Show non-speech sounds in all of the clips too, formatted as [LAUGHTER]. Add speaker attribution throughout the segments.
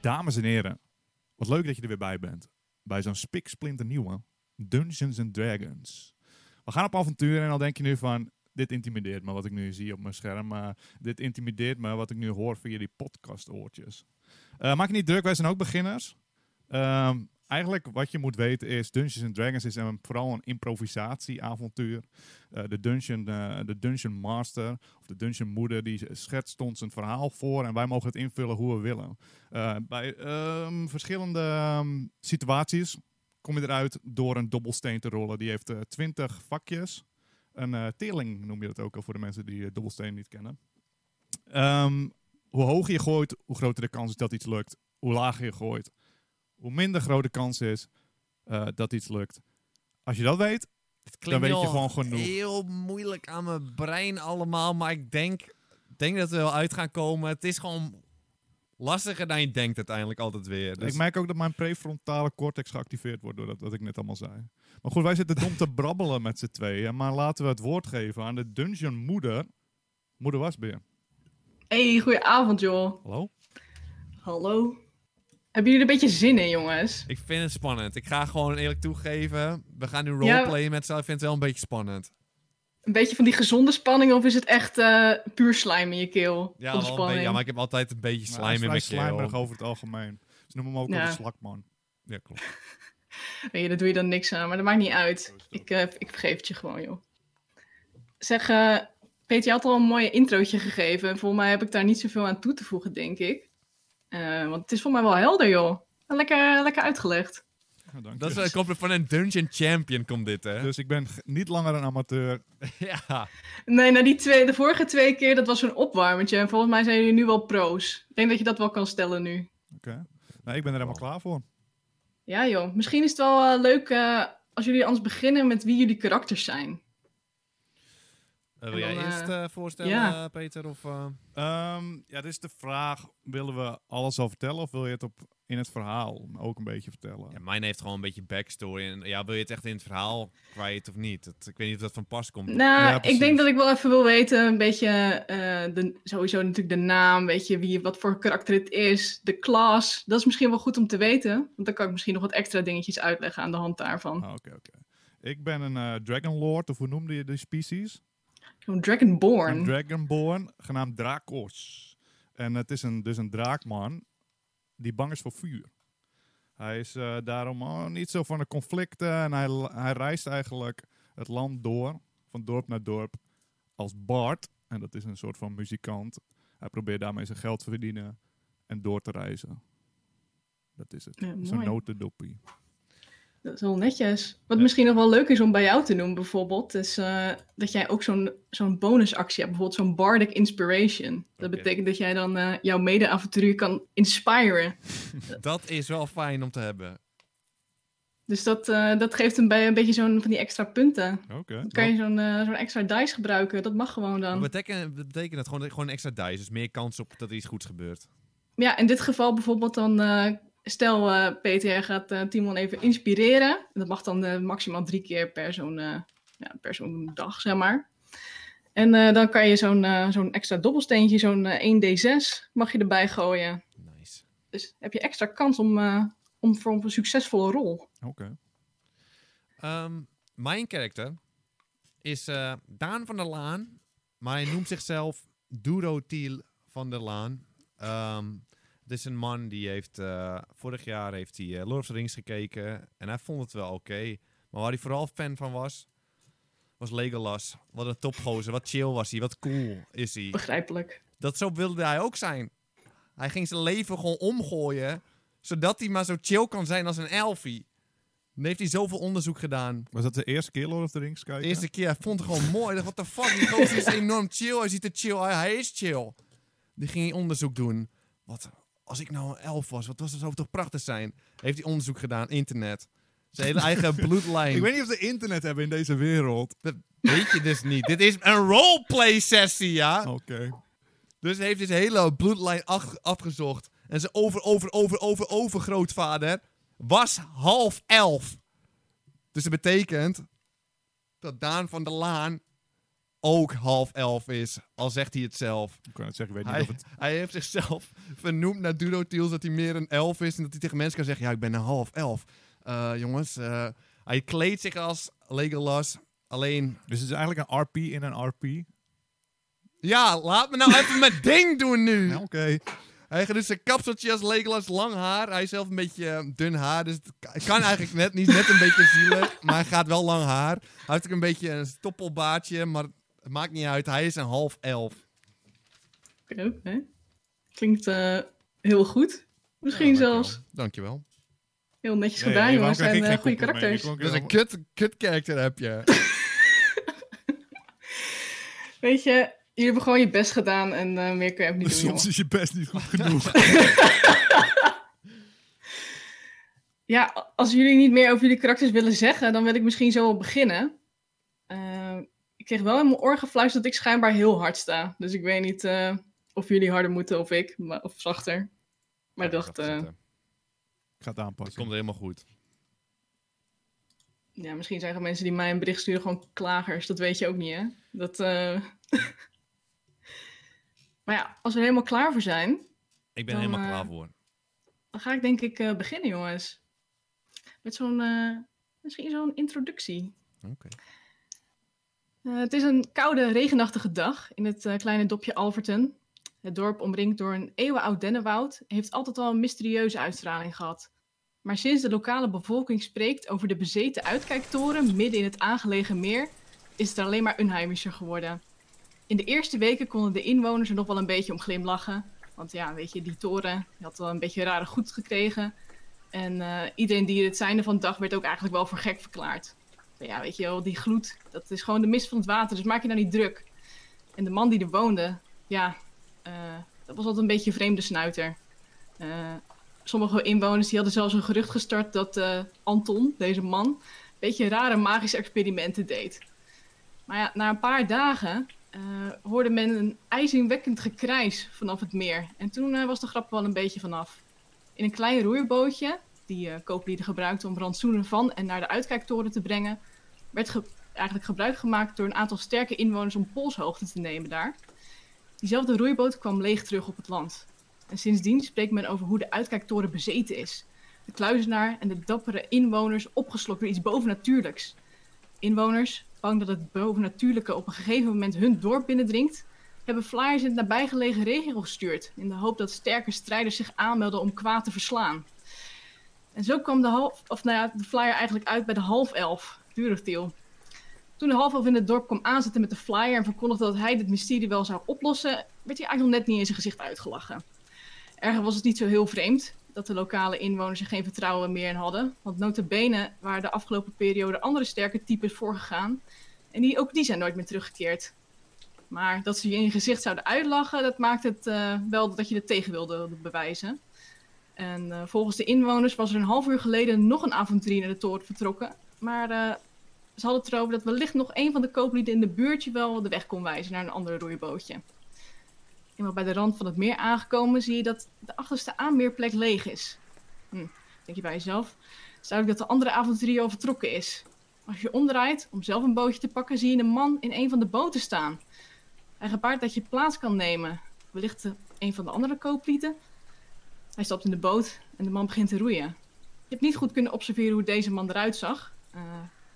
Speaker 1: Dames en heren, wat leuk dat je er weer bij bent. Bij zo'n spiksplinter nieuwe Dungeons and Dragons. We gaan op avontuur en al denk je nu van... Dit intimideert me wat ik nu zie op mijn scherm. Maar dit intimideert me wat ik nu hoor via die podcast-oortjes. Eh, maak je niet druk, wij zijn ook beginners. Ehm, eigenlijk wat je moet weten is... Dungeons and Dragons is een, vooral een improvisatieavontuur. Eh, de, dungeon, eh, de dungeon master of de dungeon moeder... die schetst ons een verhaal voor... en wij mogen het invullen hoe we willen. Eh, bij ehm, verschillende ehm, situaties kom je eruit door een dobbelsteen te rollen. Die heeft eh, twintig vakjes. Een eh, teerling noem je dat ook al voor de mensen die eh, dobbelsteen niet kennen. Ehm, hoe hoger je gooit, hoe groter de kans is dat iets lukt. Hoe lager je gooit, hoe minder grote kans is eh, dat iets lukt. Als je dat weet,
Speaker 2: Het
Speaker 1: dan
Speaker 2: klinkt
Speaker 1: weet je
Speaker 2: heel-
Speaker 1: gewoon genoeg.
Speaker 2: Heel moeilijk aan mijn brein allemaal, maar ik denk, denk dat we wel uit gaan komen. Het is gewoon lastiger dan je denkt uiteindelijk altijd weer. Dus
Speaker 1: Ik merk ook dat mijn prefrontale cortex geactiveerd wordt door dat wat ik net allemaal zei. Maar goed, wij zitten dom te [LAUGHS] brabbelen met z'n tweeën. Maar laten we het woord geven aan de dungeon moeder. Moeder Wasbeer. Nou,
Speaker 3: Hey, goedenavond joh.
Speaker 1: Hallo?
Speaker 3: Hallo. Hebben jullie er een beetje zin in, jongens?
Speaker 2: ik vind het spannend. Ik ga gewoon eerlijk toegeven, we gaan nu roleplayen met z'n allen. Ik vind het wel een beetje spannend.
Speaker 3: Een beetje van die gezonde spanning of is het echt eh, puur slijm in je keel?
Speaker 2: Ja,
Speaker 3: van de
Speaker 2: wel een beetje,
Speaker 3: spanning.
Speaker 2: ja, maar ik heb altijd een beetje slime in mijn
Speaker 1: slijmerig
Speaker 2: keel.
Speaker 1: over het algemeen. Ze noemen hem ook
Speaker 3: Ja.
Speaker 1: al de slakman.
Speaker 2: Ja,
Speaker 1: [LAUGHS]
Speaker 2: klopt.
Speaker 3: Weet je, daar doe je dan niks aan, maar dat maakt niet uit. Ik, eh, ik vergeef het je gewoon, joh. Zeg, eh, Peter, je had al een mooie introotje gegeven. en Volgens mij heb ik daar niet zoveel aan toe te voegen, denk ik. Eh, want het is voor mij wel helder, joh. Ah, Lekker, eh, lekker uitgelegd.
Speaker 1: Ja, dank
Speaker 2: Dat is,
Speaker 1: je.
Speaker 2: eh, komt van een dungeon champion, komt dit, hè?
Speaker 1: Dus ik ben g- niet langer een amateur.
Speaker 2: [LAUGHS] ja.
Speaker 3: Nee, nou die twee, de vorige twee keer, dat was zo'n opwarmertje. En volgens mij zijn jullie nu wel pro's. Ik denk dat je dat wel kan stellen nu.
Speaker 1: Oké. Nee, ik ben er helemaal klaar voor.
Speaker 3: Ja joh, misschien is het wel eh, leuk eh, als jullie anders beginnen met wie jullie karakters zijn.
Speaker 2: Eh,
Speaker 3: En
Speaker 2: wil jij
Speaker 3: dan,
Speaker 2: eerst
Speaker 3: eh,
Speaker 2: eh, voorstellen,
Speaker 3: ja.
Speaker 2: eh, Peter? Of, eh?
Speaker 1: Ehm, ja, dit is de vraag. Willen we alles al vertellen of wil je het op, in het verhaal ook een beetje vertellen?
Speaker 2: Ja, mijn heeft gewoon een beetje backstory. En ja, wil je het echt in het verhaal kwijt of niet? Het- ik weet niet of dat van pas komt.
Speaker 3: Nou,
Speaker 1: Ja, precies.
Speaker 3: ik denk dat ik wel even wil weten, een beetje, eh, de, sowieso natuurlijk de naam, weet je, wie, wat voor karakter het is, de klas. Dat is misschien wel goed om te weten, want dan kan ik misschien nog wat extra dingetjes uitleggen aan de hand daarvan.
Speaker 1: Ah, Oké, oké. Ik ben een eh, Dragon Lord, of hoe noemde je die species?
Speaker 3: Zo'n Dragonborn.
Speaker 1: Oh. Een Dragonborn, genaamd Drakos. En het is een, dus een draakman die bang is voor vuur. Hij is eh, daarom oh, niet zo van de conflicten en hij, l- hij reist eigenlijk het land door, van dorp naar dorp, als Bart. En dat is een soort van muzikant. Hij probeert daarmee zijn geld te verdienen en door te reizen. Dat is het.
Speaker 3: Ja,
Speaker 1: Zo'n
Speaker 3: mooi.
Speaker 1: notendoppie.
Speaker 3: Dat is wel netjes. Wat
Speaker 2: Ja.
Speaker 3: misschien nog wel leuk is om bij jou te noemen bijvoorbeeld, is eh, dat jij ook zo'n zo'n bonusactie hebt. Bijvoorbeeld zo'n Bardic Inspiration. Dat
Speaker 2: Oké.
Speaker 3: betekent dat jij dan eh, jouw mede-avonturier kan inspiren.
Speaker 2: Dat is wel fijn om te hebben.
Speaker 3: Dus dat, eh, dat geeft hem bij een beetje zo'n van die extra punten.
Speaker 1: Oké.
Speaker 3: Dan kan je zo'n eh, zo'n extra dice gebruiken. Dat mag gewoon
Speaker 2: Wat
Speaker 3: dan.
Speaker 2: betekent, wat betekent dat? Gewoon, dat- gewoon een extra dice. Dus meer kans op dat er iets goeds gebeurt.
Speaker 3: Ja, in dit geval bijvoorbeeld dan... eh, stel, eh Peter jij gaat eh, Timon even inspireren. Dat mag dan eh, maximaal drie keer per zo'n eh, ja, per zo'n dag, zeg maar. En eh, dan kan je zo'n eh, zo'n extra dobbelsteentje, zo'n eh, 1d6, mag je erbij gooien.
Speaker 2: Nice.
Speaker 3: Dus heb je extra kans om, eh, om voor een succesvolle rol.
Speaker 1: Oké.
Speaker 2: Ehm, mijn karakter is eh, Daan van der Laan. Maar hij noemt zichzelf Durotiel van der Laan. Ehm het is een man die heeft... eh, vorig jaar heeft hij eh, Lord of the Rings gekeken. En hij vond het wel oké. Maar waar hij vooral fan van was... Was Legolas. Wat een topgozer. Wat chill was hij. Wat cool is hij.
Speaker 3: Begrijpelijk.
Speaker 2: Dat zo wilde hij ook zijn. Hij ging zijn leven gewoon omgooien. Zodat hij maar zo chill kan zijn als een elfie. Dan heeft hij zoveel onderzoek gedaan.
Speaker 1: Was dat de eerste keer Lord of the Rings
Speaker 2: De
Speaker 1: kijken?
Speaker 2: eerste keer, hij vond het gewoon mooi. Ik dacht, What the fuck, die gozer is enorm chill. Hij ziet er chill uit, hij is chill. Die ging onderzoek doen. Wat, als ik nou een elf was, wat was dat, zou het toch prachtig zijn? Heeft hij onderzoek gedaan, internet. Zijn hele
Speaker 1: [LAUGHS]
Speaker 2: eigen bloedlijn.
Speaker 1: Ik weet niet of ze internet hebben in deze wereld.
Speaker 2: Dat weet je dus niet. Dit is een roleplay sessie, ja?
Speaker 1: Oké.
Speaker 2: Dus hij heeft dus hele bloedlijn af- afgezocht. En zijn over, over, over, over, over grootvader was half elf. Dus dat betekent dat Daan van der Laan ook half elf is, al zegt hij het zelf.
Speaker 1: Ik kan het zeggen, ik weet
Speaker 2: Hij,
Speaker 1: niet of het...
Speaker 2: hij heeft zichzelf vernoemd naar Dudotiels dat hij meer een elf is en dat hij tegen mensen kan zeggen, ja, ik ben een half elf. Eh, jongens, eh, hij kleedt zich als Legolas, alleen...
Speaker 1: Dus het is eigenlijk een RP in een RP.
Speaker 2: Ja, laat me nou even mijn ding doen nu!
Speaker 1: Ja, Oké.
Speaker 2: Hij gaat dus zijn kapseltje als Legolas, lang haar. Hij is zelf een beetje eh, dun haar, dus het ka- kan eigenlijk net niet. Net een beetje zielig, maar hij gaat wel lang haar. Hij heeft ook een beetje een stoppelbaardje, maar het maakt niet uit. Hij is een half elf.
Speaker 3: Oké, oké. Klinkt eh, heel goed. Misschien
Speaker 2: Ja, dankjewel.
Speaker 3: zelfs
Speaker 2: Dankjewel.
Speaker 3: heel netjes
Speaker 1: Nee,
Speaker 3: gedaan,
Speaker 1: waarom
Speaker 3: jongens.
Speaker 1: krijg
Speaker 3: En
Speaker 1: ik
Speaker 3: eh,
Speaker 1: geen
Speaker 3: goede
Speaker 1: compliment?
Speaker 3: karakters.
Speaker 1: Ik wil ook
Speaker 2: Dat is een
Speaker 1: heel-
Speaker 2: kut, kut character heb je.
Speaker 3: Weet je, jullie hebben gewoon je best gedaan en eh, meer kun
Speaker 1: [LAUGHS]
Speaker 3: je ook niet doen,
Speaker 1: Soms
Speaker 3: jongen.
Speaker 1: is je best niet goed genoeg.
Speaker 2: [LAUGHS]
Speaker 3: Ja, als jullie niet meer over jullie karakters willen zeggen, dan wil ik misschien zo wel beginnen. Eh, ik kreeg wel in mijn oor gefluisterd dat ik schijnbaar heel hard sta. Dus ik weet niet eh, of jullie harder moeten of ik, maar- of zachter. Maar ik dacht, eh,
Speaker 1: Ik ga het
Speaker 2: Het
Speaker 1: aanpassen.
Speaker 2: komt helemaal goed.
Speaker 3: ja, misschien zijn er mensen die mij een bericht sturen gewoon klagers. Dat weet je ook niet, hè? Dat, eh, [LAUGHS] maar ja, als we er helemaal klaar voor zijn,
Speaker 2: Ik ben
Speaker 3: Dan,
Speaker 2: helemaal
Speaker 3: eh,
Speaker 2: klaar voor.
Speaker 3: Dan ga ik denk ik eh, beginnen, jongens. Met zo'n, eh, misschien zo'n introductie.
Speaker 2: Oké.
Speaker 3: Eh, het is een koude, regenachtige dag in het eh, kleine dorpje Alverton. Het dorp, omringd door een eeuwenoud dennenwoud, heeft altijd al een mysterieuze uitstraling gehad. Maar sinds de lokale bevolking spreekt over de bezeten uitkijktoren midden in het aangelegen meer, is het alleen maar unheimischer geworden. In de eerste weken konden de inwoners er nog wel een beetje om glimlachen. Want ja, weet je, die toren die had wel een beetje rare goed gekregen. En eh, iedereen die het zijnde van de dag werd ook eigenlijk wel voor gek verklaard. Van, Ja, weet je wel, die gloed, dat is gewoon de mist van het water, dus maak je nou niet druk. En de man die er woonde, ja, eh, dat was altijd een beetje een vreemde snuiter. Eh, sommige inwoners die hadden zelfs een gerucht gestart dat eh, Anton, deze man, een beetje rare magische experimenten deed. Maar ja, na een paar dagen eh, hoorde men een ijzingwekkend gekrijs vanaf het meer. En toen eh, was de grap wel een beetje vanaf. In een klein roeibootje, die eh kooplieden gebruikten om rantsoenen van en naar de uitkijktoren te brengen, werd ge- eigenlijk gebruik gemaakt door een aantal sterke inwoners om polshoogte te nemen daar. Diezelfde roeiboot kwam leeg terug op het land. En sindsdien spreekt men over hoe de uitkijktoren bezeten is. De kluizenaar en de dappere inwoners opgeslokt door iets bovennatuurlijks. Inwoners, bang dat het bovennatuurlijke op een gegeven moment hun dorp binnendringt, hebben flyers in de nabijgelegen regio gestuurd in de hoop dat sterke strijders zich aanmelden om kwaad te verslaan. En zo kwam de, half, of nou ja, de flyer eigenlijk uit bij de half elf, Duretil. Toen de half elf in het dorp kwam aanzetten met de flyer en verkondigde dat hij dit mysterie wel zou oplossen, werd hij eigenlijk nog net niet in zijn gezicht uitgelachen. Erger was het niet zo heel vreemd dat de lokale inwoners er geen vertrouwen meer in hadden, want nota bene waren de afgelopen periode andere sterke types voorgegaan en die, ook die zijn nooit meer teruggekeerd. Maar dat ze je in je gezicht zouden uitlachen, dat maakt het eh, wel dat je het tegen wilde bewijzen. En eh, volgens de inwoners was er een half uur geleden nog een avonturier naar de toren vertrokken. Maar eh, ze hadden het erover dat wellicht nog een van de kooplieden in de buurtje wel de weg kon wijzen naar een ander roeibootje. Eenmaal bij de rand van het meer aangekomen zie je dat de achterste aanmeerplek leeg is. Hm, denk je bij jezelf, het is duidelijk dat de andere avonturier al vertrokken is. Als je omdraait om zelf een bootje te pakken, zie je een man in een van de boten staan. Hij gebaart dat je plaats kan nemen. Wellicht eh, een van de andere kooplieden. Hij stapt in de boot en de man begint te roeien. Je hebt niet goed kunnen observeren hoe deze man eruit zag. Eh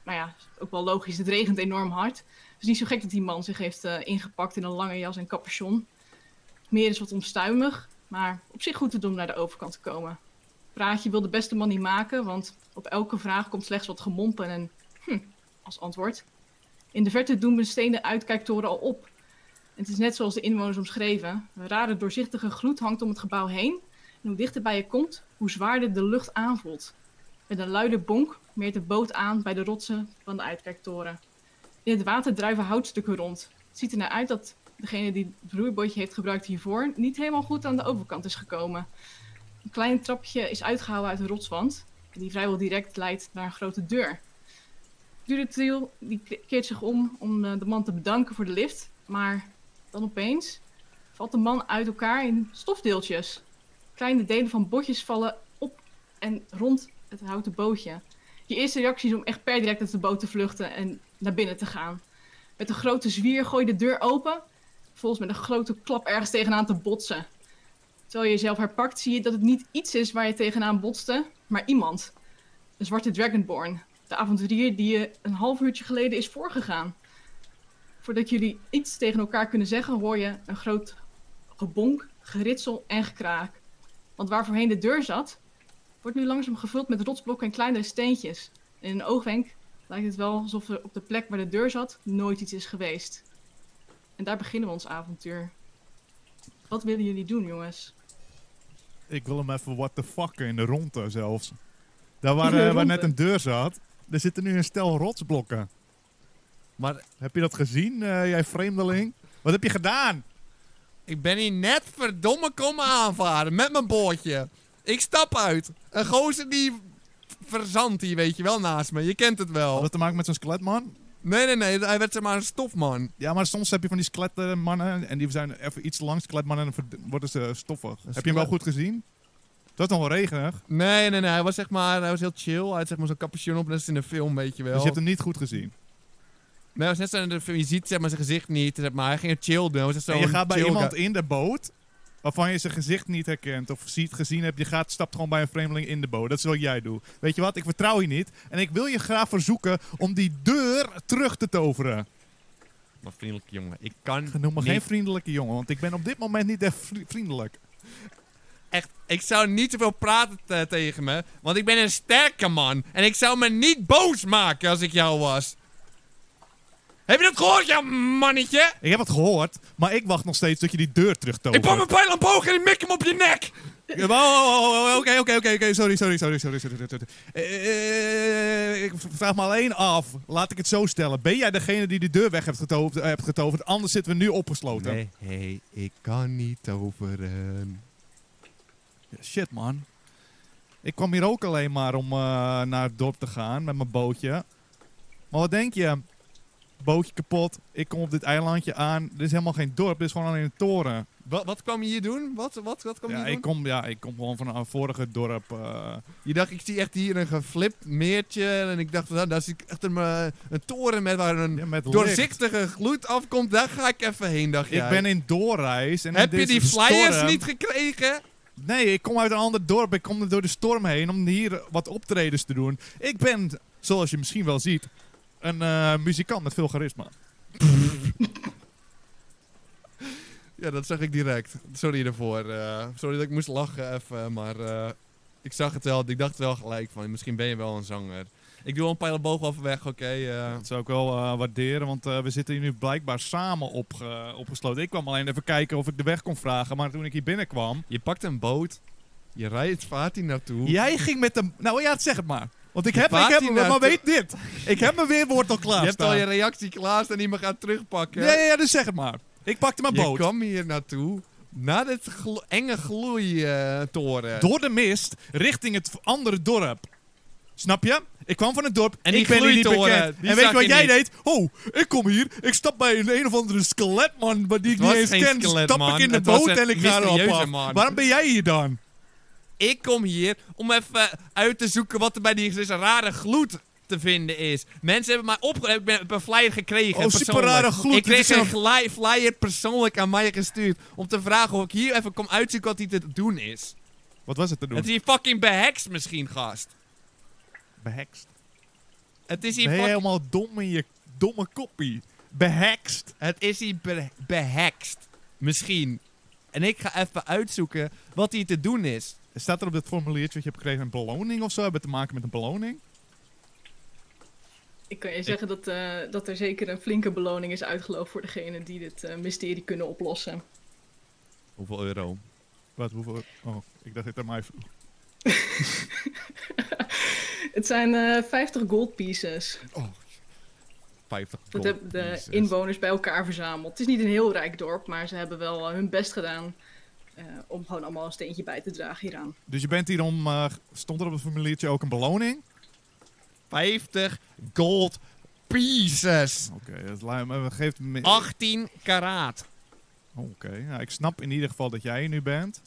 Speaker 3: maar ja, ook wel logisch, het regent enorm hard. Het is niet zo gek dat die man zich heeft eh, ingepakt in een lange jas en capuchon. Het Meer is wat onstuimig, maar op zich goed te doen om naar de overkant te komen. Praatje wil de beste man niet maken, want op elke vraag komt slechts wat gemompen en hm als antwoord. In de verte doen de stenen uitkijktoren al op. En het is net zoals de inwoners omschreven. Een rare doorzichtige gloed hangt om het gebouw heen en hoe dichter bij je komt, hoe zwaarder de lucht aanvoelt. Met een luide bonk meert de boot aan bij de rotsen van de uitkijktoren. In het water drijven houtstukken rond. Het ziet er naar uit dat degene die het roeibootje heeft gebruikt hiervoor niet helemaal goed aan de overkant is gekomen. Een klein trapje is uitgehouden uit een rotswand, die vrijwel direct leidt naar een grote deur. Duretriel die ke- keert zich om om eh, de man te bedanken voor de lift, maar dan opeens valt de man uit elkaar in stofdeeltjes. Kleine delen van botjes vallen op en rond het houten bootje. Je eerste reactie is om echt per direct uit de boot te vluchten en naar binnen te gaan. met een grote zwier gooi je de deur open. Volgens met een grote klap ergens tegenaan te botsen. Terwijl je jezelf herpakt, zie je dat het niet iets is waar je tegenaan botste, maar iemand. Een zwarte Dragonborn. De avonturier die je een half uurtje geleden is voorgegaan. Voordat jullie iets tegen elkaar kunnen zeggen, hoor je een groot gebonk, geritsel en gekraak. Want waar voorheen de deur zat, wordt nu langzaam gevuld met rotsblokken en kleinere steentjes. In een oogwenk lijkt het wel alsof er op de plek waar de deur zat nooit iets is geweest. En daar beginnen we ons avontuur. Wat willen jullie doen, jongens?
Speaker 1: Ik wil hem even what the fucken in de ronde zelfs. Daar waar,
Speaker 3: In de
Speaker 1: eh, waar
Speaker 3: ronde?
Speaker 1: net een deur zat, er zitten nu een stel rotsblokken.
Speaker 2: Maar
Speaker 1: Heb je dat gezien, eh, jij vreemdeling? Wat heb je gedaan?
Speaker 2: ik ben hier net verdomme komen aanvaren met mijn boordje. Ik stap uit. Een gozer die verzandt hier, weet je wel, naast me. Je kent het
Speaker 1: Had
Speaker 2: wel.
Speaker 1: dat te maken met zo'n skeletman?
Speaker 2: Nee, nee, nee. Hij werd zeg maar een stofman.
Speaker 1: Ja, maar soms heb je van die skeletmannen en die zijn even iets langs skeletmannen en dan verd- worden ze stoffig. Heb je hem wel
Speaker 2: skelet-
Speaker 1: goed gezien? Dat is nog wel regenig,
Speaker 2: Nee, nee, nee. Hij was zeg maar, hij was heel chill. Hij had zeg maar zo'n capuchon op, net als in een film, weet je wel.
Speaker 1: dus je hebt hem niet goed gezien.
Speaker 2: Nee, hij was net zo in de film. Je ziet zeg maar zijn gezicht niet, zeg maar. Hij ging het chill doen. Hij was echt
Speaker 1: en je
Speaker 2: zo'n
Speaker 1: gaat bij
Speaker 2: chill
Speaker 1: iemand
Speaker 2: guy.
Speaker 1: in de boot, waarvan je zijn gezicht niet herkent of ziet, gezien hebt. Je gaat, stapt gewoon bij een vreemdeling in de boot. Dat is wat jij doet. Weet je wat, ik vertrouw je niet. En ik wil je graag verzoeken om die deur terug te toveren.
Speaker 2: Maar vriendelijke jongen, ik kan
Speaker 1: Noem me
Speaker 2: niet-
Speaker 1: geen vriendelijke jongen, want ik ben op dit moment niet echt vri- vriendelijk.
Speaker 2: Echt, ik zou niet zoveel praten te- tegen me, want ik ben een sterke man. En ik zou me niet boos maken als ik jou was. Heb je dat gehoord, ja mannetje?
Speaker 1: Ik heb het gehoord, maar ik wacht nog steeds dat je die deur Oh,
Speaker 2: Ik pak
Speaker 1: terugtovert.
Speaker 2: mijn pijl omhoog en ik mik hem op je nek!
Speaker 1: Ja, wow, wow, wow, wow, Oké, oké, oké, oké. Sorry, sorry, sorry, sorry. sorry, sorry. Eh, eh, ik v- vraag me alleen af. Laat ik het zo stellen. Ben jij degene die de deur weg hebt getoverd? eh, hebt getoverd? Anders zitten we nu opgesloten.
Speaker 2: hey, ik kan niet toveren.
Speaker 1: Shit, man. Ik kwam hier ook alleen maar om eh, naar het dorp te gaan met mijn bootje. Maar wat denk je? Bootje kapot. Ik kom op dit eilandje aan. Dit is helemaal geen dorp. Dit is gewoon alleen een toren.
Speaker 2: Wat, wat kwam je hier doen? Wat, wat, wat kwam je
Speaker 1: Ja,
Speaker 2: hier
Speaker 1: ik
Speaker 2: doen?
Speaker 1: kom, ja, ik kom gewoon van een vorige dorp. eh,
Speaker 2: Je dacht, ik zie echt hier een geflipt meertje. En ik dacht, nou, daar zie ik echt een, eh, een toren met waar een
Speaker 1: met licht.
Speaker 2: doorzichtige gloed afkomt. Daar ga ik even heen, dacht jij.
Speaker 1: Ik ben in doorreis. En in
Speaker 2: Heb je
Speaker 1: deze
Speaker 2: die flyers
Speaker 1: storm-
Speaker 2: niet gekregen?
Speaker 1: Nee, ik kom uit een ander dorp. Ik kom er door de storm heen om hier wat optredens te doen. Ik ben, zoals je misschien wel ziet, een eh, muzikant met veel charisma.
Speaker 2: Ja, dat zag ik direct. Sorry daarvoor. eh, sorry dat ik moest lachen even, maar eh, ik zag het wel. Ik dacht wel gelijk van, misschien ben je wel een zanger. Ik doe al een pijlenboog over weg, oké. eh.
Speaker 1: Dat zou ik wel eh, waarderen, want eh, we zitten hier nu blijkbaar samen opge- opgesloten. Ik kwam alleen even kijken of ik de weg kon vragen, maar toen ik hier binnenkwam...
Speaker 2: je pakt een boot, je rijdt, vaart hier naartoe.
Speaker 1: Jij ging met een... Nou ja, zeg het maar. Want ik heb, ik
Speaker 2: Vaart
Speaker 1: heb
Speaker 2: die
Speaker 1: maar
Speaker 2: nou
Speaker 1: weet dit. Ik heb mijn weerwoord al klaar
Speaker 2: je hebt al je reactie klaar en die me gaat terugpakken.
Speaker 1: Ja, ja, ja, dus zeg het maar. Ik pakte mijn
Speaker 2: Je
Speaker 1: boot.
Speaker 2: kwam hier naartoe, naar dit glo- enge gloeitoren.
Speaker 1: Eh, Door de mist richting het andere dorp. Snap je? Ik kwam van het dorp en
Speaker 2: En die
Speaker 1: ik ben hier niet
Speaker 2: gloeitoren,
Speaker 1: bekend.
Speaker 2: die
Speaker 1: en weet je
Speaker 2: zag
Speaker 1: wat
Speaker 2: je
Speaker 1: jij
Speaker 2: niet.
Speaker 1: deed? Oh, ik kom hier. Ik stap bij een, een of andere skeletman maar die ik niet
Speaker 2: Het was
Speaker 1: eens
Speaker 2: geen
Speaker 1: ken. Stap ik
Speaker 2: skeletman,
Speaker 1: in de
Speaker 2: het was
Speaker 1: boot
Speaker 2: een
Speaker 1: en ik ga erop
Speaker 2: mysterieuze
Speaker 1: af.
Speaker 2: man.
Speaker 1: Waarom ben jij hier dan?
Speaker 2: Ik kom hier om even uit te zoeken wat er bij die deze rare gloed te vinden is. Mensen hebben mij opge... Ik ben heb een flyer gekregen,
Speaker 1: Oh,
Speaker 2: persoonlijk.
Speaker 1: superrare gloed.
Speaker 2: Ik
Speaker 1: Dit
Speaker 2: kreeg
Speaker 1: is
Speaker 2: een
Speaker 1: een-
Speaker 2: gli- flyer persoonlijk aan mij gestuurd... om te vragen of ik hier even kom uitzoeken wat hier te doen is.
Speaker 1: Wat was het te doen?
Speaker 2: Het is hier fucking behext misschien, gast.
Speaker 1: Behext.
Speaker 2: Het is hier
Speaker 1: Ben je
Speaker 2: fucking...
Speaker 1: helemaal dom in je domme koppie? Behext.
Speaker 2: Het is hier be behext. Misschien. En ik ga even uitzoeken wat hier te doen is.
Speaker 1: Staat er op dat formuliertje wat je hebt gekregen een beloning of zo? Hebben te maken met een beloning?
Speaker 3: Ik kan je zeggen dat, eh, dat er zeker een flinke beloning is uitgeloofd voor degene die dit eh, mysterie kunnen oplossen.
Speaker 2: Hoeveel euro?
Speaker 1: Wat, hoeveel? Oh, ik dacht dit aan mij. vroeg.
Speaker 3: Het zijn eh 50 gold pieces.
Speaker 2: 50
Speaker 3: Dat
Speaker 2: gold.
Speaker 3: hebben de
Speaker 2: Jezus.
Speaker 3: inwoners bij elkaar verzameld. Het is niet een heel rijk dorp, maar ze hebben wel eh, hun best gedaan eh, om gewoon allemaal een steentje bij te dragen hieraan.
Speaker 1: Dus je bent hier om... eh, stond er op het formuliertje ook een beloning?
Speaker 2: 50 gold pieces.
Speaker 1: Oké, dat lijkt me... Geeft me
Speaker 2: 18 karaat.
Speaker 1: Oké, nou, ik snap in ieder geval dat jij er nu bent.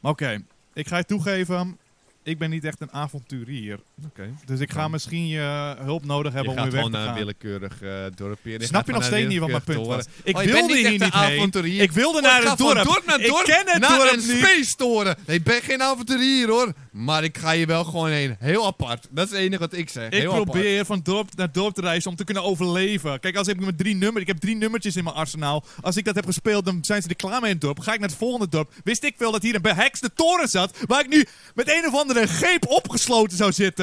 Speaker 1: Maar oké, ik ga je toegeven. ik ben niet echt een avonturier.
Speaker 2: Oké.
Speaker 1: Dus ik ga
Speaker 2: Ja.
Speaker 1: misschien je hulp nodig
Speaker 2: Je
Speaker 1: hebben om
Speaker 2: gaat
Speaker 1: weer weg te
Speaker 2: gewoon naar
Speaker 1: gaan.
Speaker 2: willekeurig eh dorpje. Je gaat
Speaker 1: Snap je
Speaker 2: gewoon
Speaker 1: nog
Speaker 2: naar
Speaker 1: steeds niet wat mijn punt
Speaker 2: willekeurige
Speaker 1: was?
Speaker 2: dorpen.
Speaker 1: Ik
Speaker 2: Oh, je bent
Speaker 1: wilde
Speaker 2: niet
Speaker 1: hier
Speaker 2: echt
Speaker 1: niet
Speaker 2: een
Speaker 1: heen.
Speaker 2: avonturier.
Speaker 1: Ik wilde naar
Speaker 2: Oh, ik ga
Speaker 1: het
Speaker 2: van
Speaker 1: dorp.
Speaker 2: dorp naar
Speaker 1: Ik
Speaker 2: dorp
Speaker 1: ken het
Speaker 2: naar
Speaker 1: dorp
Speaker 2: een
Speaker 1: niet.
Speaker 2: space toren. Ik ben geen avonturier hoor, maar ik ga je wel gewoon heen. Heel apart. Dat is het enige wat ik zeg.
Speaker 1: Ik
Speaker 2: Heel apart.
Speaker 1: probeer van dorp naar dorp te reizen om te kunnen overleven. Kijk, als ik met drie nummers, ik heb drie nummertjes in mijn arsenaal. Als ik dat heb gespeeld, dan zijn ze er klaar mee in het dorp. Ga ik naar het volgende dorp. Wist ik wel dat hier een behekste toren zat, waar ik nu met een of andere greep opgesloten zou zitten.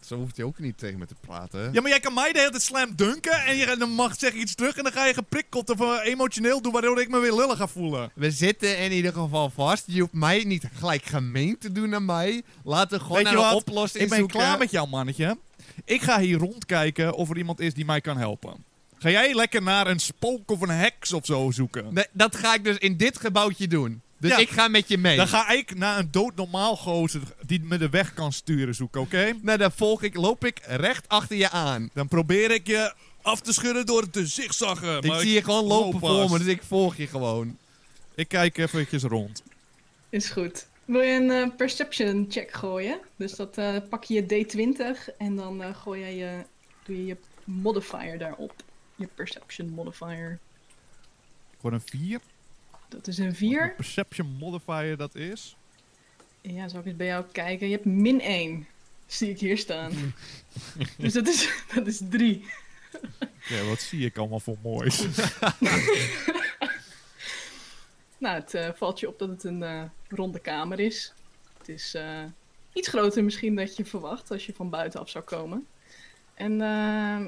Speaker 2: Zo hoeft hij ook niet tegen me te praten.
Speaker 1: Ja, maar jij kan mij de hele tijd slam dunken en je, dan mag zeg ik iets terug en dan ga je geprikkeld of eh, emotioneel doen, waardoor ik me weer lullig ga voelen.
Speaker 2: We zitten in ieder geval vast. Je hoeft mij niet gelijk gemeen te doen naar mij. Laten we gewoon
Speaker 1: Weet
Speaker 2: naar
Speaker 1: je
Speaker 2: een
Speaker 1: wat?
Speaker 2: oplossing
Speaker 1: Ik ben
Speaker 2: zoeken.
Speaker 1: klaar met jou, mannetje. Ik ga hier rondkijken of er iemand is die mij kan helpen. Ga jij lekker naar een spook of een heks of zo zoeken?
Speaker 2: Nee, dat ga ik dus in dit gebouwtje doen. Dus
Speaker 1: Ja.
Speaker 2: ik ga met je mee.
Speaker 1: Dan ga ik naar een doodnormaal gozer die me de weg kan sturen zoeken, oké?
Speaker 2: Nou, dan volg ik, loop ik recht achter je aan.
Speaker 1: Dan probeer ik je af te schudden door het te zigzaggen.
Speaker 2: Ik zie je gewoon
Speaker 1: loop
Speaker 2: lopen voor
Speaker 1: vast.
Speaker 2: me, dus ik volg je gewoon.
Speaker 1: ik kijk eventjes rond.
Speaker 3: Is goed. Wil je een eh, perception check gooien? Dus dat eh, pak je je D20 en dan eh, gooi jij je, doe je je modifier daarop. Je perception modifier.
Speaker 1: Ik hoor een 4.
Speaker 3: Dat is een
Speaker 1: Een
Speaker 3: 4.
Speaker 1: perception modifier dat is.
Speaker 3: Ja, zou ik eens bij jou kijken. Je hebt min 1. Zie ik hier staan. dus dat is, [LAUGHS] dat is 3.
Speaker 1: Ja, wat zie ik allemaal voor
Speaker 2: [LAUGHS]
Speaker 1: moois.
Speaker 3: Nou, het eh, valt je op dat het een eh, ronde kamer is. Het is eh, iets groter misschien dan je verwacht als je van buitenaf zou komen. En eh,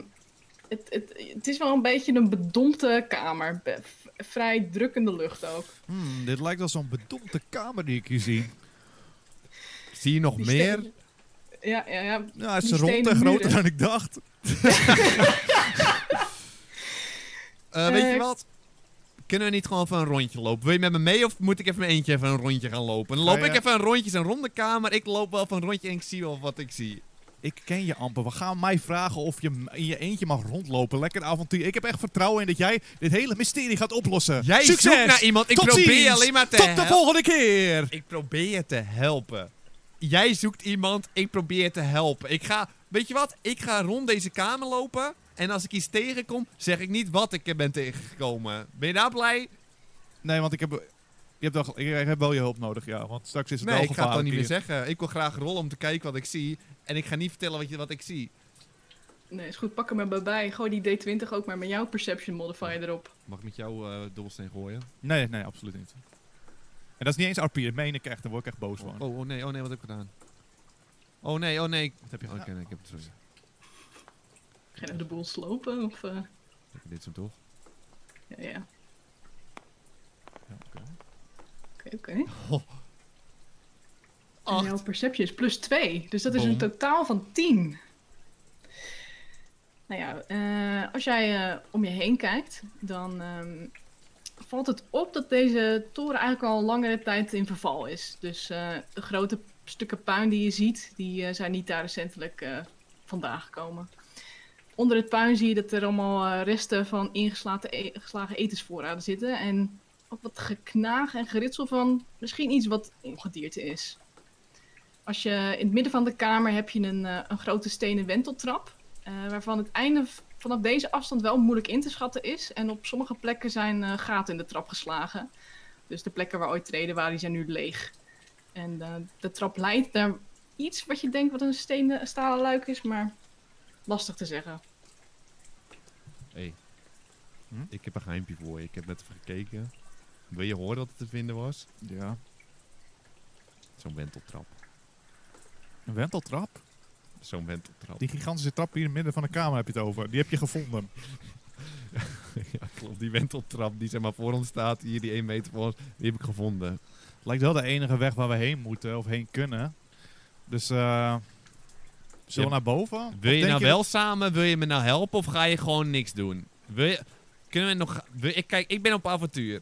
Speaker 3: het, het, het is wel een beetje een bedompte kamer. Be- v- vrij drukkende lucht ook.
Speaker 1: Hmm, dit lijkt wel zo'n bedompte kamer die ik hier zie.
Speaker 2: Zie je nog
Speaker 3: Die
Speaker 2: meer?
Speaker 3: stenen- Ja, ja, ja.
Speaker 1: Ja, het is
Speaker 3: Die
Speaker 1: rond en
Speaker 3: stenen
Speaker 1: groter
Speaker 3: muren.
Speaker 1: dan ik dacht.
Speaker 2: Eh, weet
Speaker 3: Eh,
Speaker 2: je wat? Kunnen we niet gewoon even een rondje lopen? Wil je met me mee of moet ik even mijn eentje even een rondje gaan lopen? Dan
Speaker 1: Ga
Speaker 2: loop
Speaker 1: je-
Speaker 2: ik even een rondje, het is een ronde kamer. Ik loop wel even een rondje en ik zie wel wat ik zie.
Speaker 1: Ik ken je amper. We gaan mij vragen of je m- in je eentje mag rondlopen. Lekker avontuur. Ik heb echt vertrouwen in dat jij dit hele mysterie gaat oplossen.
Speaker 2: Jij
Speaker 1: Succes!
Speaker 2: zoekt naar iemand, ik
Speaker 1: Tot
Speaker 2: probeer je
Speaker 1: ziens!
Speaker 2: alleen maar te
Speaker 1: Tot de
Speaker 2: helpen.
Speaker 1: volgende keer!
Speaker 2: Ik probeer je te helpen. Jij zoekt iemand, ik probeer je te helpen. Ik ga, weet je wat? Ik ga rond deze kamer lopen. En als ik iets tegenkom, zeg ik niet wat ik er ben tegengekomen. Ben je daar blij?
Speaker 1: Nee, want ik heb, je hebt wel, ik heb wel je hulp nodig, ja. Want straks is het
Speaker 2: Nee,
Speaker 1: wel
Speaker 2: ik ga het dan niet meer
Speaker 1: gevaarlijk
Speaker 2: zeggen. Ik wil graag rollen om te kijken wat ik zie. En ik ga niet vertellen wat, je, wat ik zie.
Speaker 3: Nee, is goed. Pak hem er maar bij. Gooi die D20 ook maar met jouw perception modifier erop.
Speaker 2: Mag ik met jou eh dobbelsteen gooien?
Speaker 1: hier. Nee, nee, absoluut niet. En dat is niet eens RP, dat meen ik echt. Daar word ik echt boos van.
Speaker 2: Oh, oh nee, oh nee, wat heb ik gedaan? Oh nee, oh nee. Wat heb je
Speaker 1: gedaan?
Speaker 2: Oké, nee, ik heb het sorry.
Speaker 3: Ga je nou de boel slopen? Of, eh,
Speaker 2: Dit is hem toch?
Speaker 3: Ja, ja.
Speaker 1: Ja, oké. Oh.
Speaker 3: Oké, oké. En
Speaker 2: Acht.
Speaker 3: jouw perception is plus 2. Dus dat is
Speaker 2: Boom.
Speaker 3: een totaal van 10. Nou ja, eh, als jij eh, om je heen kijkt, dan ehm, valt het op dat deze toren eigenlijk al langere tijd in verval is. Dus eh, de grote stukken puin die je ziet, die eh, zijn niet daar recentelijk eh, vandaan gekomen. Onder het puin zie je dat er allemaal eh, resten van ingeslagen e- geslagen etensvoorraden zitten. En ook wat geknaag en geritsel van misschien iets wat ongedierte is. Als je in het midden van de kamer heb je een, eh, een grote stenen wenteltrap. eh, waarvan het einde v- vanaf deze afstand wel moeilijk in te schatten is. En op sommige plekken zijn eh, gaten in de trap geslagen. Dus de plekken waar ooit treden waren, die zijn nu leeg. En eh, de trap leidt naar iets wat je denkt wat een stenen een stalen luik is, maar lastig te zeggen.
Speaker 2: Hey.
Speaker 1: Hm?
Speaker 2: Ik heb een geheimpje voor je. Ik heb net even gekeken. Wil je horen wat er te vinden was?
Speaker 1: Ja.
Speaker 2: Zo'n wenteltrap.
Speaker 1: Een wenteltrap?
Speaker 2: Zo'n wenteltrap.
Speaker 1: Die gigantische trap hier in het midden van de kamer heb je het over. Die heb je gevonden.
Speaker 2: [LAUGHS] ja, klopt. Die wenteltrap die zeg maar voor ons staat. Hier, die 1 meter voor ons. Die heb ik gevonden.
Speaker 1: Lijkt wel de enige weg waar we heen moeten of heen kunnen. Dus, eh... zullen we
Speaker 2: Ja.
Speaker 1: naar boven? Of
Speaker 2: Wil je
Speaker 1: denk
Speaker 2: nou
Speaker 1: je
Speaker 2: wel samen? Wil je me nou helpen? Of ga je gewoon niks doen? Wil je, kunnen we nog... wil- ik, kijk, ik ben op avontuur.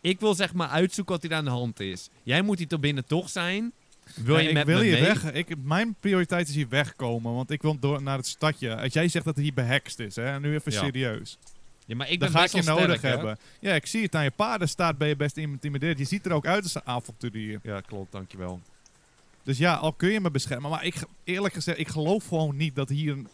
Speaker 2: Ik wil zeg maar uitzoeken wat hier aan de hand is. Jij moet hier tot binnen toch zijn. Wil
Speaker 1: Nee,
Speaker 2: je
Speaker 1: ik
Speaker 2: met
Speaker 1: wil
Speaker 2: me
Speaker 1: hier
Speaker 2: mee?
Speaker 1: weg. Ik, mijn prioriteit is hier wegkomen, want ik wil door naar het stadje. Als jij zegt dat het hier behext is, hè, nu even
Speaker 2: Ja.
Speaker 1: serieus.
Speaker 2: Ja, maar ik
Speaker 1: dan
Speaker 2: ben
Speaker 1: ga ik
Speaker 2: best
Speaker 1: je
Speaker 2: wel
Speaker 1: nodig
Speaker 2: sterk, hè?
Speaker 1: hebben. Ja, ik zie het aan je paardenstaart ben je best intimideerd. Je ziet er ook uit als een avonturier.
Speaker 2: Ja, klopt. Dankjewel.
Speaker 1: Dus ja, al kun je me beschermen. Maar ik, eerlijk gezegd, ik geloof gewoon niet dat hier een,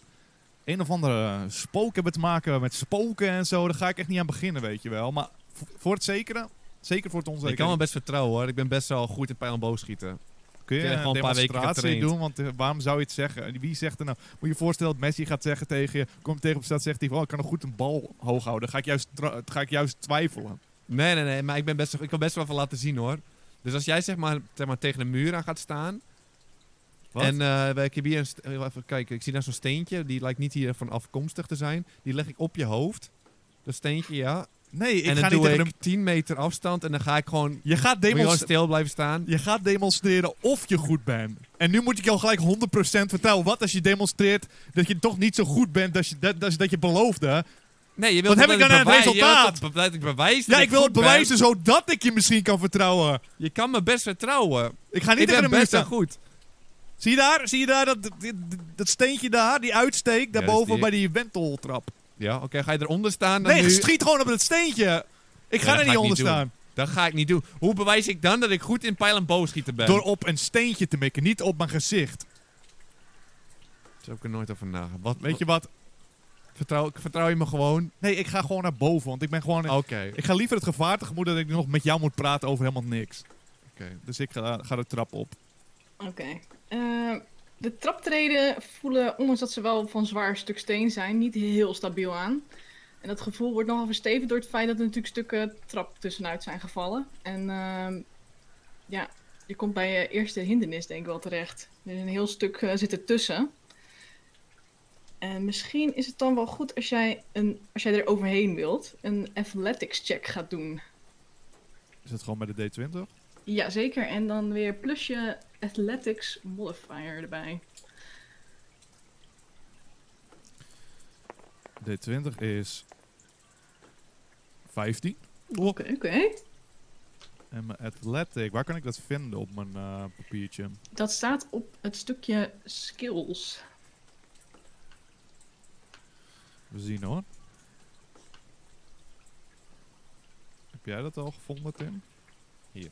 Speaker 1: een of andere spook hebben te maken met spoken en zo. Daar ga ik echt niet aan beginnen, weet je wel. Maar v- voor het zekere, zeker voor het onzekere.
Speaker 2: Ik kan me best vertrouwen hoor. Ik ben best wel goed in pijl en boogschieten.
Speaker 1: Kun je
Speaker 2: Ik heb
Speaker 1: een
Speaker 2: gewoon een paar weken
Speaker 1: demonstratie
Speaker 2: getraind.
Speaker 1: doen? Want eh, waarom zou je het zeggen? En Wie zegt er nou? Moet je je voorstellen dat Messi gaat zeggen tegen je... Komt tegen op staat, zegt hij van... Oh, ik kan nog goed een bal hoog houden. Ga ik juist, tra- ga ik juist twijfelen.
Speaker 2: Nee, nee, nee. Maar ik, ben best, ik kan best wel van laten zien hoor. Dus als jij zeg maar, zeg maar tegen een muur aan gaat staan.
Speaker 1: Wat?
Speaker 2: En eh, ik heb hier een. st- Even kijken, ik zie daar zo'n steentje. Die lijkt niet hiervan afkomstig te zijn. Die leg ik op je hoofd. Dat steentje, ja.
Speaker 1: Nee, ik
Speaker 2: en
Speaker 1: ga
Speaker 2: dan
Speaker 1: niet
Speaker 2: doe
Speaker 1: tegen
Speaker 2: ik
Speaker 1: hem...
Speaker 2: 10 meter afstand. En dan ga ik gewoon.
Speaker 1: Je gaat,
Speaker 2: Moet je gewoon
Speaker 1: demonst-
Speaker 2: stil blijven staan.
Speaker 1: je gaat demonstreren of je goed bent. En nu moet ik jou gelijk 100% vertellen. Wat als je demonstreert dat je toch niet zo goed bent... dat je, dat, dat, dat je beloofde?
Speaker 2: Nee, je
Speaker 1: Wat
Speaker 2: wilt
Speaker 1: heb ik dan aan het
Speaker 2: bewijs- je wilt
Speaker 1: resultaat?
Speaker 2: toch be- Dat ik bewijs.
Speaker 1: Ja,
Speaker 2: dat
Speaker 1: ik wil het
Speaker 2: goed ben.
Speaker 1: bewijzen zodat ik je misschien kan vertrouwen.
Speaker 2: Je kan me best vertrouwen.
Speaker 1: Ik ga niet tegen
Speaker 2: ik ben
Speaker 1: hem muur
Speaker 2: best wel
Speaker 1: staan.
Speaker 2: goed.
Speaker 1: Zie je daar? Zie je daar dat, dat, dat steentje daar? Die uitsteek daarboven
Speaker 2: die-
Speaker 1: bij die wenteltrap.
Speaker 2: Ja, oké. ga je eronder staan? Dan
Speaker 1: Nee,
Speaker 2: nu?
Speaker 1: schiet gewoon op dat steentje. Ik
Speaker 2: Ja,
Speaker 1: ga er
Speaker 2: dat ga
Speaker 1: niet
Speaker 2: ik
Speaker 1: onder
Speaker 2: niet doen.
Speaker 1: staan.
Speaker 2: Dat ga ik niet doen. Hoe bewijs ik dan dat ik goed in pijl en boogschieten ben?
Speaker 1: Door op een steentje te mikken, niet op mijn gezicht.
Speaker 2: Daar heb ik er nooit over nagedacht. Wat,
Speaker 1: Weet je wat?
Speaker 2: vertrouw, ik- vertrouw je me gewoon?
Speaker 1: Nee, ik ga gewoon naar boven, want ik ben gewoon...
Speaker 2: Oké.
Speaker 1: Ik ga liever het gevaar tegemoet dat ik nog met jou moet praten over helemaal niks.
Speaker 2: oké.
Speaker 1: Dus ik ga, ga de trap op.
Speaker 3: Oké. Eh, de traptreden voelen, ondanks dat ze wel van zwaar stuk steen zijn, niet heel stabiel aan. En dat gevoel wordt nogal verstevigd door het feit dat er natuurlijk stukken trap tussenuit zijn gevallen. En ehm, ja, je komt bij je eerste hindernis denk ik wel terecht. Er is een heel stuk eh, zit ertussen. En misschien is het dan wel goed als jij, een, als jij er overheen wilt, een athletics check gaat doen.
Speaker 1: Is dat gewoon bij de D20?
Speaker 3: Jazeker, en dan weer plus je athletics modifier erbij.
Speaker 1: D20 is... 15.
Speaker 3: Oké, oké.
Speaker 1: En mijn athletic, waar kan ik dat vinden op mijn eh, papiertje?
Speaker 3: Dat staat op het stukje skills.
Speaker 1: We zien hoor. Heb jij dat al gevonden, Tim?
Speaker 2: Hier.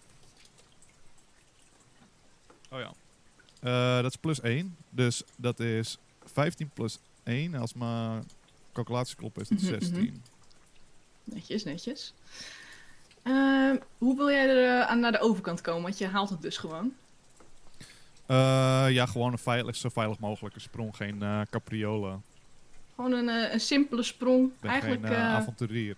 Speaker 1: Oh ja. Eh, dat is plus 1. Dus dat is 15 plus 1. Als mijn calculatie klopt, is dat
Speaker 3: Mhm,
Speaker 1: 16.
Speaker 3: Netjes, netjes. Ehm, hoe wil jij er eh, aan naar de overkant komen? Want je haalt het dus gewoon.
Speaker 1: Eh, ja, gewoon een veilig, zo veilig mogelijke sprong. Geen eh capriolen.
Speaker 3: Gewoon een, eh, een simpele sprong.
Speaker 1: Ik ben
Speaker 3: Eigenlijk
Speaker 1: geen eh,
Speaker 3: eh,
Speaker 1: avonturier.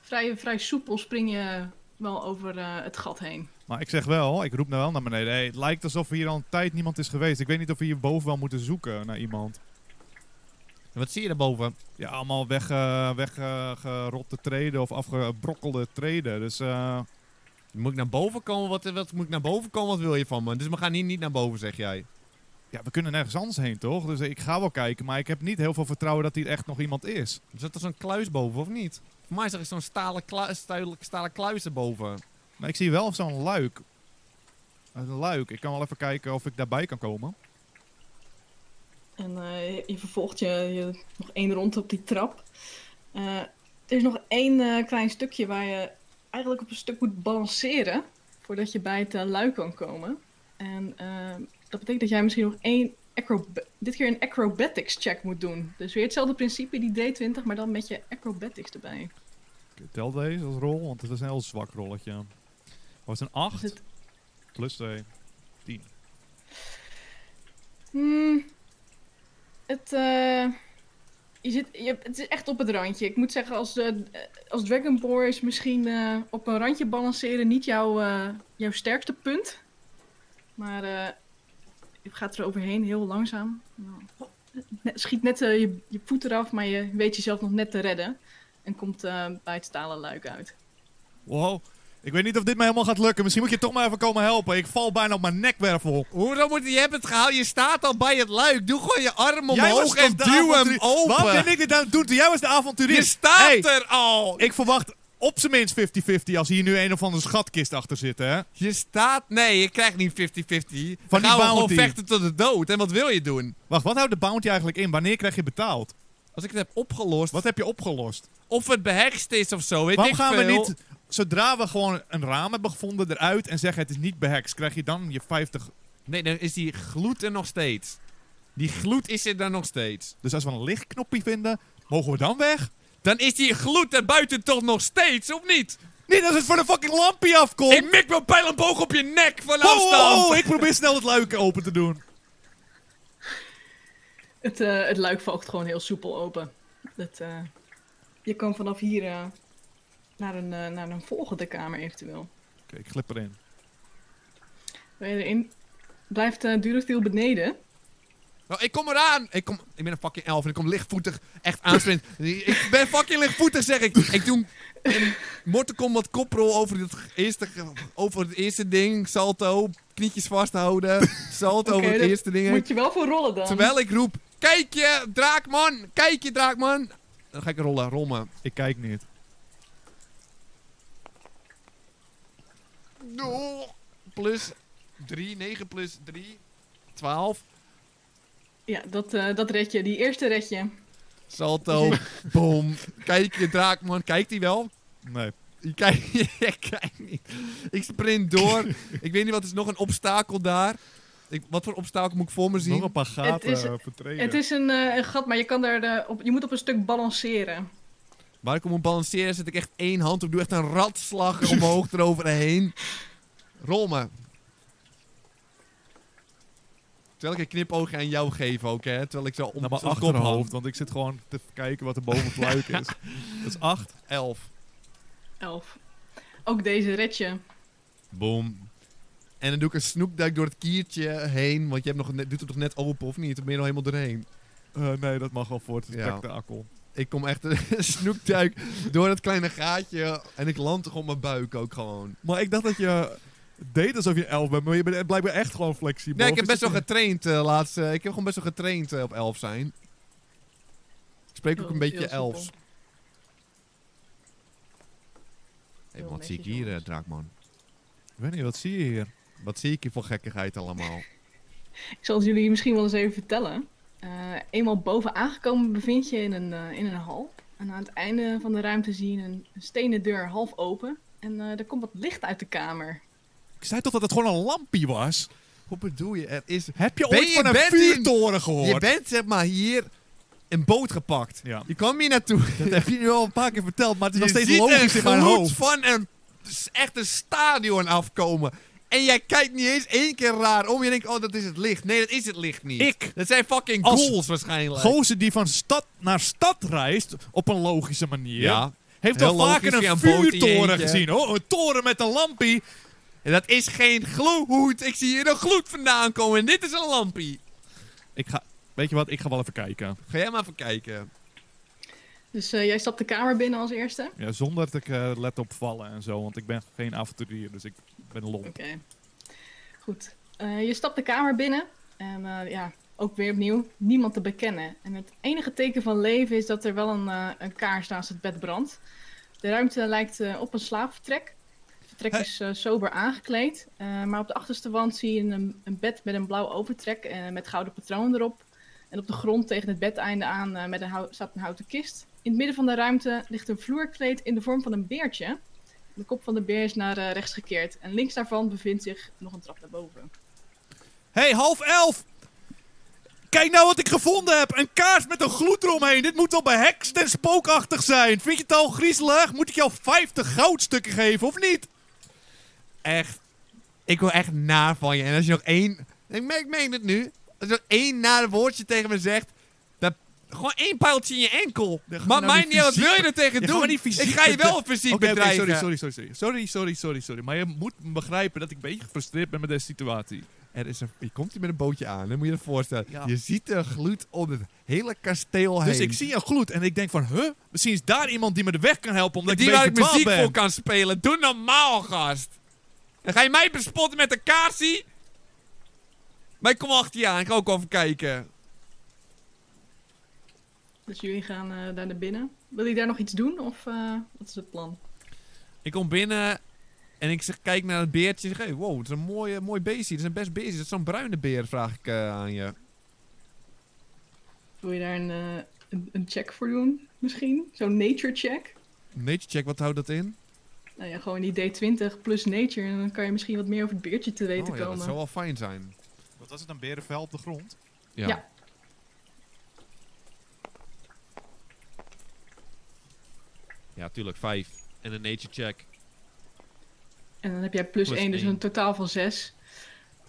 Speaker 3: vrij, vrij soepel spring je wel over eh, het gat heen.
Speaker 1: Maar ik zeg wel, ik roep nou wel naar beneden. Hey, het lijkt alsof hier al een tijd niemand is geweest. Ik weet niet of we hier boven wel moeten zoeken naar iemand.
Speaker 2: En Wat zie je daarboven?
Speaker 1: Ja, allemaal weggerotte weg, eh, gerotte treden of afgebrokkelde treden. Dus eh,
Speaker 2: Moet ik naar boven komen? Wat, wat moet ik naar boven komen? Wat wil je van me? Dus we gaan hier niet naar boven, zeg jij.
Speaker 1: ja, we kunnen nergens anders heen, toch? Dus ik ga wel kijken, maar ik heb niet heel veel vertrouwen dat hier echt nog iemand is.
Speaker 2: Er zit er zo'n kluis boven, of niet? Voor mij is er zo'n stalen, klu stalen, stalen kluis erboven.
Speaker 1: Maar ik zie wel zo'n luik. Een luik. Ik kan wel even kijken of ik daarbij kan komen.
Speaker 3: En eh, je vervolgt je, je nog één rond op die trap. Eh, er is nog één eh, klein stukje waar je eigenlijk op een stuk moet balanceren voordat je bij het eh, luik kan komen. En eh, dat betekent dat jij misschien nog één acrob- dit keer een acrobatics check moet doen. Dus weer hetzelfde principe, die D20, maar dan met je acrobatics erbij.
Speaker 1: Ik tel deze als rol, want het is een heel zwak rolletje. Was een 8
Speaker 3: Is het-
Speaker 1: plus 2.
Speaker 3: Hmm, het, eh, je zit, je, het is echt op het randje. Ik moet zeggen, als, eh, eh, als Dragon Ball is misschien eh, op een randje balanceren niet jouw, eh, jouw sterkste punt. Maar eh, je gaat er overheen heel langzaam. Nou, net- schiet net eh, je, je voet eraf, maar je weet jezelf nog net te redden. En komt eh, bij het stalen luik uit.
Speaker 1: Wow. Ik weet niet of dit mij helemaal gaat lukken. Misschien moet je toch maar even komen helpen. Ik val bijna op mijn nekwervel.
Speaker 2: Hoezo moet je... Je hebt het gehaald. Je staat al bij het luik. Doe gewoon je arm
Speaker 1: Jij was
Speaker 2: omhoog
Speaker 1: toch
Speaker 2: en
Speaker 1: de
Speaker 2: duw hem
Speaker 1: avonturier? Waarom ben
Speaker 2: open.
Speaker 1: ik dit aan het doen? Toen jij was de avonturier.
Speaker 2: Je staat
Speaker 1: Hey,
Speaker 2: er al.
Speaker 1: Ik verwacht op zijn minst 50-50 als hier nu een of andere schatkist achter zit, hè?
Speaker 2: Je staat... Nee, je krijgt niet 50-50.
Speaker 1: Van
Speaker 2: Van
Speaker 1: die
Speaker 2: gaan we gewoon
Speaker 1: bounty.
Speaker 2: vechten tot de dood. En wat wil je doen?
Speaker 1: Wacht, wat houdt de bounty eigenlijk in? Wanneer krijg je betaald?
Speaker 2: Als ik het heb opgelost...
Speaker 1: Wat heb je opgelost?
Speaker 2: Of het behekst is of zo, weet
Speaker 1: Waarom
Speaker 2: ik
Speaker 1: gaan we
Speaker 2: veel.
Speaker 1: niet, zodra we gewoon een raam hebben gevonden, eruit en zeggen het is niet behekst, krijg je dan je 50
Speaker 2: Nee, dan is die gloed er nog steeds. Die gloed is er dan nog steeds.
Speaker 1: Dus als we een lichtknopje vinden, mogen we dan weg?
Speaker 2: Dan is die gloed er buiten toch nog steeds, of niet?
Speaker 1: Niet als het van een fucking lampje afkomt!
Speaker 2: Ik mik mijn pijl en boog op je nek van
Speaker 1: Wow,
Speaker 2: afstand.
Speaker 1: wow, wow, ik probeer snel het luik open te doen.
Speaker 3: Het, eh, het luik valt gewoon heel soepel open. Het, eh, je kan vanaf hier eh, naar, een, eh, naar een volgende kamer eventueel.
Speaker 1: Oké, ik glip erin.
Speaker 3: Wil je erin? Blijft eh Durofil beneden?
Speaker 2: Nou, ik kom eraan. Ik, kom, ik ben een fucking elf en ik kom lichtvoetig echt aansprint. ik ben fucking lichtvoetig, zeg ik. Ik doe een Mortal Kombat koprol over het eerste, over het eerste ding. Salto, knietjes vasthouden. Salto over het
Speaker 3: dat
Speaker 2: eerste ding.
Speaker 3: Moet je wel voor rollen dan?
Speaker 2: Terwijl ik roep, kijk je, draakman. Kijk je, draakman. Dan ga ik rollen, rol maar.
Speaker 1: Ik kijk niet.
Speaker 2: Oh, Plus 3, 9 plus 3, 12.
Speaker 3: Ja, dat, eh, dat red je. Die eerste red je.
Speaker 2: Salto, boom. Kijk je, draakman. Kijkt hij wel?
Speaker 1: Nee.
Speaker 2: Ik kijk, [LAUGHS] ik kijk niet. Ik sprint door. ik weet niet wat is nog een obstakel daar. Ik, wat voor obstakel moet ik voor me zien?
Speaker 1: Nog een paar gaten
Speaker 3: is-
Speaker 1: eh, vertreden.
Speaker 3: Het is een, eh, een gat, maar je, kan daar, eh, op, je moet op een stuk balanceren.
Speaker 2: Waar ik op moet balanceren, zet ik echt één hand op. Doe echt een ratslag
Speaker 1: [LAUGHS]
Speaker 2: omhoog eroverheen. Rol me. Terwijl ik een knipoogje aan jou geef ook, hè. Terwijl ik zo om
Speaker 1: Naar mijn
Speaker 2: zo'n kop hang.
Speaker 1: Nou, achterhoofd, want ik zit gewoon te kijken wat er boven het luik [LAUGHS] is. Dat is acht.
Speaker 2: Elf.
Speaker 3: Elf. Ook deze red je.
Speaker 2: Boom. En dan doe ik een snoekduik door het kiertje heen. Want je hebt nog net, doet het nog net open, of niet? Dan ben je er al helemaal doorheen.
Speaker 1: Eh, nee, dat mag wel voor het
Speaker 2: Ja.
Speaker 1: spektakel.
Speaker 2: Ik kom echt een [LAUGHS] snoekduik door dat kleine gaatje. En ik land toch op mijn buik ook gewoon.
Speaker 1: Maar ik dacht dat je eh, deed alsof je elf bent, maar je bent blijkbaar echt gewoon flexibel.
Speaker 2: Nee, ik
Speaker 1: Of
Speaker 2: heb
Speaker 1: is
Speaker 2: best wel
Speaker 1: het-
Speaker 2: getraind eh laatst. eh, ik heb gewoon best wel getraind eh, op elf zijn. Ik spreek ook een
Speaker 3: Oh, Heel-
Speaker 2: beetje
Speaker 3: heel soepel.
Speaker 2: elfs. Hey,
Speaker 3: Heel
Speaker 2: wat zie ik
Speaker 3: netjes,
Speaker 2: hier, eh,
Speaker 3: jongens.
Speaker 2: Draakman?
Speaker 1: Ik weet niet, wat zie je hier?
Speaker 2: Wat zie ik hier voor gekkigheid allemaal?
Speaker 3: Ik zal het jullie misschien wel eens even vertellen. Eh, eenmaal boven aangekomen bevind je in een, eh, in een hal. En aan het einde van de ruimte zie je een, een stenen deur half open. En eh, er komt wat licht uit de kamer.
Speaker 1: Ik zei toch dat het gewoon een lampje was?
Speaker 2: Hoe bedoel je? Er is...
Speaker 1: Heb je
Speaker 2: Ben
Speaker 1: ooit
Speaker 2: je-
Speaker 1: van een
Speaker 2: bent
Speaker 1: vuurtoren
Speaker 2: Je
Speaker 1: gehoord?
Speaker 2: bent zeg maar hier een boot gepakt.
Speaker 1: Ja.
Speaker 2: Je kwam hier naartoe.
Speaker 1: [LAUGHS] Dat heb je nu al een paar keer verteld, maar het is nog steeds
Speaker 2: ziet
Speaker 1: logisch
Speaker 2: een
Speaker 1: in mijn
Speaker 2: gloed
Speaker 1: hoofd.
Speaker 2: van een s- echt een stadion afkomen. En jij kijkt niet eens één keer raar om. Je denkt, oh, dat is het licht. Nee, dat is het licht niet.
Speaker 1: Ik.
Speaker 2: Dat zijn fucking
Speaker 1: Als-
Speaker 2: goals waarschijnlijk.
Speaker 1: Gozer die van stad naar stad reist op een logische manier.
Speaker 2: Ja.
Speaker 1: Heeft
Speaker 2: Heel
Speaker 1: al vaker
Speaker 2: logisch, via
Speaker 1: een
Speaker 2: een boot in je
Speaker 1: vuurtoren
Speaker 2: eentje.
Speaker 1: gezien. Oh, een toren met een lampie.
Speaker 2: En dat is geen gloed. Ik zie hier een gloed vandaan komen. En dit is een lampie.
Speaker 1: Ik ga, weet je wat, ik ga wel even kijken.
Speaker 2: Ga jij maar even kijken.
Speaker 3: Dus eh, jij stapt de kamer binnen als eerste.
Speaker 1: Ja, zonder dat ik eh, let op vallen en zo, want ik ben geen avonturier, dus ik ben lomp.
Speaker 3: Oké. Goed. Eh, je stapt de kamer binnen. En eh, ja, ook weer opnieuw niemand te bekennen. En het enige teken van leven is dat er wel een, eh, een kaars naast het bed brandt. De ruimte lijkt eh, op een slaapvertrek. Het vertrek
Speaker 1: Hey.
Speaker 3: is eh, sober aangekleed. eh, maar op de achterste wand zie je een, een bed met een blauw overtrek eh, met gouden patroon erop. En op de grond tegen het bedeinde aan eh, met een hou- staat een houten kist. In het midden van de ruimte ligt een vloerkleed in de vorm van een beertje. De kop van de beer is naar eh, rechts gekeerd. En links daarvan bevindt zich nog een trap naar boven.
Speaker 1: hey, half elf! Kijk nou wat ik gevonden heb! Een kaars met een gloed eromheen! Dit moet wel behekst en spookachtig zijn! Vind je het al griezelig? Moet ik jou 50 goudstukken geven, of niet?
Speaker 2: Echt. Ik wil echt naar van je. En als je nog één... Ik meen, ik meen het nu. Als je nog één naar woordje tegen me zegt... Dat... Gewoon één pijltje in je enkel.
Speaker 1: Dan gaan we
Speaker 2: Maar
Speaker 1: nou
Speaker 2: mij
Speaker 1: die
Speaker 2: niet uit. Wat
Speaker 1: fysiek
Speaker 2: wil je er tegen
Speaker 1: Ja,
Speaker 2: doen?
Speaker 1: maar die fysiek
Speaker 2: ik ga je wel
Speaker 1: bedre-
Speaker 2: fysiek
Speaker 1: Oké, oké,
Speaker 2: bedrijven.
Speaker 1: sorry, sorry, sorry, sorry. Sorry, sorry, sorry, sorry. Maar je moet begrijpen dat ik een beetje gefrustreerd ben met deze situatie.
Speaker 2: Er is een, je komt hier met een bootje aan, hè? moet je je voorstellen.
Speaker 1: Ja.
Speaker 2: Je ziet een gloed om het hele kasteel heen.
Speaker 1: Dus ik zie een gloed en ik denk van, huh? Misschien is daar iemand die me de weg kan helpen omdat
Speaker 2: Die
Speaker 1: ik een
Speaker 2: waar
Speaker 1: beetje
Speaker 2: ik muziek
Speaker 1: verdwaald
Speaker 2: voor
Speaker 1: ben.
Speaker 2: kan spelen. Doe normaal, gast. Dan ga je mij bespotten met een kaarsie. Maar ik kom achter je aan, ik ga ook even kijken.
Speaker 3: Dus jullie gaan eh, daar naar binnen. Wil je daar nog iets doen? Of eh, wat is het plan?
Speaker 2: Ik kom binnen en ik zeg, kijk naar het beertje. Ik zeg, hey, wow, het is een mooie, mooi beestje. Het is een best beestje. Dat is zo'n bruine beer, vraag ik eh, aan je.
Speaker 3: Wil je daar een, eh, een, een check voor doen? Misschien? Zo'n nature check?
Speaker 2: Nature check, wat houdt dat in?
Speaker 3: Nou ja, gewoon die D20 plus nature. En dan kan je misschien wat meer over het beertje te weten
Speaker 2: oh ja, dat
Speaker 3: komen.
Speaker 2: zou wel fijn zijn.
Speaker 1: Wat was het, een berenvel op de grond?
Speaker 2: Ja.
Speaker 3: Ja.
Speaker 2: Ja, tuurlijk. Vijf. En een nature check.
Speaker 3: En dan heb jij plus
Speaker 2: Plus
Speaker 3: 1, dus
Speaker 2: één.
Speaker 3: een totaal van 6.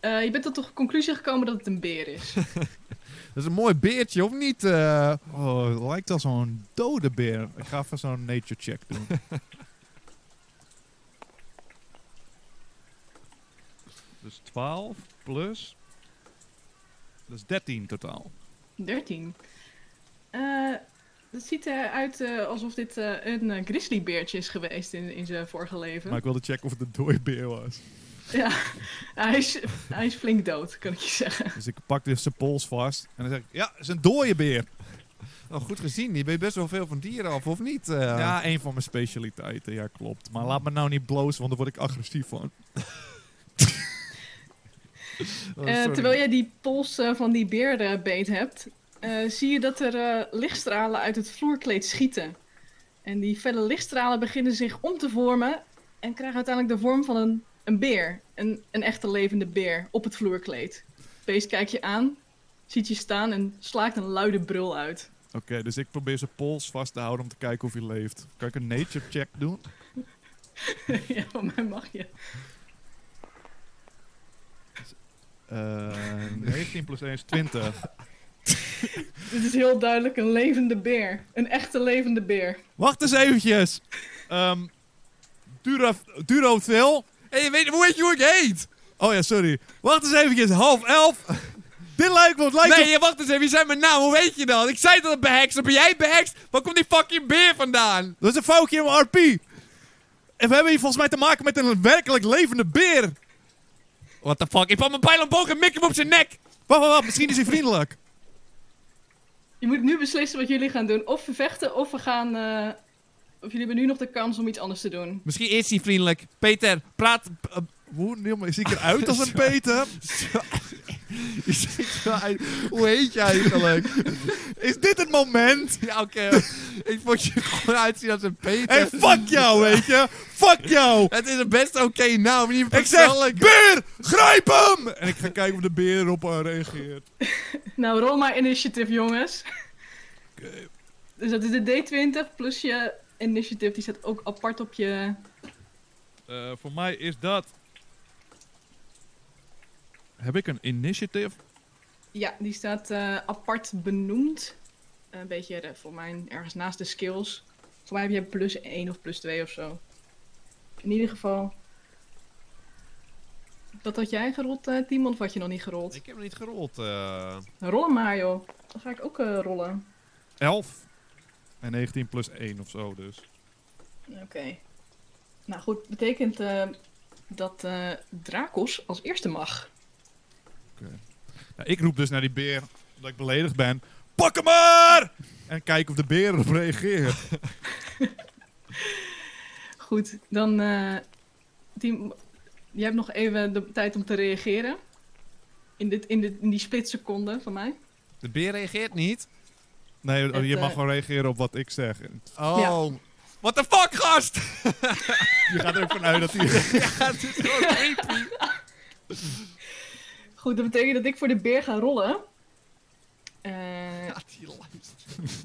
Speaker 3: je bent tot de conclusie gekomen dat het een beer is.
Speaker 2: Dat is een mooi beertje, of niet? eh?
Speaker 1: Oh, het lijkt al zo'n dode beer. Ik ga even zo'n nature check
Speaker 2: [LAUGHS]
Speaker 1: doen. dus 12 plus... Dat is 13 totaal.
Speaker 3: 13. Eh het ziet eruit eh, alsof dit eh, een eh, grizzlybeertje is geweest in, in zijn vorige leven.
Speaker 1: Maar ik wilde checken of het een dode beer was.
Speaker 3: Ah, Hij, is, hij is flink dood, kan ik je zeggen.
Speaker 1: Dus ik pak dus zijn pols vast. En dan zeg ik, ja, het is een dode beer.
Speaker 2: Nou, goed gezien. Je weet best wel veel van dieren af, of niet? eh?
Speaker 1: Ja, een van mijn specialiteiten. Ja, klopt. Maar laat me nou niet blozen, want daar word ik agressief van.
Speaker 2: Oh,
Speaker 3: Eh,
Speaker 2: sorry.
Speaker 3: terwijl jij die pols eh, van die beer eh, beet hebt, eh, zie je dat er eh, lichtstralen uit het vloerkleed schieten. En die felle lichtstralen beginnen zich om te vormen en krijgen uiteindelijk de vorm van een, een beer. Een, een echte levende beer op het vloerkleed. Het beest kijkt je aan, ziet je staan en slaakt een luide brul uit.
Speaker 1: Oké, dus ik probeer zijn pols vast te houden om te kijken of hij leeft. Kan ik een nature check doen?
Speaker 3: [LAUGHS] ja, van mij mag je.
Speaker 1: [LAUGHS] Eh 19 plus 1 is 20.
Speaker 3: Dit is heel duidelijk een levende beer. Een echte levende beer.
Speaker 1: Wacht eens eventjes. Ehm Durotvil.
Speaker 2: Hey, weet, hoe weet je hoe ik heet?
Speaker 1: Oh ja, sorry. Wacht eens eventjes. Half elf. [LAUGHS] Dit lijkt me... Het lijkt
Speaker 2: Nee, wacht eens even. Je zei mijn naam. Hoe weet je dat? Ik zei dat het behext. Dan ben jij behext. Waar komt die fucking beer vandaan?
Speaker 1: op- Dat is een foutje in mijn RP. En we hebben hier volgens mij te maken met een werkelijk levende beer.
Speaker 2: What the fuck? Ik pak mijn pijl omhoog en mik hem op zijn nek.
Speaker 1: Wacht, wacht, wacht. Misschien is hij vriendelijk.
Speaker 3: Je moet nu beslissen wat jullie gaan doen. Of we vechten, of we gaan... eh, Of jullie hebben nu nog de kans om iets anders te doen.
Speaker 2: Misschien is hij vriendelijk. Peter, praat. eh,
Speaker 1: Hoe noem- zie ik eruit
Speaker 2: [LAUGHS]
Speaker 1: als een [LAUGHS] Peter?
Speaker 2: Hoe heet je eigenlijk?
Speaker 1: [LAUGHS] Is dit het
Speaker 2: [LAUGHS]
Speaker 1: moment?
Speaker 2: ja, oké. Ik vond je gewoon uitzien als een Peter.
Speaker 1: Hey, fuck jou, weet je? Fuck
Speaker 2: [LAUGHS]
Speaker 1: jou!
Speaker 2: Het is een best oké naam. Niet
Speaker 1: Ik zeg,
Speaker 2: persoonlijk.
Speaker 1: beer, grijp hem! En ik ga kijken of de beer erop eh, reageert.
Speaker 3: Nou, rol maar initiative, jongens. Dus dat is de D20 plus je initiative. Die staat ook apart op je...
Speaker 1: Eh, voor mij is dat... Heb ik een initiative?
Speaker 3: Ja, die staat eh, apart benoemd. Een beetje eh, voor mij ergens naast de skills. Voor mij heb jij plus 1 of plus 2 of zo. In ieder geval... Wat had jij gerold, eh Timon, of had je nog niet gerold?
Speaker 2: Ik heb nog niet gerold. eh.
Speaker 3: Rollen maar, joh. Dan ga ik ook eh, rollen.
Speaker 1: 11. En 19 plus 1 of zo dus.
Speaker 3: Oké. Nou goed, betekent eh, dat eh Drakos als eerste mag.
Speaker 1: Ja, ik roep dus naar die beer, omdat ik beledigd ben. Pak hem maar! En kijk of de beer erop reageert.
Speaker 3: Goed, dan... eh die, jij hebt nog even de tijd om te reageren. In, dit, in, dit, in die splitseconde van mij.
Speaker 2: De beer reageert niet.
Speaker 1: Nee,
Speaker 3: Het,
Speaker 1: je mag
Speaker 3: eh,
Speaker 1: gewoon reageren op wat ik zeg.
Speaker 2: Oh.
Speaker 3: Ja.
Speaker 2: What the fuck, gast?
Speaker 1: Je gaat er ook vanuit dat hij...
Speaker 2: [LAUGHS] ja, het is gewoon
Speaker 1: [LAUGHS]
Speaker 2: creepy.
Speaker 3: Goed, dat betekent dat ik voor de beer ga rollen. Eh,
Speaker 2: Ja, die luistert.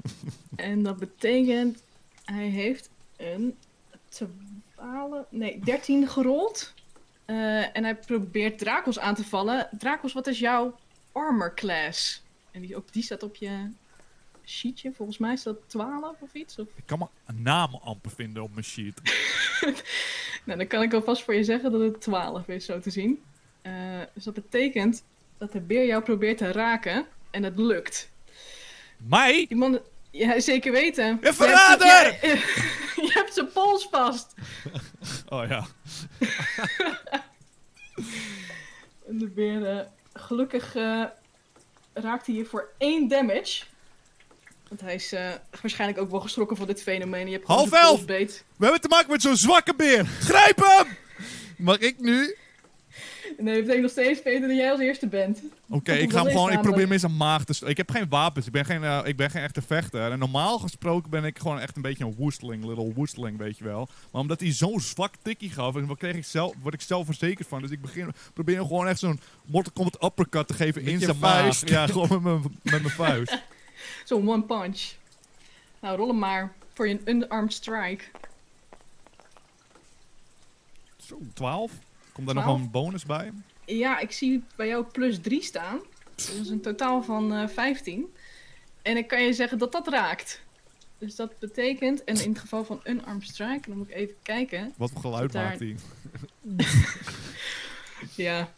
Speaker 3: En dat betekent... Hij heeft een 12... Nee, 13 gerold. Eh, en hij probeert Drakos aan te vallen. Drakos, wat is jouw armor class? En die, ook die staat op je sheetje. Volgens mij is dat 12 of iets. Of...
Speaker 1: Ik kan mijn naam amper vinden op mijn sheet.
Speaker 3: Nou, dan kan ik alvast voor je zeggen dat het 12 is, zo te zien. Eh, dus dat betekent dat de beer jou probeert te raken. En het lukt.
Speaker 1: Mij?
Speaker 3: Die man... Ja, zeker weten.
Speaker 1: Een
Speaker 3: Je hebt-
Speaker 1: verrader!
Speaker 3: [LAUGHS] Je, je hebt zijn pols vast.
Speaker 1: Oh ja.
Speaker 3: En de beer, eh, gelukkig eh, raakt hij hier voor één damage. Want hij is eh, waarschijnlijk ook wel geschrokken van dit fenomeen. Je hebt gewoon
Speaker 1: Half
Speaker 3: zijn
Speaker 1: elf!
Speaker 3: pols beet.
Speaker 1: We hebben te maken met zo'n zwakke beer. Grijp hem!
Speaker 2: Mag ik nu?
Speaker 3: Nee, dat betekent nog steeds, Peter, dat jij als eerste bent.
Speaker 1: Oké,
Speaker 3: Dat
Speaker 1: ik ga hem
Speaker 3: is
Speaker 1: gewoon. Ik probeer
Speaker 3: namelijk-
Speaker 1: hem in zijn maag te. st- Ik heb geen wapens. Ik ben geen, eh, ik ben geen echte vechter. En normaal gesproken ben ik gewoon echt een beetje een woesteling. Little woesteling, weet je wel. Maar omdat hij zo'n zwak tikkie gaf, en wat kreeg ik zelf, word ik zelfverzekerd van. Dus ik begin, probeer hem gewoon echt zo'n Mortal Kombat uppercut te geven
Speaker 2: Met
Speaker 1: in
Speaker 2: je
Speaker 1: zijn maag.
Speaker 2: vuist.
Speaker 1: Ja, gewoon met mijn, met
Speaker 2: [LAUGHS]
Speaker 1: mijn vuist.
Speaker 3: Zo'n one punch. Nou, rol hem maar voor je unarmed strike.
Speaker 1: Zo, 12. Komt daar nog wel
Speaker 3: Twaalf?
Speaker 1: een bonus bij?
Speaker 3: Ja, ik zie bij jou plus 3 staan. Dus Dat is een totaal van eh 15. En ik kan je zeggen dat dat raakt. Dus dat betekent, en in het geval van unarmed strike, dan moet ik even kijken.
Speaker 1: Wat voor geluid
Speaker 3: Daar-
Speaker 1: maakt hij?
Speaker 3: Ja.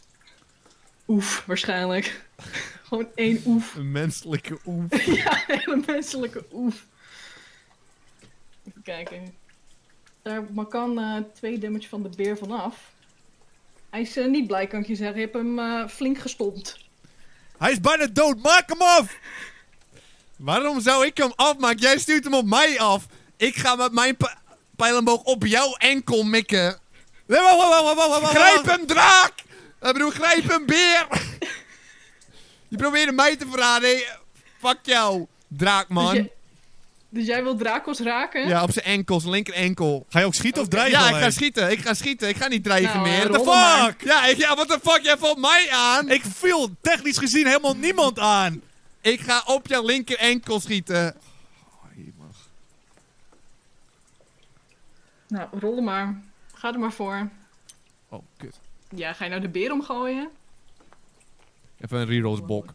Speaker 3: Oef, waarschijnlijk. [LAUGHS] Gewoon één oef.
Speaker 2: Een menselijke oef.
Speaker 3: [LAUGHS] ja, een hele menselijke oef. Even kijken. Daar maar kan eh, twee damage van de beer vanaf. Hij is eh, niet blij, kan ik je zeggen. Je hebt hem eh, flink gestompt. Dus
Speaker 2: Hij is bijna dood, maak hem af! Waarom zou ik hem afmaken? Jij stuurt hem op mij af. Ik ga met mijn pi- pijlenboog op jouw enkel mikken.
Speaker 1: Nee, wacht, wacht, wacht, wacht, wacht, wacht, wacht.
Speaker 2: Grijp hem, draak! Ik bedoel, grijp hem, beer! Je probeerde mij te verraden. hé. Fuck jou, draakman.
Speaker 3: Dus, jij, dus jij wil Dracos raken?
Speaker 2: Ja, op zijn enkel, zijn linker enkel.
Speaker 1: Ga je ook schieten of dreigen?
Speaker 2: Oh, Ja, ik ga
Speaker 1: alleen?
Speaker 2: schieten, ik ga schieten. Ik ga niet dreigen
Speaker 3: Nou, eh,
Speaker 2: meer.
Speaker 3: rol
Speaker 2: What
Speaker 3: maar.
Speaker 2: Ja, ik, ja, what the fuck? Jij valt mij aan.
Speaker 1: Ik viel technisch gezien helemaal niemand aan.
Speaker 2: Ik ga op jouw linker enkel schieten.
Speaker 3: Nou, rol er maar. Ga er maar voor.
Speaker 2: Oh, kut.
Speaker 3: Ja, ga je nou de beer omgooien?
Speaker 2: Even een rerollsbok.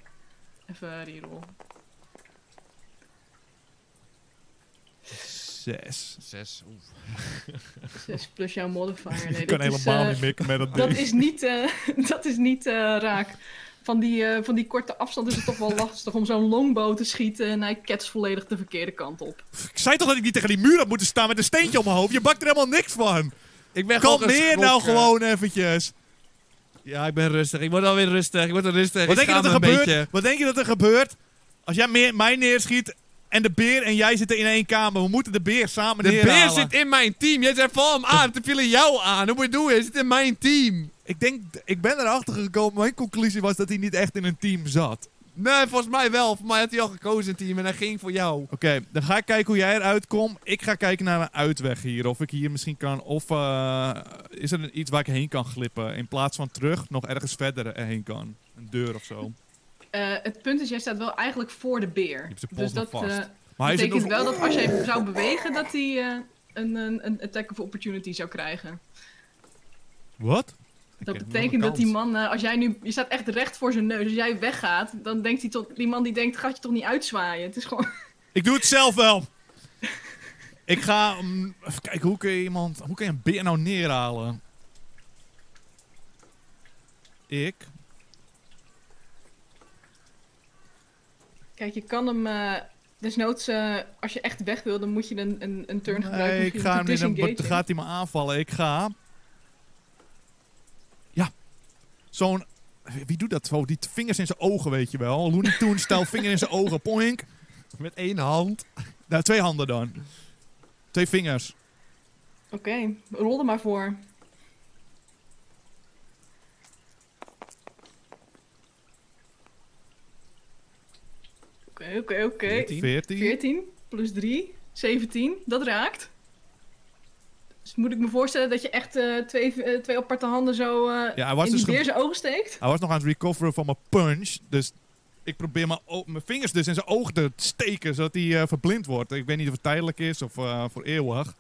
Speaker 3: Even reroll.
Speaker 1: Zes.
Speaker 2: Zes. Oef.
Speaker 3: 6 plus jouw
Speaker 1: [LAUGHS]
Speaker 3: modifier. Nee,
Speaker 1: Ik kan
Speaker 3: dat is,
Speaker 1: helemaal
Speaker 3: eh,
Speaker 1: niet mikken met dat ding.
Speaker 3: Dat is niet, eh, [LAUGHS] dat is niet eh, raak. Van die, eh, van die korte afstand is het
Speaker 1: [LAUGHS]
Speaker 3: toch wel lastig om zo'n longbow te schieten. En hij ketst volledig de verkeerde kant op.
Speaker 1: Ik zei toch dat ik niet tegen die muur had moeten staan met een steentje op mijn hoofd? Je bakt er helemaal niks van.
Speaker 2: Ik ben
Speaker 1: Kan
Speaker 2: gewoon
Speaker 1: meer nou
Speaker 2: geschrokken.
Speaker 1: gewoon eventjes.
Speaker 2: Ja, ik ben rustig. Ik word alweer rustig. Ik word er rustig.
Speaker 1: Wat
Speaker 2: ik
Speaker 1: denk, je dat er
Speaker 2: schaam me een
Speaker 1: gebeurt? Wat denk je dat er gebeurt als jij meer, mij neerschiet en de beer en jij zitten in één kamer? We moeten de beer samen
Speaker 2: beetje. De beer
Speaker 1: neerhalen.
Speaker 2: zit in mijn team. Jij zei val hem aan. Toen viel hij jou aan. Hoe moet je doen? Hij zit in mijn team.
Speaker 1: Ik denk, ik ben erachter gekomen. Mijn conclusie was dat hij niet echt in een team zat.
Speaker 2: Nee, volgens mij wel. Voor mij had hij al gekozen een team en hij ging voor jou.
Speaker 1: Oké, dan ga ik kijken hoe jij eruit komt. Ik ga kijken naar een uitweg hier. Of ik hier misschien kan. Of eh, is er iets waar ik heen kan glippen? In plaats van terug, nog ergens verder heen kan. Een deur of zo.
Speaker 3: Eh, het punt is, jij staat wel eigenlijk voor de beer.
Speaker 1: hebt zijn pols
Speaker 3: Dus
Speaker 1: nog
Speaker 3: dat
Speaker 1: vast.
Speaker 3: eh,
Speaker 1: Maar hij zit
Speaker 3: betekent
Speaker 1: nog- Oh.
Speaker 3: wel dat als jij zou bewegen, dat hij eh, een, een, een attack of opportunity zou krijgen.
Speaker 1: Wat?
Speaker 3: Dat
Speaker 2: heb nog
Speaker 3: betekent
Speaker 2: een
Speaker 3: dat die
Speaker 2: kans.
Speaker 3: man, eh, als jij nu, je staat echt recht voor zijn neus, als jij weggaat, dan denkt hij tot, die man die denkt, gaat je toch niet uitzwaaien? Het is gewoon, [LAUGHS]
Speaker 1: Ik doe het zelf wel. ik ga mm, even kijken hoe kun je iemand, hoe kun je een beer nou neerhalen? Ik.
Speaker 3: kijk, je kan hem, eh, desnoods, eh, als je echt weg wil, dan moet je een, een, een turn gebruiken.
Speaker 1: Nee,
Speaker 3: om
Speaker 1: ik
Speaker 3: te
Speaker 1: ga hem in een. wat-
Speaker 3: disengageen.
Speaker 1: Gaat hij me aanvallen? Ik ga. Ja. Zo'n. Wie doet dat zo? Die t- vingers in zijn ogen, weet je wel. Looney Tunes stijl vinger in zijn ogen. Poink.
Speaker 2: Met één hand.
Speaker 1: Nou, twee handen dan. Twee vingers.
Speaker 3: Oké, rol er maar voor. Oké, oké, oké.
Speaker 2: Veertien.
Speaker 1: 14.
Speaker 3: 14 plus 3, 17. Dat raakt. Dus moet ik me voorstellen dat je echt eh, twee, eh, twee aparte handen zo eh,
Speaker 1: Ja, hij was
Speaker 3: in
Speaker 1: dus ge-
Speaker 3: die beer zijn ogen steekt?
Speaker 1: Hij was nog aan het recoveren van mijn punch. Dus ik probeer mijn, o- mijn vingers dus in zijn oog te steken, zodat hij eh, verblind wordt. Ik weet niet of het tijdelijk is of eh, voor eeuwig.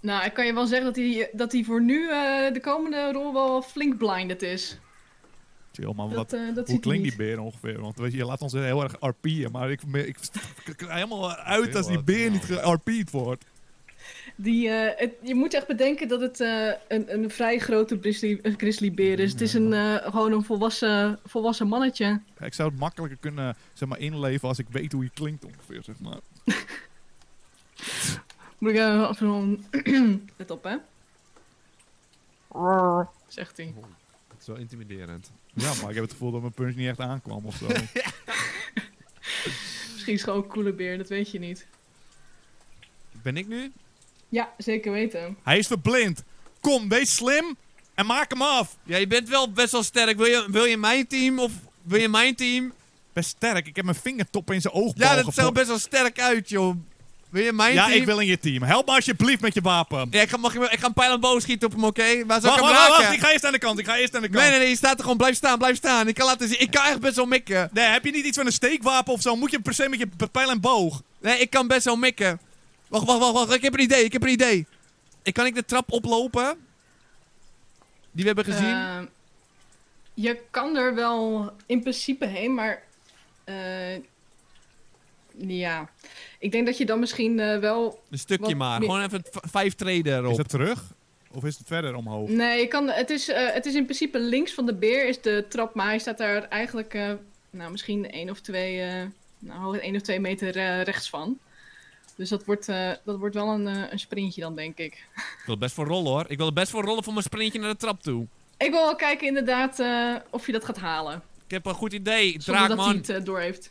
Speaker 3: Nou, ik kan je wel zeggen dat hij, dat hij voor nu eh, de komende rol wel flink blinded is.
Speaker 1: Chill man,
Speaker 3: Dat,
Speaker 1: wat,
Speaker 3: eh, dat
Speaker 1: hoe
Speaker 3: ziet hij
Speaker 1: klinkt
Speaker 3: niet.
Speaker 1: die beer ongeveer? Want weet je, je laat ons heel erg RP'en, maar ik, me- ik, ik ga helemaal uit
Speaker 2: Heel
Speaker 1: als die
Speaker 2: wat,
Speaker 1: beer
Speaker 2: ja.
Speaker 1: niet ge-RP'd wordt.
Speaker 3: Die, eh, het- je moet echt bedenken dat het eh, een, een vrij grote grizzly, een grizzlybeer is. Het is een, eh, gewoon een volwassen, volwassen mannetje.
Speaker 1: Ik zou het makkelijker kunnen zeg maar, inleven als ik weet hoe hij klinkt ongeveer, zeg maar.
Speaker 3: Moet ik eh, [CLEARS THROAT] even een... Let op, hè. Zegt hij.
Speaker 2: Dat is wel intimiderend.
Speaker 1: Ja, maar ik heb het gevoel dat mijn punch niet echt aankwam of [LAUGHS] zo.
Speaker 3: Misschien is het gewoon een coole beer, dat weet je niet.
Speaker 2: Ben ik nu?
Speaker 3: Ja, zeker weten.
Speaker 1: hij is verblind. Kom, wees slim En maak hem af.
Speaker 2: Ja, je bent wel best wel sterk. Wil je, wil je mijn team of wil je mijn team?
Speaker 1: Best sterk. Ik heb mijn vingertoppen in zijn oogbal
Speaker 2: Ja, dat
Speaker 1: gevoerd.
Speaker 2: zou best wel sterk uit, joh. Wil je mijn
Speaker 1: Ja,
Speaker 2: team?
Speaker 1: ik wil in je team. Help me alsjeblieft met je wapen.
Speaker 2: Ja, ik, ga, mag ik, ik ga een pijl en boog schieten op hem, oké? Waar zal
Speaker 1: Wacht,
Speaker 2: ik hem
Speaker 1: wacht, wacht,
Speaker 2: raken?
Speaker 1: Ik ga eerst aan de kant. Ik ga eerst aan de kant.
Speaker 2: nee, nee, nee, je staat er gewoon. Blijf staan, blijf staan. Ik kan laten zien. Ik kan echt best wel mikken.
Speaker 1: Nee, heb je niet iets van een steekwapen of zo? Moet je per se met je pijl en boog?
Speaker 2: Nee, ik kan best wel mikken. Wacht, wacht, wacht, wacht. Ik heb een idee, ik heb een idee. Ik kan ik de trap oplopen? Die we hebben gezien.
Speaker 3: Eh, je kan er wel in principe heen, maar. eh, ja. Ik denk dat je dan misschien eh, wel.
Speaker 2: een stukje
Speaker 3: wat
Speaker 2: maar.
Speaker 3: meer-
Speaker 2: Gewoon even v- vijf treden erop.
Speaker 1: Is dat terug? Of is het verder omhoog?
Speaker 3: Nee, je kan, het, is, eh, het is in principe links van de beer is de trap, maar hij staat daar eigenlijk. eh, nou, misschien één of twee. eh nou, één of twee meter eh, rechts van. Dus dat wordt, eh, dat wordt wel een, eh, een sprintje dan, denk ik.
Speaker 2: Ik wil er best voor rollen hoor. Ik wil er best voor rollen voor mijn sprintje naar de trap toe.
Speaker 3: Ik wil wel kijken inderdaad eh, of je dat gaat halen.
Speaker 2: Ik heb een goed idee.
Speaker 3: Zonder dat hij
Speaker 2: Draakman.
Speaker 3: het eh, door heeft.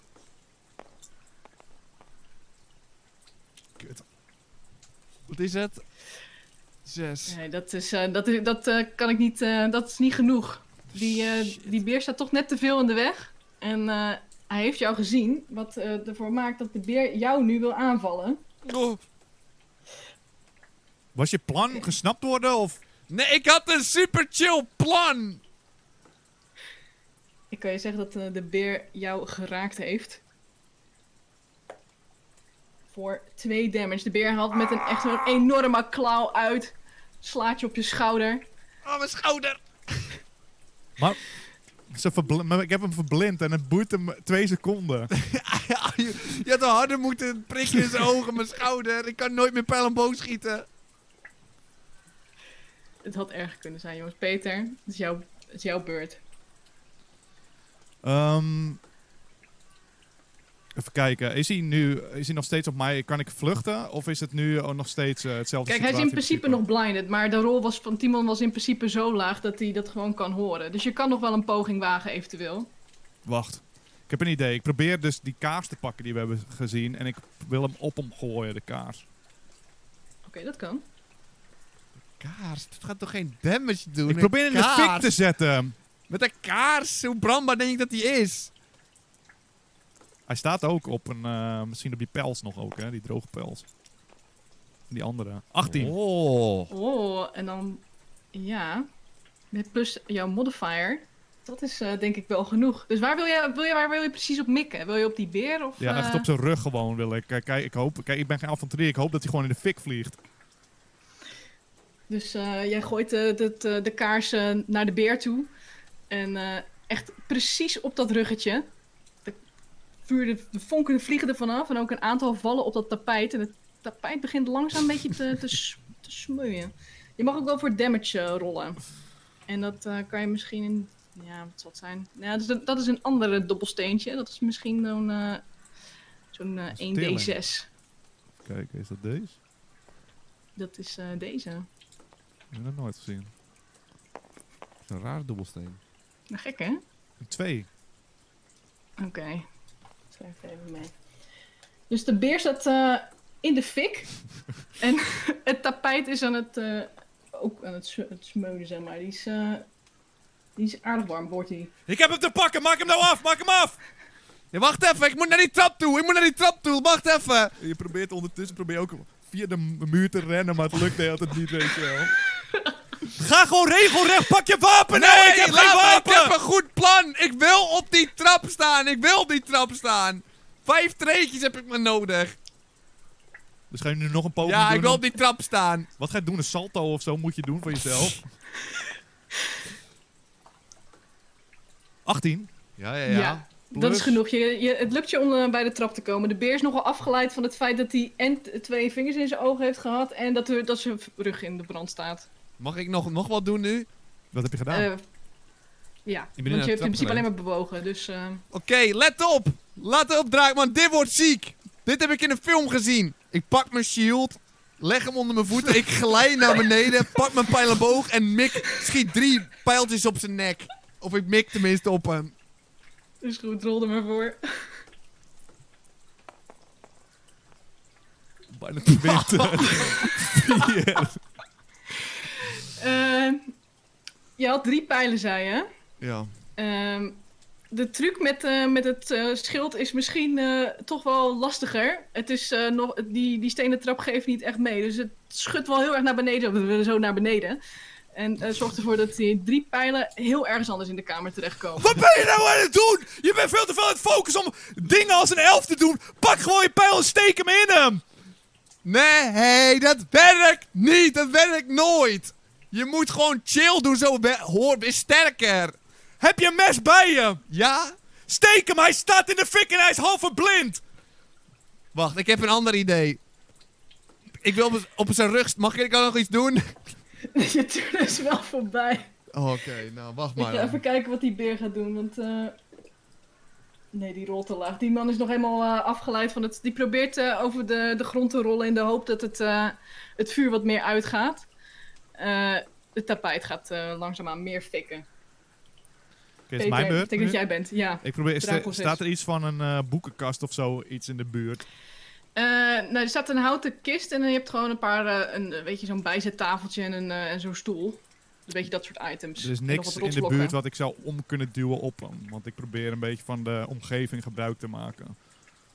Speaker 2: Wat is het? Zes.
Speaker 3: Nee, dat, is, eh, dat, is- dat eh, kan ik niet. eh, dat is niet genoeg. Die, eh, die beer staat toch net te veel in de weg. En eh, hij heeft jou gezien. Wat eh, ervoor maakt dat de beer jou nu wil aanvallen.
Speaker 2: Oh.
Speaker 1: Was je plan gesnapt worden of...
Speaker 2: Nee, ik had een super chill plan.
Speaker 3: Ik kan je zeggen dat eh, de beer jou geraakt heeft. Voor twee damage. De beer haalt met een echt een enorme klauw uit. Slaat je op je schouder.
Speaker 2: Oh, mijn schouder.
Speaker 1: Maar, ze verbl- maar ik heb hem verblind en het boeit hem twee seconden.
Speaker 2: Ja, je, je had al harder moeten prikken in zijn ogen, mijn schouder. Ik kan nooit meer pijl en boog schieten.
Speaker 3: Het had erger kunnen zijn, jongens. Peter, het is jouw, het is jouw beurt.
Speaker 1: Ehm, even kijken. Is hij nu is hij nog steeds op mij? Kan ik vluchten? Of is het nu ook nog steeds eh, hetzelfde
Speaker 3: Kijk, hij is in
Speaker 1: situatie
Speaker 3: principe nog blinded, maar de rol was van Timon was in principe zo laag dat hij dat gewoon kan horen. Dus je kan nog wel een poging wagen, eventueel.
Speaker 1: Wacht. Ik heb een idee. Ik probeer dus die kaars te pakken die we hebben gezien. En ik wil hem op hem gooien, de kaars.
Speaker 3: Oké, dat kan.
Speaker 2: Kaars, dat gaat toch geen damage doen?
Speaker 1: Ik probeer hem
Speaker 2: Een
Speaker 1: in de fik
Speaker 2: kaars.
Speaker 1: te zetten.
Speaker 2: Met een kaars, hoe brandbaar denk ik dat die is?
Speaker 1: Hij staat ook op een... eh, misschien op die pels nog ook, hè. Die droge pels. Die andere. 18.
Speaker 2: Oh.
Speaker 3: Oh, en dan, ja, met plus jouw modifier, dat is eh, denk ik wel genoeg. Dus waar wil, je, wil je, waar wil je precies op mikken? Wil je op die beer of...
Speaker 1: Ja, echt
Speaker 3: eh,
Speaker 1: op zijn rug gewoon wil ik. Kijk, kijk, ik hoop... Kijk, ik ben geen avonturier. Ik hoop dat hij gewoon in de fik vliegt.
Speaker 3: Dus eh, jij gooit eh, dat, eh, de kaars eh, naar de beer toe. En eh, echt precies op dat ruggetje. De, vuur, de, de vonken vliegen er vanaf. En ook een aantal vallen op dat tapijt. En het tapijt begint langzaam een beetje te, te, s- te smeuen. Je mag ook wel voor damage eh, rollen. En dat eh, kan je misschien in... Ja, wat zal het zijn? Ja, dat, is een, dat is een andere dobbelsteentje. Dat is misschien zo'n... eh, zo'n eh,
Speaker 1: Dat is teerling.
Speaker 3: 1d6.
Speaker 1: Kijk, is dat deze?
Speaker 3: Dat is eh, deze.
Speaker 1: Ik heb dat nooit gezien.
Speaker 2: Een raar dobbelsteen.
Speaker 3: Nou, gek hè?
Speaker 1: Een twee.
Speaker 3: Oké. Schrijf het even mee. Dus de beer staat eh, in de fik. en [LAUGHS] het tapijt is aan het, eh, ook aan het, s- het smeulen, zeg maar. Die is, eh, die is aardig warm, wordt die.
Speaker 1: Ik heb hem te pakken! Maak hem nou af! Maak hem af!
Speaker 2: Ja, wacht even, ik moet naar die trap toe, ik moet naar die trap toe, wacht even.
Speaker 1: Je probeert ondertussen probeer je ook via de m- muur te rennen, maar het lukt de hele tijd niet, weet je wel. Ga gewoon regelrecht, pak je wapen! Nee, ik heb geen
Speaker 2: laat me,
Speaker 1: wapen!
Speaker 2: ik heb een goed plan. Ik wil op die trap staan, ik wil op die trap staan. Vijf treetjes heb ik me nodig.
Speaker 1: Dus ga je nu nog een poging
Speaker 2: Ja,
Speaker 1: doen?
Speaker 2: ik wil
Speaker 1: om-
Speaker 2: op die trap staan.
Speaker 1: Wat ga je doen? Een salto of zo moet je doen voor jezelf? 18.
Speaker 2: Ja, ja,
Speaker 3: dat is
Speaker 1: plus-
Speaker 3: genoeg. Je, je, het lukt je om eh, bij de trap te komen. De beer is nogal afgeleid van het feit dat hij en t- twee vingers in zijn ogen heeft gehad... en dat, er, dat zijn rug in de brand staat. Eh,
Speaker 2: Mag ik nog, nog wat doen nu?
Speaker 1: Wat heb je gedaan?
Speaker 3: Ja, ja.
Speaker 2: Ik ben naar
Speaker 3: want
Speaker 2: de
Speaker 3: je hebt in
Speaker 2: trap
Speaker 3: principe alleen
Speaker 2: gerend.
Speaker 3: maar bewogen. Dus eh,
Speaker 2: Oké, let op. Let op, Draakman. Dit wordt ziek. Dit heb ik in een film gezien. Ik pak mijn shield, leg hem onder mijn voeten, ik glij naar [LAUGHS] beneden, pak mijn pijlenboog en mik, schiet drie pijltjes op zijn nek. Of ik mik tenminste op hem.
Speaker 3: dus goed, rol er maar voor.
Speaker 1: Bijna
Speaker 2: [LAUGHS]
Speaker 1: 20.
Speaker 3: Eh, Je had drie pijlen, zei je.
Speaker 2: Ja.
Speaker 3: Ehm, de truc met, eh, met het eh, schild is misschien eh, toch wel lastiger. Het is, eh, nog, die, die stenen trap geeft niet echt mee. Dus het schudt wel heel erg naar beneden. Zo naar beneden. En eh, zorgt ervoor dat die drie pijlen heel ergens anders in de kamer terechtkomen.
Speaker 1: Wat ben je nou aan het doen? Je bent veel te veel aan het focussen om dingen als een elf te doen. Pak gewoon je pijl en steek hem in hem.
Speaker 2: Nee, dat werkt niet. Dat werkt nooit. Je moet gewoon chill doen. Zo be- hoor, ben sterker.
Speaker 1: Heb je een mes bij je?
Speaker 2: Ja?
Speaker 1: Steek hem, hij staat in de fik en hij is half verblind.
Speaker 2: Wacht, ik heb een ander idee. Ik wil op, op zijn rug... Mag ik dan nog iets
Speaker 1: [LAUGHS]
Speaker 2: doen?
Speaker 3: [LAUGHS] je turn is wel voorbij.
Speaker 2: Oké, nou wacht
Speaker 3: Moet
Speaker 2: maar.
Speaker 3: je
Speaker 1: eh,
Speaker 3: even kijken wat die beer gaat doen. Want. eh, Nee, die rolt te laag. Die man is nog helemaal eh, afgeleid van het. Die probeert eh, over de, de grond te rollen in de hoop dat het, eh, het vuur wat meer uitgaat. Eh, het tapijt gaat eh, langzaamaan meer fikken.
Speaker 1: Oké, is mijn
Speaker 3: Peter,
Speaker 1: beurt.
Speaker 3: Ik denk dat jij bent, ja.
Speaker 1: Ik probeer, sta-
Speaker 3: Drakenproces.
Speaker 1: staat er iets van een eh, boekenkast of zo iets in de buurt?
Speaker 3: Eh, nou, er staat een houten kist en je hebt gewoon een paar, eh, een, eh, weet je, zo'n bijzettafeltje en, een, eh, en zo'n stoel. Een beetje dat soort items.
Speaker 1: Er is
Speaker 3: En nog
Speaker 1: niks
Speaker 3: wat
Speaker 1: in de
Speaker 3: rotsblokken.
Speaker 1: buurt wat ik zou om kunnen duwen op hem. Want ik probeer een beetje van de omgeving gebruik te maken.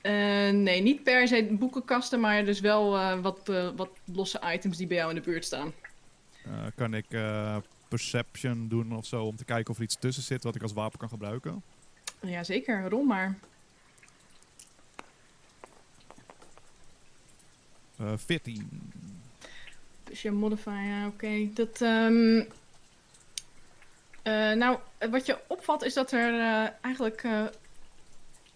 Speaker 3: Eh, nee, niet per se boekenkasten, maar dus wel eh, wat, eh, wat losse items die bij jou in de buurt staan.
Speaker 1: Eh, kan ik eh, perception doen of zo om te kijken of er iets tussen zit wat ik als wapen kan gebruiken?
Speaker 3: Ja, zeker. Rol maar.
Speaker 1: Eh 14.
Speaker 3: Dus je modifier, ja, oké. Dat, ehm, eh, nou, eh, wat je opvalt is dat er eh, eigenlijk eh,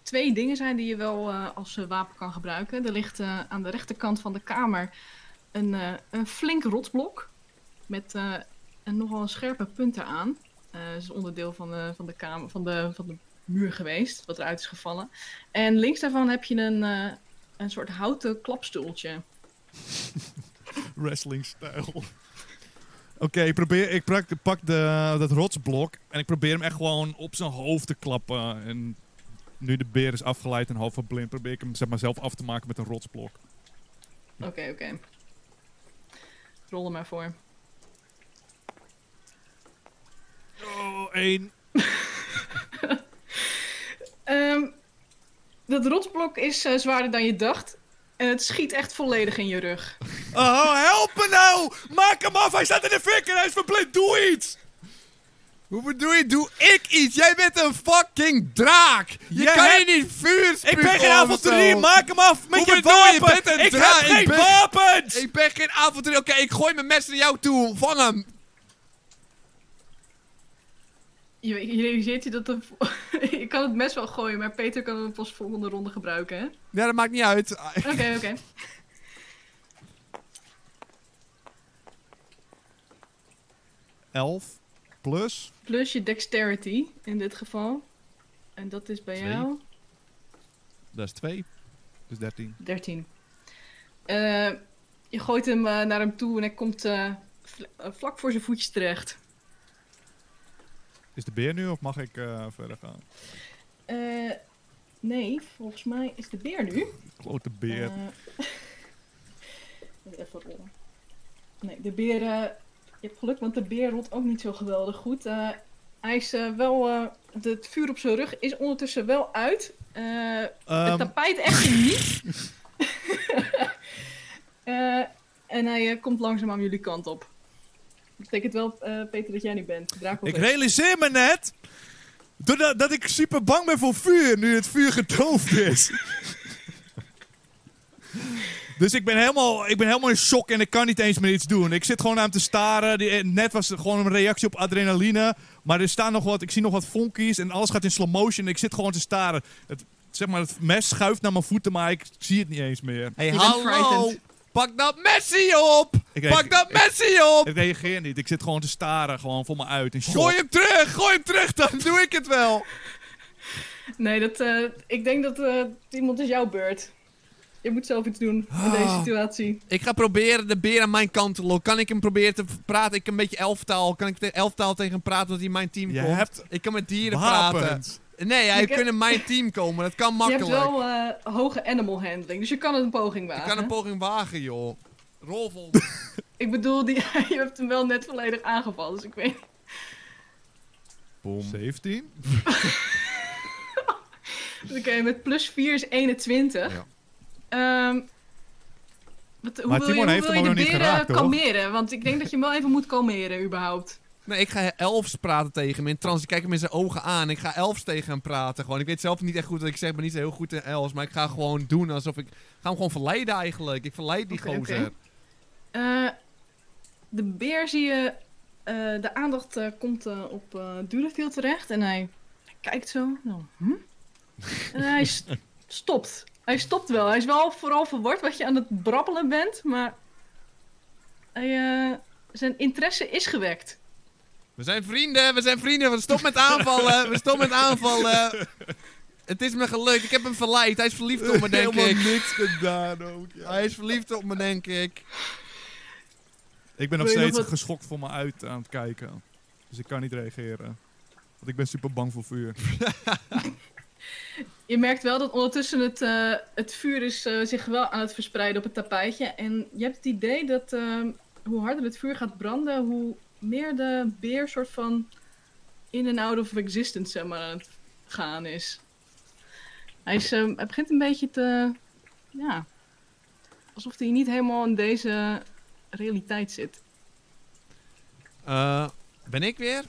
Speaker 3: twee dingen zijn die je wel eh, als eh, wapen kan gebruiken. Er ligt eh, aan de rechterkant van de kamer een, eh, een flink rotsblok met eh, een nogal een scherpe punt eraan. Eh dat is onderdeel van de, van de kamer, van de, van de muur geweest, wat eruit is gevallen. En links daarvan heb je een, eh, een soort houten klapstoeltje.
Speaker 1: wrestling-stijl. [LAUGHS] Oké, ik, probeer- ik pak, pak de, dat rotsblok en ik probeer hem echt gewoon op zijn hoofd te klappen. En nu de beer is afgeleid en half verblind, probeer ik hem zeg maar, zelf af te maken met een rotsblok.
Speaker 3: Oké, oké. Rol er maar voor.
Speaker 1: Oh, één.
Speaker 3: Ehm, dat rotsblok is eh, zwaarder dan je dacht. En het schiet echt volledig in je rug.
Speaker 1: Oh, help me nou! Maak hem af, hij staat in de fik en hij is verblind, doe iets!
Speaker 2: Hoe bedoel je, doe ik iets? Jij bent een fucking draak! Je
Speaker 1: Jij
Speaker 2: kan
Speaker 1: hebt-
Speaker 2: je niet vuur
Speaker 1: Ik ben geen avonturier, maak hem af met
Speaker 2: Hoe
Speaker 1: je
Speaker 2: bedoel je?
Speaker 1: wapen!
Speaker 2: Je bent een
Speaker 1: ik
Speaker 2: draak,
Speaker 1: heb
Speaker 2: ik
Speaker 1: geen
Speaker 2: ben-
Speaker 1: wapens!
Speaker 2: Ik ben geen avonturier. Oké, ik gooi mijn mes naar jou toe. Vang hem.
Speaker 3: Je, je realiseert je dat de vo- [LAUGHS] ik kan het mes wel gooien, maar Peter kan het pas volgende ronde gebruiken, hè? Oké,
Speaker 2: Ja, dat maakt niet uit.
Speaker 3: oké. [LAUGHS]
Speaker 1: Elf plus.
Speaker 3: Plus je dexterity in dit geval. En dat is bij
Speaker 2: Twee.
Speaker 3: jou
Speaker 2: Dat is twee.
Speaker 1: Dus 13.
Speaker 3: 13. Eh, je gooit hem eh, naar hem toe en hij komt eh, vl- eh, vlak voor zijn voetjes terecht.
Speaker 1: Is de beer nu of mag ik eh, verder gaan?
Speaker 3: Eh, nee, volgens mij is de beer nu.
Speaker 1: Klote beer.
Speaker 3: Eh, moet [LAUGHS] even rollen. Nee, de beer. eh, je hebt geluk, want de beer rolt ook niet zo geweldig goed. Eh, hij is eh, wel. eh, de- het vuur op zijn rug is ondertussen wel uit. Eh,
Speaker 1: Ehm,
Speaker 3: het tapijt echter niet. [LAUGHS] Eh, en hij eh, komt langzaam aan jullie kant op. Dat betekent wel, eh, Peter, dat jij nu bent. Draco
Speaker 1: Ik
Speaker 3: is-
Speaker 1: realiseer me net doordat dat ik super bang ben voor vuur nu het vuur gedoofd is. [LAUGHS] dus ik ben, helemaal, ik ben helemaal in shock en ik kan niet eens meer iets doen. Ik zit gewoon aan hem te staren. Die- eh, Net was het gewoon een reactie op adrenaline. Maar er staan nog wat, ik zie nog wat vonkies en alles gaat in slow motion. Ik zit gewoon te staren. Het, zeg maar, het mes schuift naar mijn voeten, maar ik zie het niet eens meer.
Speaker 2: Hey,
Speaker 3: Je bent
Speaker 2: hallo.
Speaker 3: frightened.
Speaker 2: Pak dat messie op.
Speaker 1: Ik-
Speaker 2: Pak
Speaker 1: ik-
Speaker 2: dat
Speaker 1: ik-
Speaker 2: messie op.
Speaker 1: Ik reageer niet. Ik zit gewoon te staren, gewoon voor me uit. In shock.
Speaker 2: Gooi hem terug. Gooi hem terug. Dan doe ik het wel.
Speaker 3: Nee, dat, eh, ik denk dat eh, iemand is jouw beurt. Je moet zelf iets doen in deze
Speaker 2: Ah.
Speaker 3: situatie.
Speaker 2: Ik ga proberen de beer aan mijn kant te lokken. Kan ik hem proberen te praten? Ik een beetje elftaal. Kan ik de elftaal tegen hem praten dat hij in mijn team
Speaker 1: Je
Speaker 2: komt?
Speaker 1: hebt
Speaker 2: Ik kan met dieren praten.
Speaker 1: wapens.
Speaker 2: Nee, hij
Speaker 3: Ik heb-
Speaker 2: kan in mijn team komen. Dat kan
Speaker 3: Je
Speaker 2: makkelijk.
Speaker 3: hebt wel eh, hoge animal handling, dus je kan het een poging
Speaker 2: Ik
Speaker 3: wagen.
Speaker 2: kan een poging wagen, joh. Rol volgens
Speaker 3: [LAUGHS] ik bedoel, die, je hebt hem wel net volledig aangevallen, dus ik weet
Speaker 2: Boom.
Speaker 1: 17?
Speaker 3: Oké, met plus 4 is 21.
Speaker 2: Ja.
Speaker 3: Ehm, wat, hoe
Speaker 1: Maar
Speaker 3: wil
Speaker 1: Timon
Speaker 3: je,
Speaker 1: heeft hem
Speaker 3: hoe wil je
Speaker 1: ook
Speaker 3: de
Speaker 1: nog niet
Speaker 3: beren
Speaker 1: geraakt, hoor.
Speaker 3: kalmeren? Want ik denk dat je hem wel even moet kalmeren, überhaupt.
Speaker 2: [LAUGHS] Nee, ik ga elfs praten tegen hem. In trans, ik kijk hem in zijn ogen aan. Ik ga elfs tegen hem praten. Gewoon. Ik weet zelf niet echt goed wat ik zeg. Ik ben niet zo heel goed in elfs. Maar ik ga gewoon doen alsof ik... ik ga hem gewoon verleiden eigenlijk. Ik verleid die
Speaker 3: Oké, oké.
Speaker 2: gozer.
Speaker 3: Eh, de beer zie je... eh, de aandacht eh, komt eh, op eh Durefield terecht. En hij, hij kijkt zo. Nou, hm? en hij s- stopt. Hij stopt wel. Hij is wel vooral verward wat je aan het brabbelen bent. Maar hij, eh, zijn interesse is gewekt.
Speaker 2: We zijn vrienden. We zijn vrienden. We stop met aanvallen. We stop met aanvallen. Het is me gelukt. Ik heb hem verleid. Hij is verliefd op me, denk ik.
Speaker 1: Helemaal niks gedaan ook. ja.
Speaker 2: Hij is verliefd op me, denk ik.
Speaker 1: Ik ben nog
Speaker 3: Wil je nog
Speaker 1: steeds
Speaker 3: wat-
Speaker 1: geschokt voor me uit aan het kijken. Dus ik kan niet reageren. Want ik ben super bang voor vuur.
Speaker 3: Je merkt wel dat ondertussen het, eh, het vuur is, eh, zich wel aan het verspreiden op het tapijtje. En je hebt het idee dat ehm, hoe harder het vuur gaat branden, hoe meer de beer soort van in en out of existence zeg maar, aan het gaan is. Hij, is, ehm, hij begint een beetje te. Ja. Alsof hij niet helemaal in deze realiteit zit.
Speaker 2: Eh, ben ik weer?
Speaker 1: Als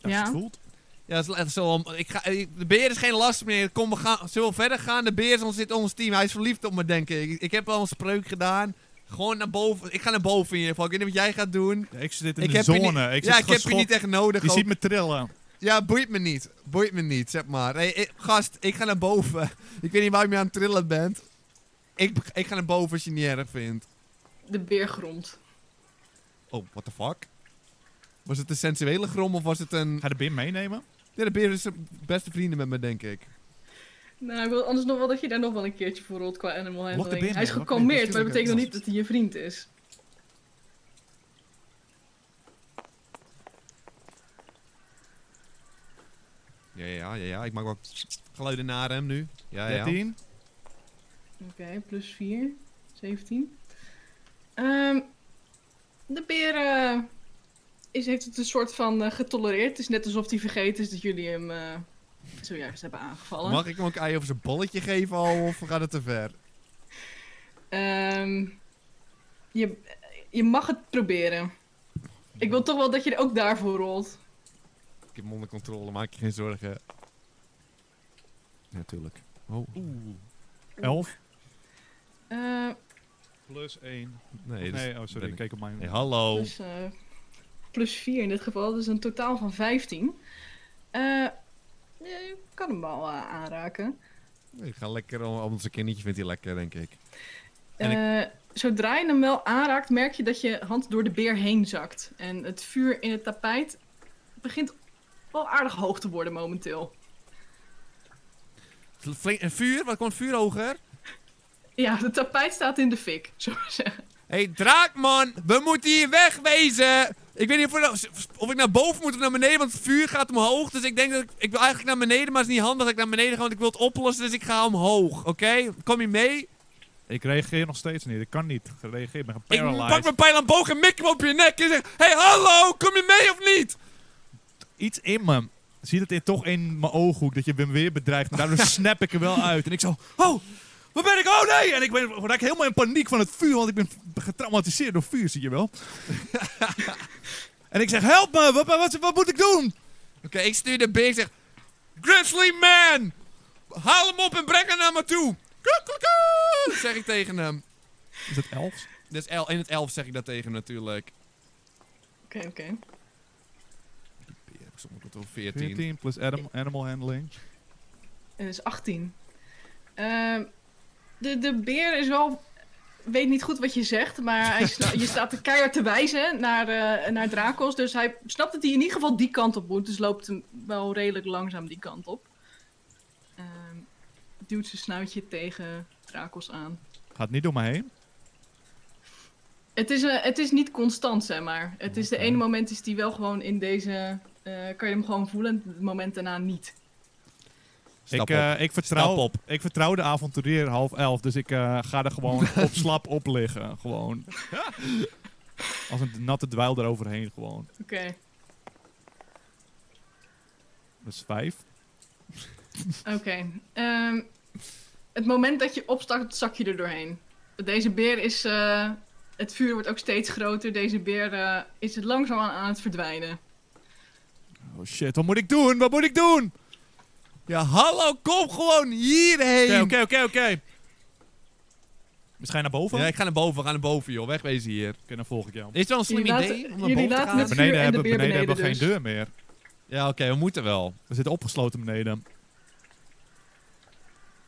Speaker 1: je
Speaker 3: Ja.
Speaker 1: het voelt.
Speaker 2: Ja, dat is echt zo. om- Ik ga, ik- de beer is geen last meer. Kom, we gaan, zullen we verder gaan? De beer is ons, zit ons team. Hij is verliefd op me, denk ik. Ik, ik heb al een spreuk gedaan. Gewoon naar boven. Ik ga naar boven in ieder geval. Ik weet niet wat jij gaat doen.
Speaker 1: Ja, ik zit in
Speaker 2: ik
Speaker 1: de
Speaker 2: je
Speaker 1: zone.
Speaker 2: niet-
Speaker 1: ik zit
Speaker 2: ja, ik heb je
Speaker 1: geschokt.
Speaker 2: niet echt nodig.
Speaker 1: Je
Speaker 2: ook.
Speaker 1: ziet me trillen.
Speaker 2: Ja, boeit me niet. Boeit me niet, zeg maar. Hey, ik- gast, ik ga naar boven. [LAUGHS] Ik weet niet waar je mee aan het trillen bent. Ik, ik ga naar boven als je het niet erg vindt.
Speaker 3: De beer grond.
Speaker 2: Oh, what the fuck? Was het een sensuele grom of was het een...
Speaker 1: Ga de bin meenemen?
Speaker 2: Ja, de beer is de beste vrienden met me, denk ik.
Speaker 3: Nou, ik wil anders nog wel dat je daar nog wel een keertje voor rolt qua animal
Speaker 1: Lock the bin
Speaker 3: handling. Hij is
Speaker 1: in, lock the bin,
Speaker 3: gekalmeerd, maar dat
Speaker 1: natuurlijk.
Speaker 3: betekent nog niet dat hij je vriend is.
Speaker 2: Ja, ja, ja, ja. Ik maak wat geluiden naar hem nu. Ja, ja.
Speaker 1: 13?
Speaker 3: Oké, plus 4. 17. Ehm, de beer eh, is, heeft het een soort van eh, getolereerd. Het is net alsof hij vergeten is dat jullie hem eh zojuist hebben aangevallen.
Speaker 2: Mag ik hem ook ei over zijn bolletje geven al, of gaat het te ver?
Speaker 3: Ehm, je, je mag het proberen. Ik wil toch wel dat je er ook daarvoor rolt.
Speaker 2: Ik heb hem onder controle, maak je geen zorgen. Natuurlijk. oh,
Speaker 1: Oeh. 11?
Speaker 3: Eh,
Speaker 1: Plus 1.
Speaker 2: nee.
Speaker 1: Nee,
Speaker 2: dat
Speaker 1: oh
Speaker 2: ben
Speaker 1: sorry, ik
Speaker 2: ik.
Speaker 1: keek op mijn...
Speaker 2: Hey, hallo.
Speaker 3: Plus, eh, plus 4 in dit geval, dus een totaal van 15. Eh, eh, je kan hem wel eh, aanraken.
Speaker 2: Ik ga lekker, om, om zijn kindertje vindt hij lekker, denk ik. En
Speaker 3: Eh, Zodra je hem wel aanraakt, merk je dat je hand door de beer heen zakt. En het vuur in het tapijt begint wel aardig hoog te worden momenteel.
Speaker 2: Flink, een vuur? Wat komt vuur hoger?
Speaker 3: Ja, het tapijt staat in de fik, zullen we zeggen.
Speaker 2: Hé, hey, draakman, we moeten hier wegwezen! Ik weet niet of, we- nou- of ik naar boven moet of naar beneden, want het vuur gaat omhoog. Dus ik denk dat ik, ik wil eigenlijk naar beneden, maar het is niet handig dat ik naar beneden ga, want ik wil het oplossen. Dus ik ga omhoog, oké? Kom je mee?
Speaker 1: Ik reageer nog steeds niet. Ik kan niet. Gereageerd. Ik ben
Speaker 2: Ik
Speaker 1: geparalyzed.
Speaker 2: pak mijn pijl aan boog en mik hem op je nek en zeg... Hé, hey, hallo, kom je mee of niet?
Speaker 1: Iets in me ziet het in, toch in mijn ooghoek dat je hem weer bedreigt. En [LAUGHS] daardoor snap ik er wel uit. En ik zo... Oh! Waar ben ik? Oh nee! En ik ben, raak helemaal in paniek van het vuur, want ik ben getraumatiseerd door vuur, zie je [LAUGHS] wel. en ik zeg, help me! Wat, wat, wat moet ik doen?
Speaker 2: Oké, ik stuur de beer, ik zeg... Grizzly man! Haal hem op en breng hem naar me toe! Kukkelekoe, zeg ik tegen hem.
Speaker 1: Is dat elfs?
Speaker 2: Dus el in het elf zeg ik dat tegen hem natuurlijk.
Speaker 3: Oké, oké.
Speaker 2: Ja, ik stond tot over 14.
Speaker 1: 14 plus anim- animal handling.
Speaker 3: Dat Eh, is 18. Ehm, de, de beer is wel. Weet niet goed wat je zegt, maar hij sla- je staat de keihard te wijzen naar, eh naar Drakos. Dus hij snapt dat hij in ieder geval die kant op moet. Dus loopt hem wel redelijk langzaam die kant op. Ehm, duwt zijn snuitje tegen Drakos aan.
Speaker 1: Gaat niet door me heen.
Speaker 3: Het is, eh, het is niet constant, zeg maar. Het is de ene moment is die wel gewoon in deze. eh, kan je hem gewoon voelen, en het moment daarna niet.
Speaker 1: Ik,
Speaker 2: Stap op.
Speaker 1: eh, ik, vertrouw,
Speaker 2: Stap op.
Speaker 1: ik vertrouw de avonturier half elf, dus ik eh, ga er [LAUGHS] gewoon op slap op liggen. [LAUGHS] Gewoon. Als een natte dweil eroverheen gewoon.
Speaker 3: Oké.
Speaker 1: Dat is Dus vijf.
Speaker 3: Oké. ehm, het moment dat je opstapt, zak je er doorheen. Deze beer is. eh, het vuur wordt ook steeds groter. Deze beer eh, is langzaamaan aan het verdwijnen.
Speaker 1: Oh shit, wat moet ik doen? Wat moet ik doen?
Speaker 2: Ja, hallo, kom gewoon hierheen.
Speaker 1: Oké, oké, oké, oké. Misschien naar boven?
Speaker 2: Ja,
Speaker 1: Oké,
Speaker 2: ik ga naar boven, ga naar boven, joh. Wegwezen hier.
Speaker 1: dan volg ik jou.
Speaker 2: Is het wel een slim
Speaker 3: Jullie
Speaker 2: idee
Speaker 3: laten-
Speaker 2: om naar boven
Speaker 3: jullie
Speaker 2: te
Speaker 3: laten
Speaker 2: gaan?
Speaker 3: het vuur
Speaker 1: Beneden
Speaker 3: en
Speaker 1: hebben,
Speaker 3: de beer
Speaker 1: beneden hebben we
Speaker 3: beneden dus.
Speaker 1: geen deur meer.
Speaker 2: Ja, oké, we moeten wel.
Speaker 1: We zitten opgesloten beneden.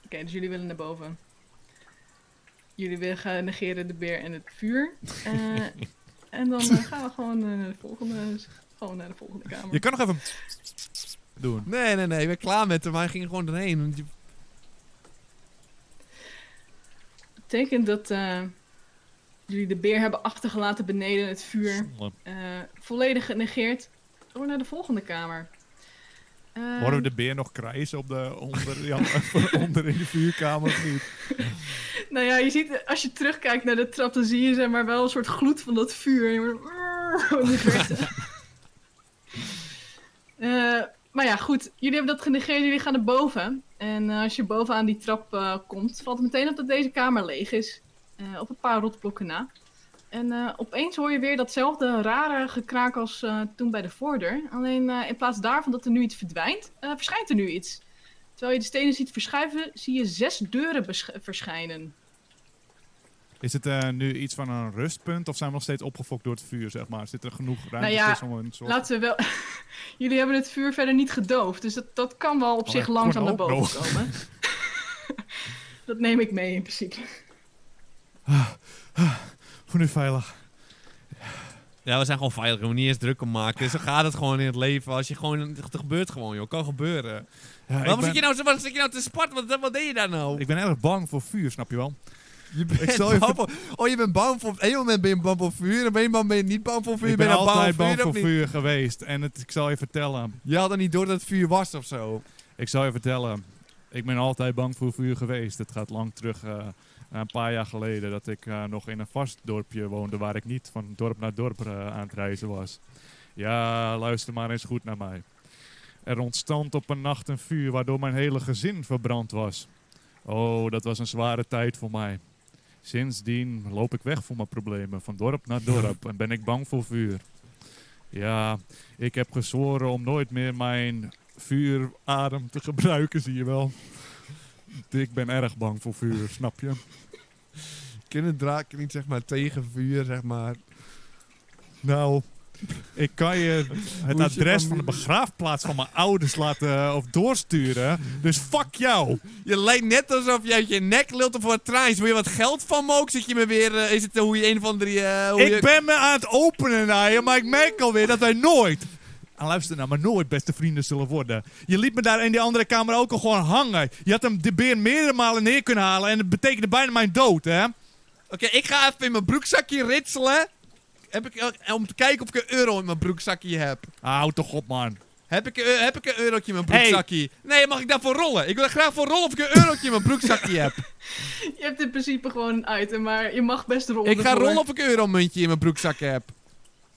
Speaker 3: Oké, dus jullie willen naar boven. Jullie willen gaan negeren de beer en het vuur. Eh, en dan eh, gaan we gewoon, eh, naar de volgende, gewoon naar de volgende kamer.
Speaker 1: Je kan nog even doen.
Speaker 2: Nee, nee, nee, ik ben klaar met hem. maar Hij ging er gewoon doorheen. Want je-
Speaker 3: betekent dat eh, jullie de beer hebben achtergelaten beneden het vuur. eh, volledig genegeerd. Door naar de volgende kamer. Eh,
Speaker 1: Horen we de beer nog krijsen op de, onder, [LAUGHS] ja, onder in de vuurkamer of niet?
Speaker 3: Nou ja, je ziet, eh, als je terugkijkt naar de trap, dan zie je zeg maar wel een soort gloed van dat vuur. En je wordt in de verte. Eh, maar ja, goed. Jullie hebben dat genegeerd, jullie gaan naar boven. En eh, als je boven aan die trap eh, komt, valt het meteen op dat deze kamer leeg is. Eh, op een paar rotblokken na. En eh, opeens hoor je weer datzelfde rare gekraak als eh, toen bij de voordeur. Alleen eh, in plaats daarvan dat er nu iets verdwijnt, eh, verschijnt er nu iets. Terwijl je de stenen ziet verschuiven, zie je zes deuren besch- verschijnen.
Speaker 1: Is het eh, nu iets van een rustpunt of zijn we nog steeds opgefokt door het vuur, zeg maar? Zit er genoeg ruimte
Speaker 3: Nou ja,
Speaker 1: tussen om een soort...
Speaker 3: Laten we wel. [LAUGHS] Jullie hebben het vuur verder niet gedoofd, dus dat, dat kan wel op
Speaker 1: Oh,
Speaker 3: zich
Speaker 1: ja,
Speaker 3: langzaam naar
Speaker 1: kon ook
Speaker 3: boven komen. [LAUGHS] dat neem ik mee in principe.
Speaker 1: Voor nu veilig.
Speaker 2: Ja, we zijn gewoon veilig. We moeten niet eens druk om maken. Dus zo gaat het gewoon in het leven. Als je gewoon... Het gebeurt gewoon, joh. Kan gebeuren.
Speaker 1: Ja, ik
Speaker 2: Waarom
Speaker 1: ben-
Speaker 2: zit je nou, zo- waarom zit je nou te sparten? Wat, wat deed je daar nou?
Speaker 1: Ik ben erg bang voor vuur, snap je wel?
Speaker 2: Je [LAUGHS] bent
Speaker 1: Ik zal je
Speaker 2: bang voor- oh, je bent bang voor... Op een moment ben je bang voor vuur. En op een moment ben je niet bang voor vuur.
Speaker 1: ik ben
Speaker 2: je nou
Speaker 1: altijd bang
Speaker 2: of
Speaker 1: voor
Speaker 2: niet?
Speaker 1: vuur geweest. En het, ik zal je vertellen.
Speaker 2: Je had er niet door dat het vuur was of zo.
Speaker 1: Ik zal je vertellen. Ik ben altijd bang voor vuur geweest. Het gaat lang terug, eh, naar een paar jaar geleden, dat ik eh, nog in een vast dorpje woonde waar ik niet van dorp naar dorp eh, aan het reizen was. Ja, luister maar eens goed naar mij. Er ontstond op een nacht een vuur waardoor mijn hele gezin verbrand was. Oh, dat was een zware tijd voor mij. Sindsdien loop ik weg voor mijn problemen, van dorp naar dorp, en ben ik bang voor vuur. Ja, ik heb gezworen om nooit meer mijn vuuradem te gebruiken, zie je wel. Ik ben erg bang voor vuur, snap je?
Speaker 2: Kunnen draken niet, zeg maar, tegen vuur, zeg maar.
Speaker 1: Nou, ik kan je het
Speaker 2: je
Speaker 1: adres van de
Speaker 2: familie-
Speaker 1: begraafplaats van mijn ouders laten eh, of doorsturen. Dus fuck jou.
Speaker 2: Je lijkt net alsof je uit je nek lult voor het traantje. Wil je wat geld van me ook? Zit je me weer... eh, is het eh, hoe je een van de... eh, hoe je...
Speaker 1: Ik ben me aan het openen naar je, maar ik merk alweer dat wij nooit. En luister nou, maar nooit beste vrienden zullen worden. Je liet me daar in die andere kamer ook al gewoon hangen. Je had hem de beer meerdere malen neer kunnen halen en het betekende bijna mijn dood, hè?
Speaker 2: Oké, ik ga even in mijn broekzakje ritselen. Heb ik, eh, om te kijken of ik een euro in mijn broekzakje heb.
Speaker 1: Ah, Houd toch op, man.
Speaker 2: Heb ik, eh, heb ik een eurotje in mijn broekzakje? Nee, mag ik daarvoor rollen? Ik wil er graag voor rollen of ik een eurotje in mijn broekzakje heb.
Speaker 3: Je hebt in principe gewoon een item, maar je mag best rollen.
Speaker 2: Ik ga
Speaker 3: ervoor.
Speaker 2: rollen of ik een euromuntje in mijn broekzak heb.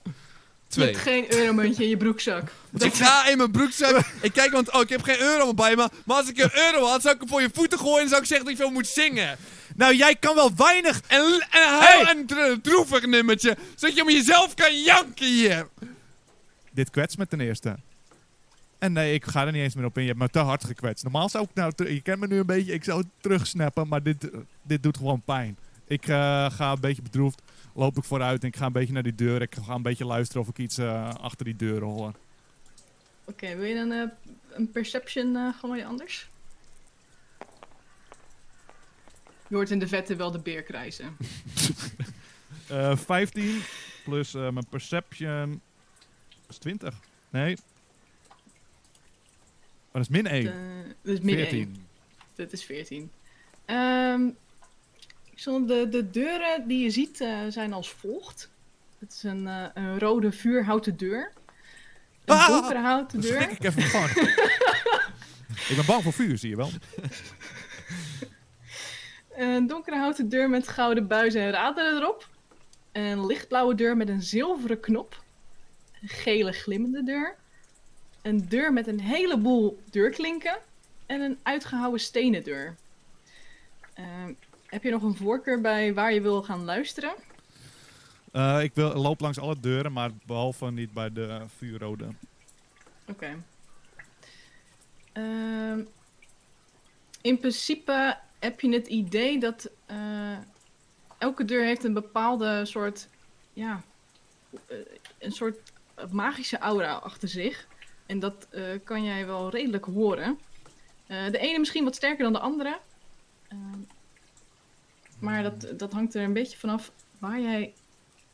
Speaker 3: Je
Speaker 2: Twee.
Speaker 3: hebt geen euromuntje in je broekzak.
Speaker 2: Ik ga in mijn broekzak. Ik kijk, want oh, ik heb geen euro bij me. Maar als ik een euro had, zou ik hem voor je voeten gooien en zou ik zeggen dat je veel moet zingen.
Speaker 1: Nou, jij kan wel weinig.
Speaker 2: En, l- en heel een dro- droevig nummertje, zodat je om jezelf kan janken hier.
Speaker 1: Dit kwets met ten eerste. En nee, ik ga er niet eens meer op in. Je hebt me te hard gekwetst. Normaal zou ik nou... ter- Je kent me nu een beetje. Ik zou het terugsnappen, maar dit, eh, dit doet gewoon pijn. Ik eh, ga een beetje bedroefd. Loop ik vooruit en ik ga een beetje naar die deur. Ik ga een beetje luisteren of ik iets eh, achter die deuren hoor.
Speaker 3: Oké, wil je dan eh, een perception eh gewoon je anders? Je hoort in de vette wel de beer krijzen.
Speaker 1: Eh 15 plus eh, mijn perception is 20. Nee. Maar dat is min 1.
Speaker 3: Eh, dat is min één.
Speaker 1: 14.
Speaker 3: Dat is 14. Ehm, ik zal- de, de deuren die je ziet eh, zijn als volgt. Het is een, eh, een rode vuurhouten deur. Een
Speaker 1: Ah!
Speaker 3: donkere houten
Speaker 1: Schrik
Speaker 3: deur.
Speaker 1: ik even
Speaker 3: [LAUGHS]
Speaker 1: van. ik ben bang voor vuur, zie je wel.
Speaker 3: Een donkere houten deur met gouden buizen en raderen erop. Een lichtblauwe deur met een zilveren knop. Een gele glimmende deur. een deur met een heleboel deurklinken en een uitgehouwen stenen deur. Ehm, heb je nog een voorkeur bij waar je wil gaan luisteren?
Speaker 1: Eh, ik wil, loop langs alle deuren, maar behalve niet bij de eh, vuurrode.
Speaker 3: Oké. Ehm, in principe heb je het idee dat eh, elke deur heeft een bepaalde soort, ja, eh, een soort magische aura achter zich. En dat eh, kan jij wel redelijk horen. Eh, de ene misschien wat sterker dan de andere. Ehm, maar dat, dat hangt er een beetje vanaf waar jij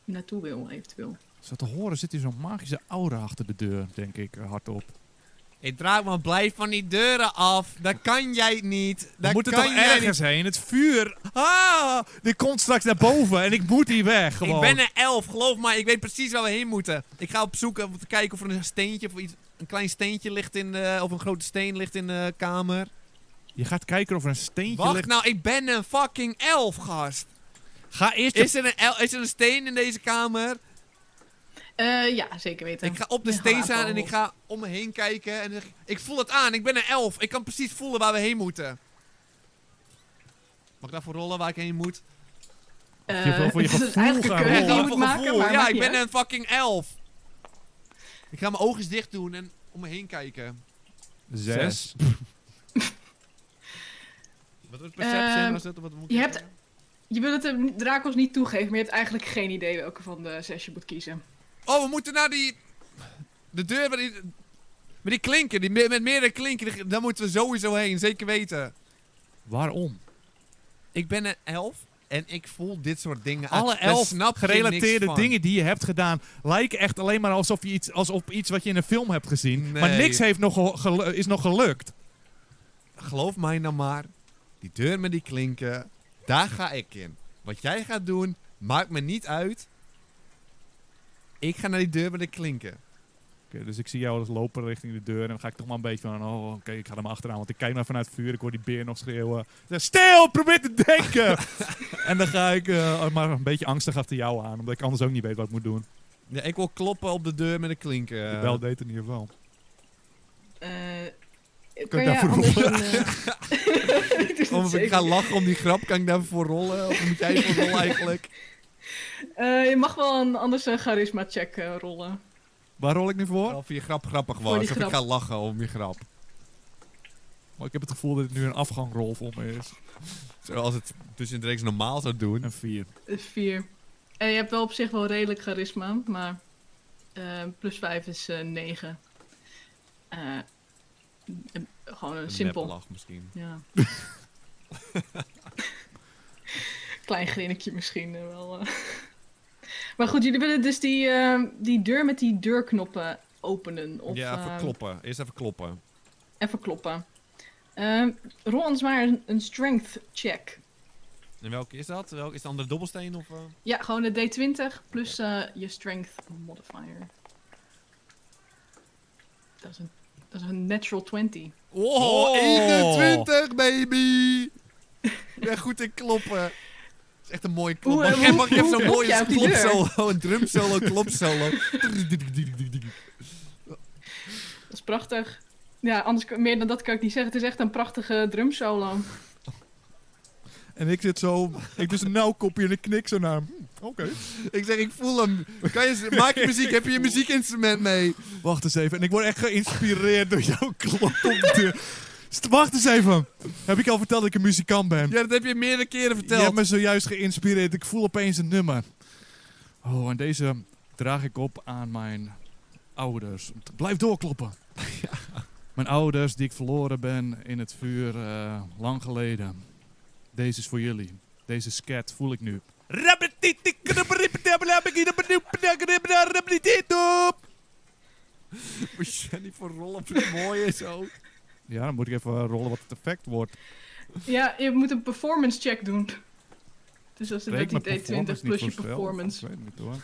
Speaker 3: naartoe wil, eventueel.
Speaker 1: Zo te horen zit hier zo'n magische aura achter de deur, denk ik, eh, hardop.
Speaker 2: Ik draai maar blijf van die deuren af. Dat kan jij niet.
Speaker 1: We
Speaker 2: Dat
Speaker 1: moeten
Speaker 2: kan
Speaker 1: toch
Speaker 2: jij
Speaker 1: ergens heen? Het vuur!
Speaker 2: niet. Ah,
Speaker 1: Die komt straks naar boven en ik moet hier weg, gewoon.
Speaker 2: ik ben een elf, geloof me. Ik weet precies waar we heen moeten. Ik ga op zoek eh, om te kijken of er een steentje of iets, een klein steentje ligt in de, of een grote steen ligt in de kamer.
Speaker 1: Je gaat kijken of er een steentje
Speaker 2: Wacht
Speaker 1: ligt.
Speaker 2: nou, ik ben een fucking elf, gast.
Speaker 1: Ga eerst je
Speaker 2: Is er, een el- is er een steen in deze kamer?
Speaker 3: Eh, ja, zeker weten.
Speaker 2: Ik ga op de
Speaker 3: Ja,
Speaker 2: steen
Speaker 3: laat
Speaker 2: staan
Speaker 3: wel.
Speaker 2: en ik ga om me heen kijken. En zeg ik, ik voel het aan, ik ben een elf. Ik kan precies voelen waar we heen moeten. Mag ik daarvoor rollen waar ik heen moet?
Speaker 1: Of je wil voor je
Speaker 3: Eh, dat is
Speaker 1: gevoel
Speaker 3: eigenlijk
Speaker 1: gaan
Speaker 3: een keuze die je
Speaker 1: rollen.
Speaker 3: moet
Speaker 2: Voor
Speaker 3: maken,
Speaker 2: gevoel.
Speaker 3: maar
Speaker 2: ja,
Speaker 3: maakt
Speaker 2: ik
Speaker 3: niet
Speaker 2: ben eh,
Speaker 3: uit.
Speaker 2: een fucking elf. Ik ga mijn ogen dicht doen en om me heen kijken.
Speaker 1: Zes.
Speaker 2: Wat was perception?
Speaker 3: Ehm,
Speaker 2: was dat, Of wat moet
Speaker 3: je
Speaker 2: ik
Speaker 3: hebt-
Speaker 2: zeggen?
Speaker 3: Je wil het de Dracos niet toegeven, maar je hebt eigenlijk geen idee welke van de zes je moet kiezen.
Speaker 2: Oh, we moeten naar die... De deur waar die... Met die klinken, die, me- met meerdere klinken, die- daar moeten we sowieso heen, zeker weten.
Speaker 1: Waarom?
Speaker 2: Ik ben een elf en ik voel dit soort dingen.
Speaker 1: Alle
Speaker 2: Daar
Speaker 1: elf
Speaker 2: snap je niks
Speaker 1: gerelateerde
Speaker 2: van.
Speaker 1: dingen die je hebt gedaan lijken echt alleen maar alsof je iets, alsof iets wat je in een film hebt gezien. Maar
Speaker 2: Nee.
Speaker 1: niks heeft nog gelu- gelu- is nog gelukt.
Speaker 2: Geloof mij nou maar, die deur met die klinken, daar ga ik in. Wat jij gaat doen, maakt me niet uit. Ik ga naar die deur met de klinken.
Speaker 1: Oké, dus ik zie jou als lopen richting de deur en dan ga ik toch maar een beetje van, oh oké, ik ga er maar achteraan, want ik kijk naar vanuit het vuur, ik hoor die beer nog schreeuwen. Ik zeg, Stil, probeer te
Speaker 2: [LAUGHS]
Speaker 1: denken! en dan ga ik eh, maar een beetje angstig achter jou aan, omdat ik anders ook niet weet wat ik moet doen.
Speaker 2: Ja, ik wil kloppen op de deur met de klinken.
Speaker 1: de bel deed in ieder geval.
Speaker 3: Eh,
Speaker 1: ik
Speaker 3: kan jij
Speaker 1: daarvoor
Speaker 3: anders
Speaker 1: rollen? Oh,
Speaker 3: een... [LAUGHS] eh, dit is
Speaker 2: Of
Speaker 3: het
Speaker 2: ik ga
Speaker 3: zeker.
Speaker 2: lachen om die grap, kan ik daarvoor rollen? Of moet jij voor rollen
Speaker 1: [LAUGHS]
Speaker 2: eigenlijk?
Speaker 3: Eh, je mag wel een, anders een charisma check eh, rollen.
Speaker 1: Waar rol ik nu voor?
Speaker 2: Of je grap grappig
Speaker 3: Voor
Speaker 2: was,
Speaker 3: die
Speaker 2: of ik
Speaker 3: grap.
Speaker 2: ga lachen om je grap.
Speaker 1: Oh, ik heb het gevoel dat het nu een afgangrol voor me is.
Speaker 2: Zoals het tussen de reeks normaal zou doen.
Speaker 1: Een vier.
Speaker 3: Eh, Vier. En je hebt wel op zich wel redelijk charisma, maar eh, plus vijf is eh, negen. Eh, eh, gewoon een
Speaker 2: Een
Speaker 3: simpel.
Speaker 2: neplach misschien.
Speaker 3: Ja. [LAUGHS] Klein grinnikje misschien eh, wel. eh. [LAUGHS] Maar goed, jullie willen dus die, eh, die deur met die deurknoppen openen. Of,
Speaker 2: ja, even
Speaker 3: eh,
Speaker 2: kloppen. Eerst even kloppen.
Speaker 3: Even kloppen. Eh, rol ons maar een, een strength check.
Speaker 2: En welke is dat? Welke is de andere dobbelsteen? Of, eh?
Speaker 3: Ja, gewoon een D20 plus eh, je strength modifier. Dat is een, dat is een natural 20.
Speaker 2: Oh, 21, baby! Ik ben goed in kloppen. Het is echt een mooie klop.
Speaker 3: Hoe, eh,
Speaker 2: Mag ik-
Speaker 3: hoe-
Speaker 2: mag ik even
Speaker 3: hoe
Speaker 2: zo'n
Speaker 3: klop
Speaker 2: mooie
Speaker 3: jij op die deur?
Speaker 2: klopsolo, [LAUGHS] een drumsolo, klopsolo.
Speaker 3: Dat is prachtig. Ja, anders kan- meer dan dat kan ik niet zeggen. Het is echt een prachtige drumsolo.
Speaker 1: En ik zit zo, ik dus een nauw kopje en ik knik zo naar hem. Hm, Oké.
Speaker 2: Ik zeg, ik voel hem. Kan je, maak je muziek,
Speaker 1: [LAUGHS]
Speaker 2: heb je je muziekinstrument mee?
Speaker 1: Wacht eens even. En ik word echt geïnspireerd door jouw klop op de deur. St- Wacht eens even. Heb ik al verteld dat ik een muzikant ben?
Speaker 2: Ja, dat heb je meerdere keren
Speaker 1: Je hebt
Speaker 2: verteld.
Speaker 1: me zojuist geïnspireerd. Ik voel opeens een nummer. Oh, en deze draag ik op aan mijn ouders. Blijf doorkloppen. Mijn ouders die ik verloren ben in het vuur eh, lang geleden. Deze is voor jullie. Deze scat voel ik nu.
Speaker 2: Moet je niet voor rollen op het mooie zo.
Speaker 1: Ja, dan moet ik even rollen wat het effect wordt.
Speaker 3: Ja, je moet een performance check doen. Dus dat is
Speaker 1: Breek
Speaker 3: dat
Speaker 1: mijn
Speaker 3: die D20
Speaker 1: performance niet
Speaker 3: plus je
Speaker 1: voor spel.
Speaker 3: performance.
Speaker 1: Ik weet het niet hoor.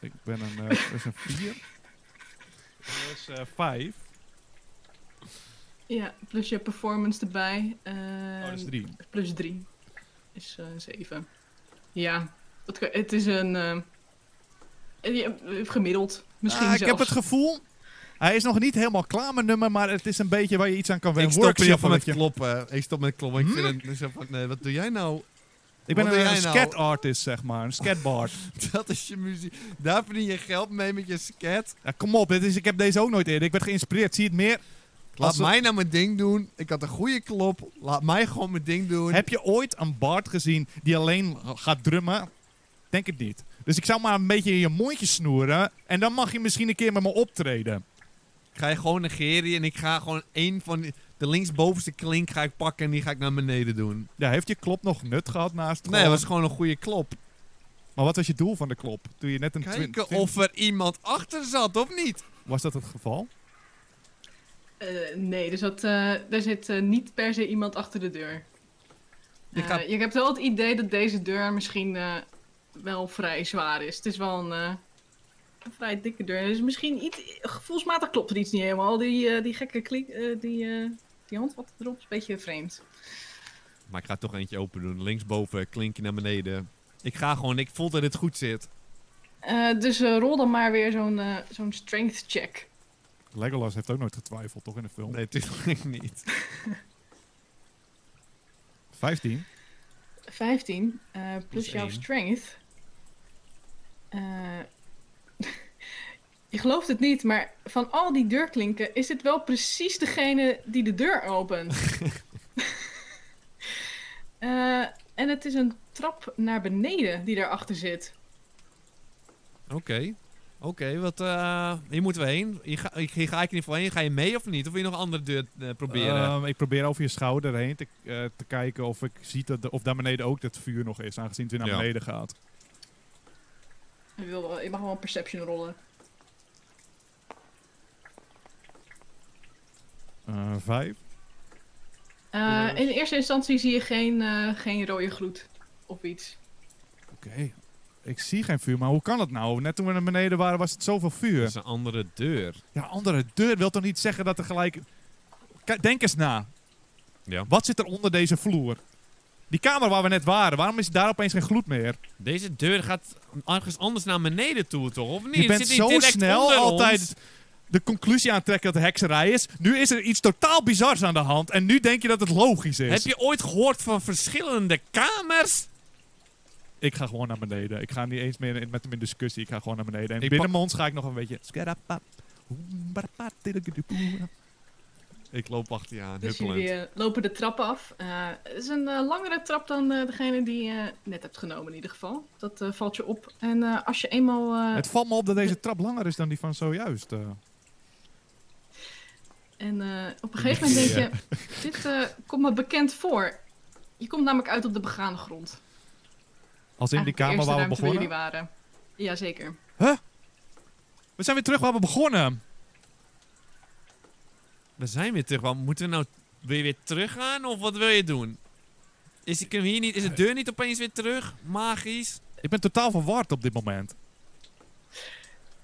Speaker 1: Ik ben een, eh, dat is een 4. Plus 5.
Speaker 3: Ja, plus je performance erbij. eh,
Speaker 1: oh, dat is 3.
Speaker 3: Plus 3. Is 7. Ja, het, kan- het is een. eh, eh, je- eh, gemiddeld. Misschien
Speaker 1: Ah, ik
Speaker 3: zelfs.
Speaker 1: heb het gevoel Hij is nog niet helemaal klaar met nummer, maar het is een beetje waar je iets aan kan
Speaker 2: ik stop hier
Speaker 1: workshoppen.
Speaker 2: van Hm? met
Speaker 1: weet je.
Speaker 2: kloppen. Ik stop met kloppen. Ik vind het zo van, nee, wat doe jij nou? [LAUGHS]
Speaker 1: Ik ben
Speaker 2: Wat doe
Speaker 1: een,
Speaker 2: jij
Speaker 1: een
Speaker 2: nou?
Speaker 1: scat artist, zeg maar. Een scatbard.
Speaker 2: Dat is je muziek. Daar verdien je geld mee met je scat.
Speaker 1: ja, kom op, dit is, ik heb deze ook nooit eerder. Ik werd geïnspireerd. Zie je het meer?
Speaker 2: Laat
Speaker 1: Als het-
Speaker 2: mij nou mijn ding doen. Ik had een goede klop. Laat mij gewoon mijn ding doen.
Speaker 1: Heb je ooit een bard gezien die alleen gaat drummen? Denk het niet. Dus ik zou maar een beetje in je mondje snoeren. En dan mag je misschien een keer met me optreden.
Speaker 2: Ik Ga je gewoon negeren en ik ga gewoon één van die- de linksbovenste klink ga ik pakken en die ga ik naar beneden doen.
Speaker 1: Ja, heeft je klop nog nut gehad naast
Speaker 2: Nee, dat
Speaker 1: gewoon-
Speaker 2: was gewoon een goede klop.
Speaker 1: Maar wat was je doel van de klop? Toen je net een twin-
Speaker 2: Kijken
Speaker 1: twin-
Speaker 2: of er iemand achter zat of niet.
Speaker 1: Was dat het geval?
Speaker 3: Eh, nee, dus dat, eh er zit eh, niet per se iemand achter de deur.
Speaker 2: Je
Speaker 3: Je,
Speaker 2: gaat-
Speaker 3: je hebt wel het idee dat deze deur misschien eh, wel vrij zwaar is. Het is wel een, eh, een vrij dikke deur. Dus misschien iets, gevoelsmatig klopt er iets niet helemaal. Die, eh, die gekke klink, eh, die, eh, die hand wat erop is een beetje vreemd.
Speaker 2: Maar ik ga toch eentje open doen. Linksboven, klinkje naar beneden. Ik ga gewoon, ik voel dat het goed zit.
Speaker 3: Eh, dus eh, rol dan maar weer zo'n eh, zo'n strength check.
Speaker 1: Legolas heeft ook nooit getwijfeld, toch, in de film?
Speaker 2: Nee, tuurlijk niet.
Speaker 1: 15.
Speaker 3: 15 eh, plus
Speaker 2: Plus
Speaker 3: jouw
Speaker 2: één.
Speaker 3: strength. Eh, [LAUGHS] je gelooft het niet, maar van al die deurklinken is dit wel precies degene die de deur opent. Eh, en het is een trap naar beneden die daarachter zit.
Speaker 2: Oké. Oké, wat, eh, hier moeten we heen. Hier ga, hier ga ik in ieder geval heen. Ga je mee of niet? Of wil je nog een andere deur eh, proberen?
Speaker 1: Ehm, ik probeer over je schouder heen te, eh, te kijken of ik zie dat de- of daar beneden ook dat vuur nog is, aangezien het weer naar
Speaker 2: Ja.
Speaker 1: beneden gaat.
Speaker 3: Je, wil wel- je mag wel een perception rollen.
Speaker 1: Eh, vijf.
Speaker 3: Eh, in eerste instantie zie je geen, eh, geen rode gloed of iets.
Speaker 1: Oké. Ik zie geen vuur, maar hoe kan dat nou? Net toen we naar beneden waren, was het zoveel
Speaker 2: dat
Speaker 1: vuur.
Speaker 2: is een andere deur.
Speaker 1: Ja, andere deur wil toch niet zeggen dat er gelijk... Kijk, denk eens na.
Speaker 2: Ja.
Speaker 1: Wat zit er onder deze vloer? Die kamer waar we net waren, waarom is daar opeens geen gloed meer?
Speaker 2: Deze deur gaat ergens anders naar beneden toe, toch? Of niet?
Speaker 1: je
Speaker 2: Het
Speaker 1: bent
Speaker 2: zit niet
Speaker 1: zo
Speaker 2: direct
Speaker 1: snel
Speaker 2: onder
Speaker 1: altijd
Speaker 2: ons.
Speaker 1: de conclusie aantrekken dat het hekserij is. Nu is er iets totaal bizars aan de hand en nu denk je dat het logisch is.
Speaker 2: Heb je ooit gehoord van verschillende kamers?
Speaker 1: Ik ga gewoon naar beneden. Ik ga niet eens meer in- met hem in discussie. Ik ga gewoon naar beneden. En
Speaker 2: Ik
Speaker 1: binnen mijn ons ga ik nog een beetje...
Speaker 2: Ik loop achter je aan,
Speaker 3: Dus
Speaker 2: huppelend.
Speaker 3: jullie eh, lopen de trap af. Eh, het is een eh, langere trap dan eh, degene die je net hebt genomen in ieder geval. Dat eh, valt je op. En eh, als je eenmaal... eh,
Speaker 1: Het valt me op dat deze trap langer is dan die van zojuist. eh.
Speaker 3: en eh, op een gegeven moment
Speaker 1: [LAUGHS]
Speaker 3: denk je... Dit eh, komt me bekend voor. Je komt namelijk uit op de begane grond.
Speaker 1: Als in die
Speaker 3: Eigenlijk de
Speaker 1: kamer
Speaker 3: eerste
Speaker 1: waar we
Speaker 3: ruimte
Speaker 1: begonnen.
Speaker 3: jullie waren. Jazeker.
Speaker 1: We zijn weer terug waar we begonnen.
Speaker 3: eh,
Speaker 2: We zijn weer terug. Wat moeten we nou... Wil je weer teruggaan of wat wil je doen? Is, kunnen we hier niet, is de deur niet opeens weer terug? Magisch?
Speaker 1: Ik ben totaal verward op dit moment.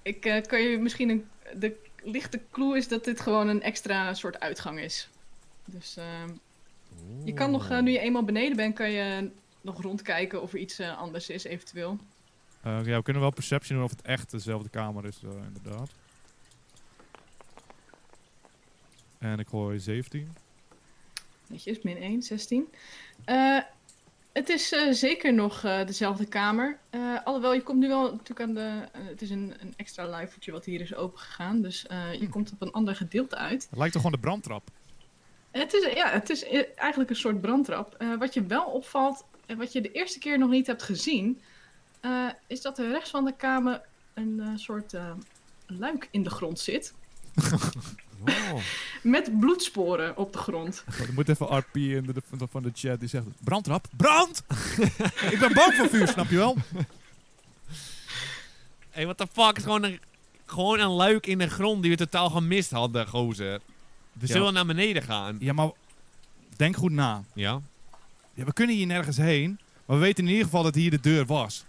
Speaker 3: Ik eh, kan je misschien... Een, de lichte clue is dat dit gewoon een extra soort uitgang is. Dus eh, je kan nog... eh, nu je eenmaal beneden bent, kan je nog rondkijken of er iets eh, anders is eventueel.
Speaker 1: Eh, ja, we kunnen wel perception doen of het echt dezelfde kamer is, eh, inderdaad. En ik hoor 17.
Speaker 3: Netjes, min 1, 16. Eh, het is eh, zeker nog eh, dezelfde kamer. Eh, alhoewel, je komt nu wel natuurlijk aan de... eh, het is een, een extra livevoetje wat hier is opengegaan. Dus eh, je komt op een ander gedeelte uit.
Speaker 1: Het lijkt toch gewoon de brandtrap.
Speaker 3: Het is, ja, het is eh, eigenlijk een soort brandtrap. Eh, wat je wel opvalt, en wat je de eerste keer nog niet hebt gezien... eh, is dat er rechts van de kamer een eh, soort eh, luik in de grond zit.
Speaker 2: [LAUGHS] Oh.
Speaker 3: Met bloedsporen op de grond.
Speaker 1: Oh, Er moet even RP in de, de- van de- van de chat die zegt: Brandtrap, brand! ik ben bang voor vuur, snap je wel?
Speaker 2: Hey, what the fuck? Is gewoon een, gewoon een luik in de grond die we totaal gemist hadden, gozer. We
Speaker 1: Ja.
Speaker 2: zullen naar beneden gaan.
Speaker 1: Ja, maar denk goed na.
Speaker 2: Ja?
Speaker 1: Ja, we kunnen hier nergens heen, maar we weten in ieder geval dat hier de deur was.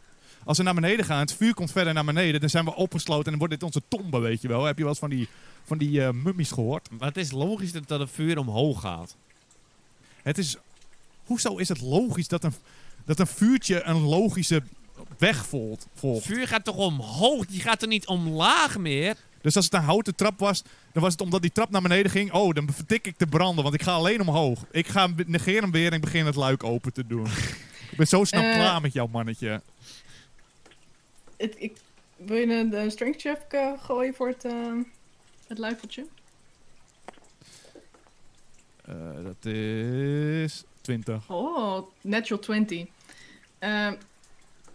Speaker 1: Als we naar beneden gaan, het vuur komt verder naar beneden, dan zijn we opgesloten en dan wordt dit onze tombe, weet je wel. Heb je wel eens van die, van die eh, mummies gehoord?
Speaker 2: Maar het is logisch dat dat het vuur omhoog gaat.
Speaker 1: Het is. Hoezo is het logisch dat een, dat een vuurtje een logische weg volgt? volgt?
Speaker 2: Vuur gaat toch omhoog? Die gaat er niet omlaag meer?
Speaker 1: Dus als het een houten trap was, dan was het omdat die trap naar beneden ging. Oh, dan vertik ik de branden, want ik ga alleen omhoog. Ik ga hem- negeer hem weer en ik begin het luik open te doen. ik ben zo snel
Speaker 3: Eh.
Speaker 1: klaar met jouw mannetje.
Speaker 3: Het, ik, wil je een, een strength check eh, gooien voor het, eh het luifeltje?
Speaker 1: Eh, dat is 20.
Speaker 3: Oh, natural 20. Eh,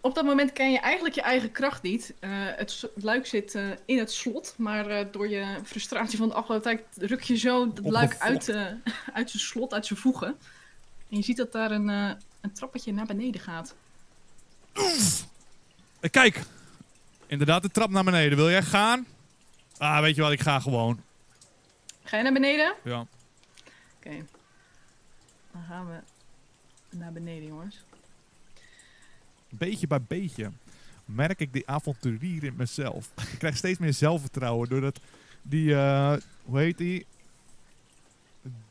Speaker 3: op dat moment ken je eigenlijk je eigen kracht niet. Eh, het s- luik zit eh, in het slot, maar eh, door je frustratie van de afgelopen tijd ruk je zo het luik uit, eh, uit zijn slot, uit zijn voegen. En je ziet dat daar een, eh, een trappetje naar beneden gaat.
Speaker 1: Eh, Kijk, inderdaad de trap naar beneden. Wil jij gaan? Ah, weet je wat, ik ga gewoon.
Speaker 3: Ga je naar beneden? Oké.
Speaker 1: Ja.
Speaker 3: Dan gaan we naar beneden, jongens.
Speaker 1: Beetje bij beetje merk ik die avonturier in mezelf. Ik krijg steeds meer zelfvertrouwen doordat die, eh, hoe heet die?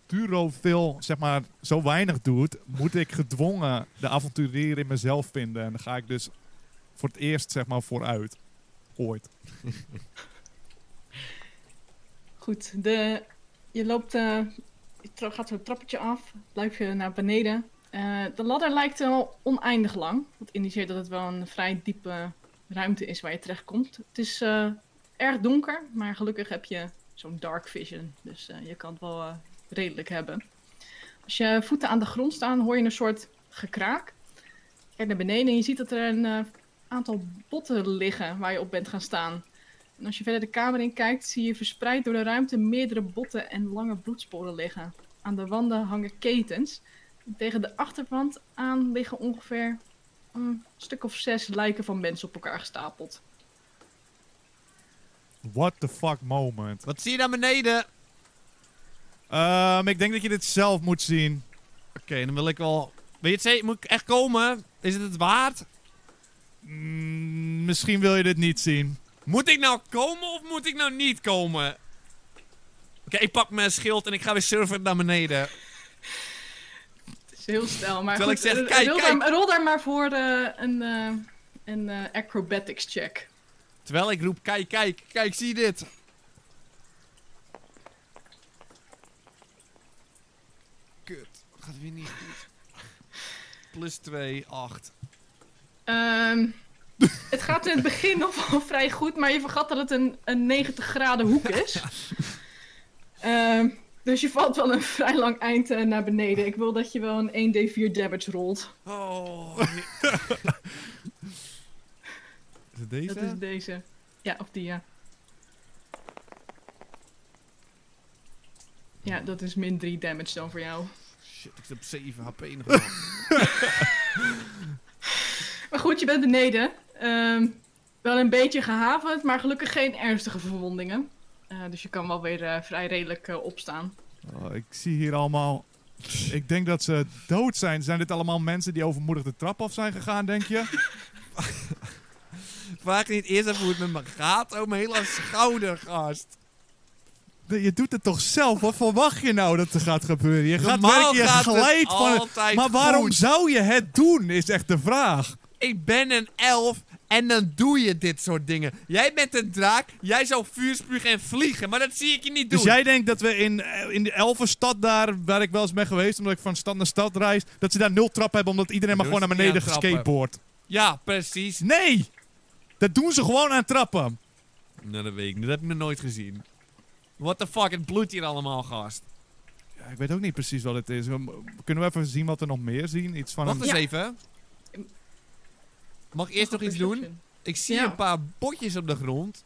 Speaker 1: Durofil, zeg maar, zo weinig doet, moet ik gedwongen de avonturier in mezelf vinden. En dan ga ik dus voor het eerst, zeg maar, vooruit. Ooit.
Speaker 3: Goed, de, je loopt, eh, je tra- gaat zo'n trappetje af, luip je naar beneden. Eh, de ladder lijkt wel oneindig lang. Dat indiceert dat het wel een vrij diepe ruimte is waar je terechtkomt. Het is eh, erg donker, maar gelukkig heb je zo'n dark vision. Dus eh, je kan het wel eh, redelijk hebben. Als je voeten aan de grond staan, hoor je een soort gekraak. Kijk naar beneden en je ziet dat er een eh, aantal botten liggen waar je op bent gaan staan. En als je verder de kamer in kijkt, zie je verspreid door de ruimte meerdere botten en lange bloedsporen liggen. Aan de wanden hangen ketens. En Tegen de achterwand aan liggen ongeveer een stuk of zes lijken van mensen op elkaar gestapeld.
Speaker 1: What the fuck moment.
Speaker 2: Wat zie je naar beneden? Oké,
Speaker 1: Ehm, ik denk dat je dit zelf moet zien.
Speaker 2: dan wil ik wel... Wil je het zeggen? Moet ik echt komen? Is het het waard?
Speaker 1: Mm, misschien wil je dit niet zien.
Speaker 2: Moet ik nou komen of moet ik nou niet komen? Oké, ik pak mijn schild en ik ga weer surfen naar beneden.
Speaker 3: Het is heel snel, maar
Speaker 2: Terwijl
Speaker 3: goed,
Speaker 2: ik zeg,
Speaker 3: eh,
Speaker 2: kijk,
Speaker 3: rol,
Speaker 2: kijk.
Speaker 3: Daar, rol daar maar voor eh, een, eh, een eh, acrobatics check.
Speaker 2: Terwijl ik roep, kijk, kijk, kijk, zie dit. Kut, gaat weer niet goed. Plus 2, 8.
Speaker 3: Ehm, het gaat in het begin nog wel vrij goed, maar je vergat dat het een, een 90 graden hoek is. Ehm, dus je valt wel een vrij lang eind eh, naar beneden. Ik wil dat je wel een 1d4 damage rolt.
Speaker 2: Oh.
Speaker 1: Is het
Speaker 3: Dat
Speaker 1: deze?
Speaker 3: is deze. Ja, of die, ja. Ja, dat is min 3 damage dan voor jou.
Speaker 2: Shit, ik zit op 7 HP nog. maar.
Speaker 3: Maar goed, je bent beneden. Ehm, wel een beetje gehavend, maar gelukkig geen ernstige verwondingen. Eh, dus je kan wel weer eh, vrij redelijk eh, opstaan.
Speaker 1: Oh, ik zie hier allemaal. Ik denk dat ze dood zijn. Zijn dit allemaal mensen die overmoedig de trap af zijn gegaan, denk je?
Speaker 2: Vraag niet eerst even hoe het met me gaat. Oh, mijn hele schouder, gast.
Speaker 1: Nee, Je doet het toch zelf? Wat verwacht je nou dat er gaat gebeuren? Je gaat
Speaker 2: Normaal
Speaker 1: werken, je
Speaker 2: gaat het
Speaker 1: glijdt van het.
Speaker 2: altijd
Speaker 1: Maar waarom
Speaker 2: goed.
Speaker 1: zou je het doen, is echt de vraag.
Speaker 2: Ik ben een elf en dan doe je dit soort dingen. Jij bent een draak, jij zou vuur spugen en vliegen, maar dat zie ik je niet doen.
Speaker 1: Dus jij denkt dat we in, eh, in de Elfenstad daar, waar ik wel eens ben geweest, omdat ik van stad naar stad reis, dat ze daar nul trap hebben omdat iedereen maar
Speaker 2: Doen
Speaker 1: gewoon naar
Speaker 2: ze niet
Speaker 1: beneden
Speaker 2: aan trappen.
Speaker 1: geskateboard.
Speaker 2: Ja, precies.
Speaker 1: Nee! Dat doen ze gewoon aan trappen.
Speaker 2: Nou, dat weet ik niet. Dat heb ik nog nooit gezien. What the fuck, het bloedt hier allemaal, gast.
Speaker 1: Ja, ik weet ook niet precies wat het is. We- Kunnen we even zien wat we nog meer zien? Iets van
Speaker 2: Wacht
Speaker 1: een...
Speaker 2: eens
Speaker 3: Ja.
Speaker 2: even. Mag ik eerst nog iets doen? Ik zie
Speaker 3: Ja.
Speaker 2: een paar botjes op de grond.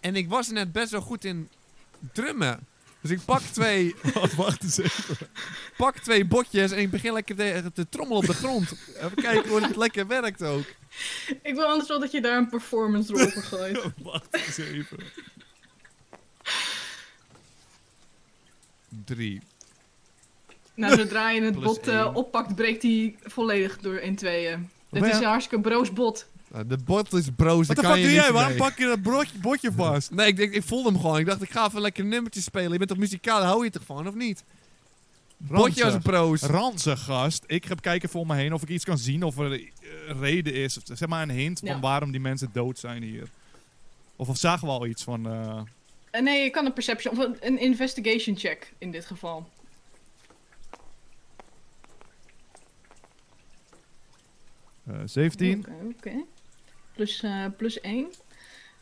Speaker 2: En ik was er net best wel goed in drummen. Dus ik pak [LAUGHS] twee,
Speaker 1: Wacht eens even.
Speaker 2: pak twee botjes en ik begin lekker te, te trommelen op de grond. Even kijken hoe het lekker werkt ook.
Speaker 3: Ik wil anders wel dat je daar een performance rol voor gooit.
Speaker 1: Wacht [LAUGHS] eens even.
Speaker 2: Drie.
Speaker 3: nou, zodra je het
Speaker 2: Plus
Speaker 3: bot eh,
Speaker 2: één.
Speaker 3: oppakt, breekt hij volledig door in tweeën. Het
Speaker 1: Maar
Speaker 3: is
Speaker 1: ja.
Speaker 3: een hartstikke broos bot.
Speaker 2: Nou, de bot is broos.
Speaker 1: Wat de
Speaker 2: daar
Speaker 1: fuck
Speaker 2: kan je
Speaker 1: doe
Speaker 2: niks
Speaker 1: jij? Waarom
Speaker 2: mee.
Speaker 1: pak je dat broodje- botje vast?
Speaker 2: Nee, ik, denk, ik voelde hem gewoon. Ik dacht, ik ga even lekker een nummertje spelen. Je bent toch muzikaal? Hou je toch van, of niet? Botje als een
Speaker 1: Ranzig.
Speaker 2: broos.
Speaker 1: Ranzig, gast. Ik heb kijken voor me heen of ik iets kan zien of er eh, een reden is. Of, zeg maar een hint
Speaker 3: Ja.
Speaker 1: van waarom die mensen dood zijn hier. Of, of zagen we al iets van... eh,
Speaker 3: Eh, nee, je kan een perception of een, een investigation check in dit geval.
Speaker 1: eh, 17?
Speaker 3: Oké, oké. Plus, eh, plus 1.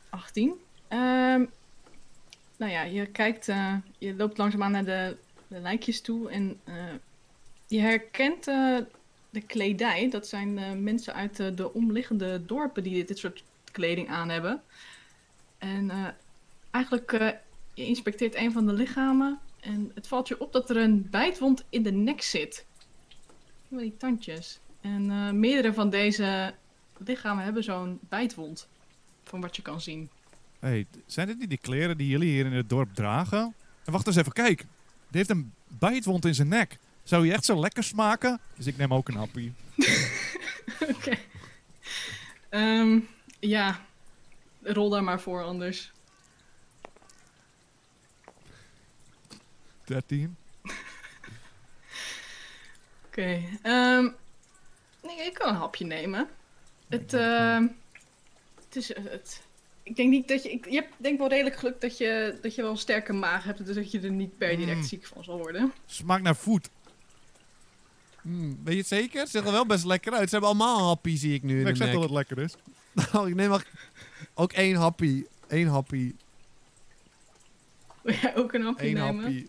Speaker 3: 18. Ehm, nou ja, je kijkt, eh, je loopt langzaamaan naar de, de lijkjes toe en eh, je herkent eh, de kledij. Dat zijn eh, mensen uit eh, de omliggende dorpen die dit, dit soort kleding aan hebben. En eh, eigenlijk, eh, je inspecteert een van de lichamen en het valt je op dat er een bijtwond in de nek zit. Met die tandjes. En eh, meerdere van deze lichamen hebben zo'n bijtwond. Van wat je kan zien.
Speaker 1: Hey, d- zijn dit niet die kleren die jullie hier in het dorp dragen? En wacht eens even, kijk. Die heeft een bijtwond in zijn nek. Zou je echt zo lekker smaken? Dus ik neem ook een happy.
Speaker 3: Oké. Ehm, ja. Rol daar maar voor anders.
Speaker 1: 13.
Speaker 3: Oké. ehm, nee, ik kan een hapje nemen. Het, ehm, het is... eh, Het, ik denk niet dat je... Ik, je hebt denk wel redelijk geluk dat je, dat je wel een sterke maag hebt. Dus dat je er niet per direct
Speaker 1: Mm.
Speaker 3: ziek van zal worden.
Speaker 1: Smaakt naar voet.
Speaker 2: Hmm, weet je het zeker? Het ziet er wel best lekker uit. Ze hebben allemaal een happy, zie ik nu in
Speaker 1: Ik
Speaker 2: de
Speaker 1: zeg dat
Speaker 2: nek.
Speaker 1: het lekker is.
Speaker 2: Nou, [LAUGHS] ik neem maar ook één happy. Eén happy.
Speaker 3: Wil jij ook een hapje
Speaker 2: Eén
Speaker 3: nemen?
Speaker 2: happy.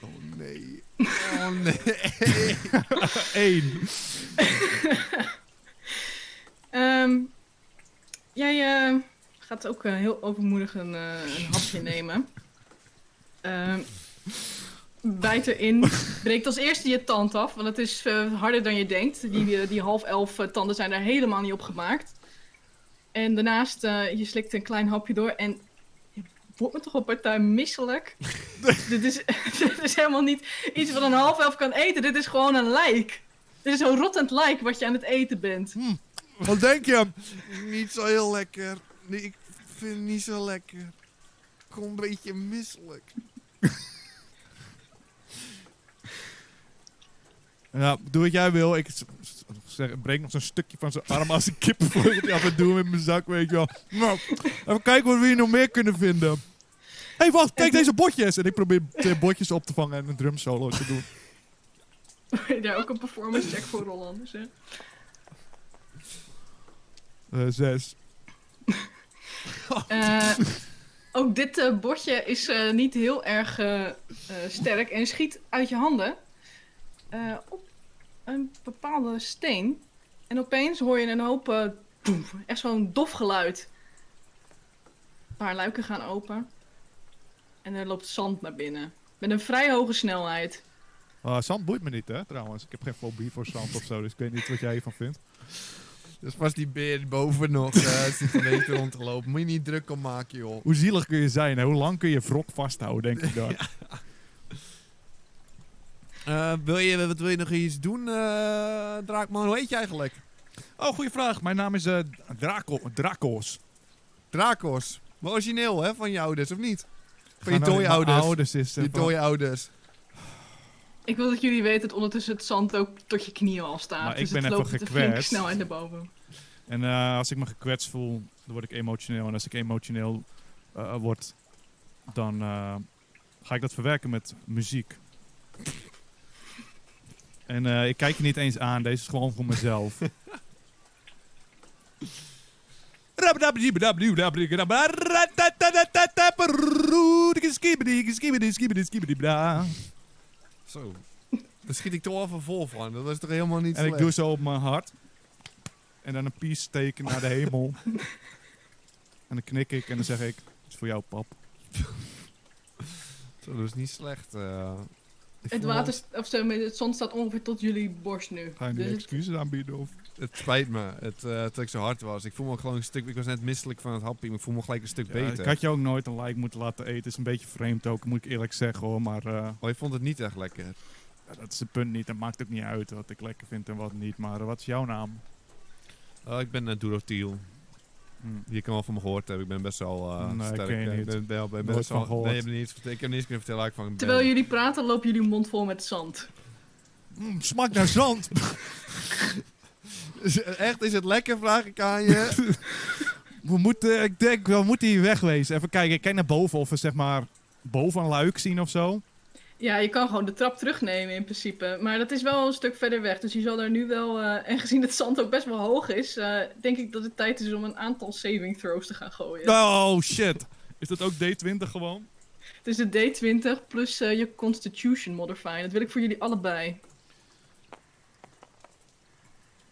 Speaker 2: Oh nee. Oh [LAUGHS] nee.
Speaker 1: Eén.
Speaker 3: Ehm, jij eh, gaat ook eh, heel overmoedig een, eh, een hapje nemen. Ehm, bijt erin. Breekt als eerste je tand af, want het is eh, harder dan je denkt. Die, eh, die half elf eh, tanden zijn daar helemaal niet op gemaakt. En daarnaast, eh, je slikt een klein hapje door en je wordt me toch een partij misselijk. dit, is, [LAUGHS] dit is helemaal niet iets wat een half elf kan eten. Dit is gewoon een lijk. Dit is een rottend lijk wat je aan het eten bent.
Speaker 2: Wat denk je? Niet zo heel lekker. Nee, ik vind het niet zo lekker. Ik kom een beetje misselijk.
Speaker 1: Ja, doe wat jij wil. Ik s- s- zeg, breek nog zo'n stukje van zijn arm als een [LAUGHS] kippenvleugeltje af en doe hem in mijn zak, weet je wel. Nou, even kijken wat we hier nog meer kunnen vinden. hey, wacht, kijk deze botjes! En ik probeer twee botjes op te vangen en een drum solo te doen.
Speaker 3: Wil je daar ook een performance check voor rollen anders, hè?
Speaker 1: Eh, zes. Oh.
Speaker 3: Eh, ook dit eh, bordje is eh, niet heel erg eh, eh, sterk en schiet uit je handen eh, op een bepaalde steen. En opeens hoor je een hoop, eh, boem, echt zo'n dof geluid. Een paar luiken gaan open. En er loopt zand naar binnen. Met een vrij hoge snelheid.
Speaker 1: Ah, zand boeit me niet, hè, trouwens. Ik heb geen fobie voor zand of zo, dus ik weet niet wat jij hiervan vindt.
Speaker 2: Dus was die beer die boven nog eh zit een beetje rond te lopen. Moet je niet druk om maken, joh.
Speaker 1: Hoe zielig kun je zijn en hoe lang kun je wrok vasthouden, denk [LAUGHS] ik dan.
Speaker 2: Eh, wil je, wat wil je nog iets doen, eh Draakman? Hoe heet je eigenlijk?
Speaker 1: Oh, goede vraag. Mijn naam is eh, Draco, Dracos.
Speaker 2: Drakos. Maar origineel, hè? Van je ouders, of niet? Van je
Speaker 1: Gaan nou
Speaker 2: dode
Speaker 1: mijn
Speaker 2: ouders.
Speaker 1: ouders is, eh,
Speaker 2: Je
Speaker 1: van-
Speaker 2: dode ouders.
Speaker 3: Ik wil dat jullie weten dat ondertussen het zand ook tot je knieën al staat.
Speaker 1: Maar ik
Speaker 3: dus
Speaker 1: ben
Speaker 3: het
Speaker 1: even
Speaker 3: loopt met een flinke
Speaker 1: gekwetst.
Speaker 3: snelheid naar boven.
Speaker 1: En eh, als ik me gekwetst voel, dan word ik emotioneel. En als ik emotioneel eh, word, dan eh, ga ik dat verwerken met muziek. En eh, ik kijk je niet eens aan, deze is gewoon voor mezelf.
Speaker 2: Zo. Daar schiet ik toch wel even vol van. Dat was toch helemaal niet
Speaker 1: En ik
Speaker 2: slecht?
Speaker 1: doe zo op mijn hart. En dan een peace teken
Speaker 3: [LAUGHS]
Speaker 1: naar de hemel. en dan knik ik en dan zeg ik, het is voor jou pap.
Speaker 2: Zo, dat is niet slecht. eh. Ik
Speaker 3: Het,
Speaker 2: voel-
Speaker 3: water, st- of zeg maar, het zand staat ongeveer tot jullie borst nu.
Speaker 1: Ga je nu
Speaker 3: Dus het-
Speaker 1: excuses aanbieden of...
Speaker 2: Het spijt me het, eh, dat ik zo hard was. Ik voel me ook gewoon een stuk... Ik was net misselijk van het hapje, maar ik voel me gelijk een stuk
Speaker 1: Ja,
Speaker 2: beter.
Speaker 1: Ik had je ook nooit een like moeten laten eten. Is een beetje vreemd ook, moet ik eerlijk zeggen hoor. Maar eh,
Speaker 2: Oh, je vond het niet echt lekker.
Speaker 1: ja, dat is het punt niet. Dat maakt ook niet uit wat ik lekker vind en wat niet. Maar eh, wat is jouw naam?
Speaker 2: Oh, ik ben uh, Durotiel.
Speaker 1: Hm.
Speaker 2: Je kan wel van me gehoord hebben. Ik ben best wel eh,
Speaker 1: Nee,
Speaker 2: sterk.
Speaker 1: ken je
Speaker 2: eh,
Speaker 1: niet.
Speaker 2: Ik ben, ben, ben
Speaker 1: Nooit
Speaker 2: best
Speaker 1: van
Speaker 2: wel...
Speaker 1: gehoord.
Speaker 2: Nee, ik heb, niet, ik heb niets kunnen vertellen waar ik van ben.
Speaker 3: terwijl jullie praten, lopen jullie mond vol met zand.
Speaker 1: Mm, smaakt naar zand.
Speaker 2: Is- [LAUGHS] Echt, is het lekker? Vraag ik aan je.
Speaker 1: [LAUGHS] We moeten, ik denk, we moeten hier wegwezen. Even kijken, kijk naar boven of we zeg maar boven een luik zien of zo.
Speaker 3: Ja, je kan gewoon de trap terugnemen in principe. Maar dat is wel een stuk verder weg. Dus je zal daar nu wel, eh, en gezien het zand ook best wel hoog is, eh, denk ik dat het tijd is om een aantal saving throws te gaan gooien.
Speaker 1: Oh shit. Is dat ook D20 gewoon?
Speaker 3: Het is de D20 plus eh, je Constitution modifier. Dat wil ik voor jullie allebei.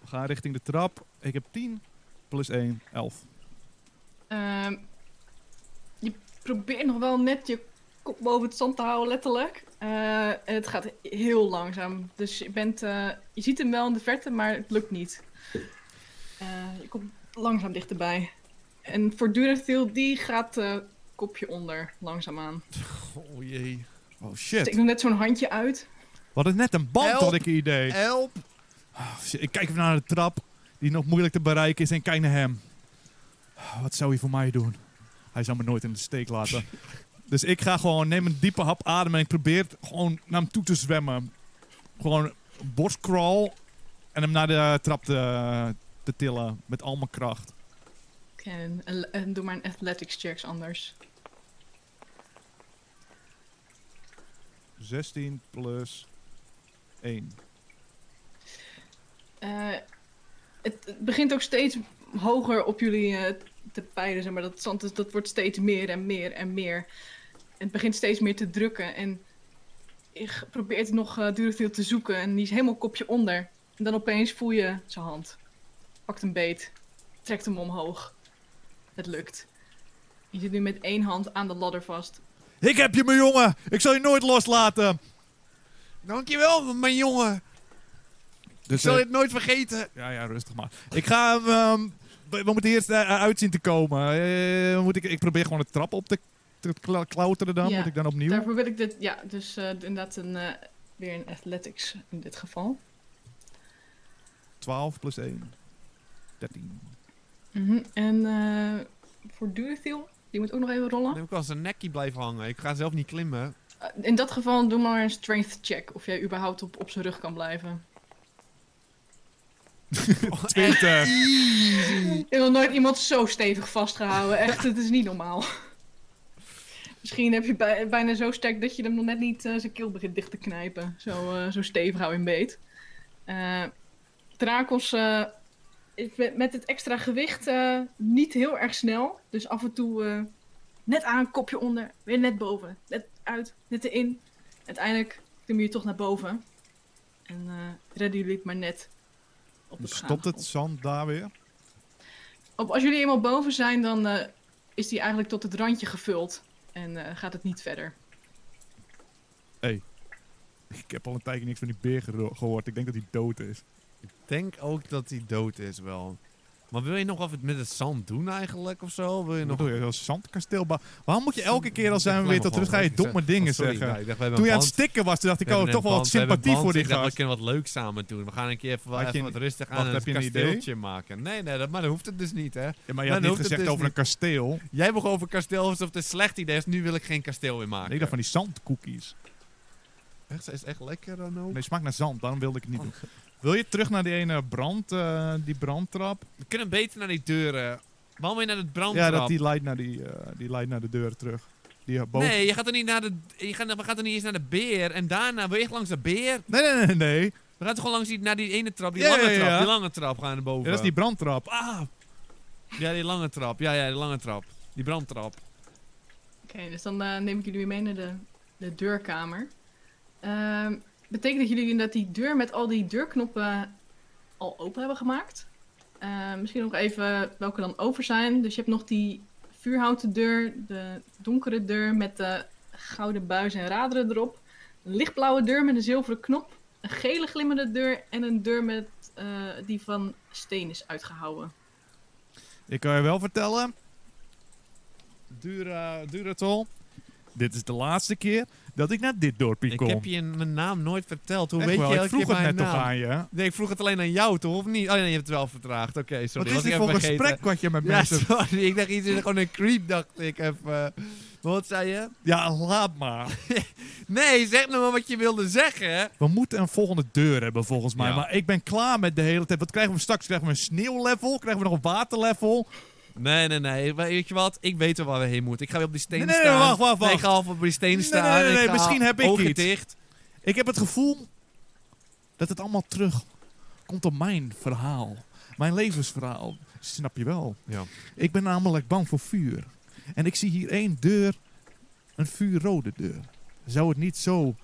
Speaker 1: We gaan richting de trap. Ik heb 10 plus 1, 11.
Speaker 3: Ehm, je probeert nog wel net je kop boven het zand te houden, letterlijk. Eh, en het gaat heel langzaam. Dus je, bent, eh, je ziet hem wel in de verte, maar het lukt niet. Eh, je komt langzaam dichterbij. En voortdurend viel die gaat eh, kopje onder, langzaamaan.
Speaker 2: Oh jee.
Speaker 1: [LAUGHS] Oh
Speaker 3: Dus ik
Speaker 1: shit.
Speaker 3: doe net zo'n handje uit.
Speaker 1: Wat is net een band,
Speaker 2: Help.
Speaker 1: had ik een idee.
Speaker 2: Help!
Speaker 1: Oh, shit. Ik kijk even naar de trap, die nog moeilijk te bereiken is, en kijk naar hem. Oh, Wat zou hij voor mij doen? Hij zou me nooit in de steek laten. dus ik ga gewoon, neem een diepe hap adem en ik probeer t- gewoon naar hem toe te zwemmen. Gewoon borstcrawl en hem naar de trap te, te tillen met al mijn kracht.
Speaker 3: En, en, en doe maar een athletics checks anders.
Speaker 1: 16 plus 1.
Speaker 3: Eh, het, het begint ook steeds hoger op jullie eh, te peilen, zeg maar. Dat zand is- dat wordt steeds meer en meer en meer. En het begint steeds meer te drukken. En ik probeer het nog eh Duracell te zoeken. En die is helemaal kopje onder. En dan opeens voel je zijn hand. Pakt een beet. Trekt hem omhoog. Het lukt. Je zit nu met één hand aan de ladder vast.
Speaker 1: Ik heb je, mijn jongen! Ik zal je nooit loslaten!
Speaker 2: Dankjewel, Oh, mijn jongen. Ik
Speaker 1: Dus,
Speaker 2: zal
Speaker 1: eh,
Speaker 2: dit nooit vergeten.
Speaker 1: Ja, ja, rustig maar. Ik ga hem... ehm, we, we moeten eerst eh, uit zien te komen. Eh, moet ik, ik probeer gewoon de trap op te, te kla- klauteren dan.
Speaker 3: Ja,
Speaker 1: Moet ik dan opnieuw?
Speaker 3: Daarvoor wil ik dit... Ja, dus eh, inderdaad een, eh, weer een athletics in dit geval.
Speaker 1: 12 plus 1. 13.
Speaker 3: Mhm, En eh, voor Durithil, die moet ook nog even rollen.
Speaker 2: Dan heb ik wel zijn nekkie blijven hangen. Ik ga zelf niet klimmen.
Speaker 3: Eh, in dat geval doe maar een strength check of jij überhaupt op, op zijn rug kan blijven.
Speaker 2: Oh,
Speaker 1: 20.
Speaker 3: Ik heb nog nooit iemand zo stevig vastgehouden. Echt, het is niet normaal. Misschien heb je bij- bijna zo sterk dat je hem nog net niet eh, zijn keel begint dicht te knijpen. Zo, eh, zo stevig hou je hem beet. Eh Drakos eh, is met- met het extra gewicht eh, niet heel erg snel. Dus af en toe eh, net aan, kopje onder, weer net boven. Net uit, net erin. Uiteindelijk klim je toch naar boven. En eh redden jullie het maar net op het
Speaker 1: Stopt het
Speaker 3: graangrond.
Speaker 1: zand daar weer?
Speaker 3: Op, als jullie eenmaal boven zijn, dan eh, is die eigenlijk tot het randje gevuld. En eh, gaat het niet verder.
Speaker 1: Ik heb al een tijdje niks van die beer gero- gehoord. Ik denk dat hij dood is.
Speaker 2: Ik denk ook dat hij dood is wel. Maar wil je nog wat met het zand doen eigenlijk of zo? Wil je nog...
Speaker 1: Nog een zandkasteel. bouwen? Waarom moet je elke keer als zijn we weer tot terug ga je
Speaker 2: Oh,
Speaker 1: domme dingen zeggen? Toen je aan het stikken was, toen dacht ik, oh, toch wel wat sympathie voor die
Speaker 2: Ik dacht, we
Speaker 1: gast.
Speaker 2: kunnen wat leuks samen doen. We gaan een keer even,
Speaker 1: Had je
Speaker 2: even
Speaker 1: een-
Speaker 2: wat rustig
Speaker 1: wacht,
Speaker 2: aan een
Speaker 1: heb je een idee?
Speaker 2: kasteeltje maken. Nee, nee, dat, maar dat hoeft het dus niet, hè.
Speaker 1: Ja, maar je
Speaker 2: Maar
Speaker 1: had
Speaker 2: dan
Speaker 1: niet
Speaker 2: hoeft het
Speaker 1: gezegd
Speaker 2: dus
Speaker 1: over een
Speaker 2: niet.
Speaker 1: kasteel.
Speaker 2: Jij begon over kasteel alsof het een slecht idee is. Nu wil ik geen kasteel meer maken.
Speaker 1: Nee, ik dacht van die zandkoekies.
Speaker 2: Echt, is het echt lekker dan ook?
Speaker 1: Nee, smaakt naar zand, daarom wilde ik het niet
Speaker 2: Oh.
Speaker 1: doen. Wil je terug naar die ene brand, eh, die brandtrap?
Speaker 2: We kunnen beter naar die deuren. Waarom weer naar het
Speaker 1: Ja,
Speaker 2: brandtrap?
Speaker 1: dat die leidt, naar die, eh, die leidt naar de deur terug. Die eh, boven...
Speaker 2: Nee, je gaat er niet naar de... Je gaat, we gaan er niet eens naar de beer. En daarna wil je echt langs de beer.
Speaker 1: nee, nee, nee. nee.
Speaker 2: We gaan toch gewoon langs die, naar die ene trap. Die
Speaker 1: Ja,
Speaker 2: lange
Speaker 1: ja, ja,
Speaker 2: trap.
Speaker 1: ja.
Speaker 2: Die lange trap gaan we naar
Speaker 1: Ja,
Speaker 2: boven.
Speaker 1: dat is die brandtrap. Ah,
Speaker 2: Ah! Ja, die lange trap. Ja, ja, die lange trap. Die brandtrap.
Speaker 3: Oké, dus dan eh, neem ik jullie weer mee naar de, de deurkamer. Ehm, betekent dat jullie dat die deur met al die deurknoppen al open hebben gemaakt? Ehm, misschien nog even welke dan over zijn. Dus je hebt nog die vuurhouten deur, de donkere deur met de gouden buis en raderen erop. Een lichtblauwe deur met een zilveren knop. Een gele glimmende deur en een deur met, eh, die van steen is uitgehouwen.
Speaker 1: ik kan je wel vertellen. Dura, Duratol. Dit is de laatste keer dat ik naar dit dorpje
Speaker 2: Ik
Speaker 1: kom.
Speaker 2: heb je mijn naam nooit verteld. Hoe
Speaker 1: Echt
Speaker 2: weet
Speaker 1: wel,
Speaker 2: je elke
Speaker 1: ik vroeg
Speaker 2: keer
Speaker 1: het
Speaker 2: mijn
Speaker 1: net toch
Speaker 2: naam?
Speaker 1: aan je. hè?
Speaker 2: Nee, ik vroeg het alleen aan jou toch, of niet? Oh nee, je hebt het wel vertraagd. Oké, sorry.
Speaker 1: Wat is
Speaker 2: was
Speaker 1: dit
Speaker 2: ik
Speaker 1: voor
Speaker 2: even vergeten.
Speaker 1: gesprek wat je met
Speaker 2: Ja,
Speaker 1: mensen...
Speaker 2: sorry. Ik dacht, iets is gewoon een creep, dacht ik even. Wat zei je?
Speaker 1: Ja, laat maar.
Speaker 2: Nee, zeg nou maar wat je wilde zeggen.
Speaker 1: We moeten een volgende deur hebben volgens mij.
Speaker 2: Ja.
Speaker 1: Maar ik ben klaar met de hele tijd. Wat krijgen we straks? Krijgen we een sneeuwlevel? Krijgen we nog een waterlevel?
Speaker 2: Nee, nee, nee. We- Weet je wat? Ik weet wel waar we heen moeten. Ik ga weer op die steen
Speaker 1: Nee, nee, nee,
Speaker 2: staan.
Speaker 1: wacht, wacht,
Speaker 2: Nee, ik
Speaker 1: wacht.
Speaker 2: ga half op die steen
Speaker 1: Nee,
Speaker 2: staan.
Speaker 1: nee, nee,
Speaker 2: Ik
Speaker 1: nee,
Speaker 2: ga
Speaker 1: misschien heb ik
Speaker 2: ogen
Speaker 1: iets.
Speaker 2: dicht.
Speaker 1: Ik heb het gevoel dat het allemaal terug komt op mijn verhaal. Mijn levensverhaal. Snap je wel?
Speaker 2: Ja.
Speaker 1: Ik ben namelijk bang voor vuur. En ik zie hier één deur, een vuurrode deur. Zou het niet zo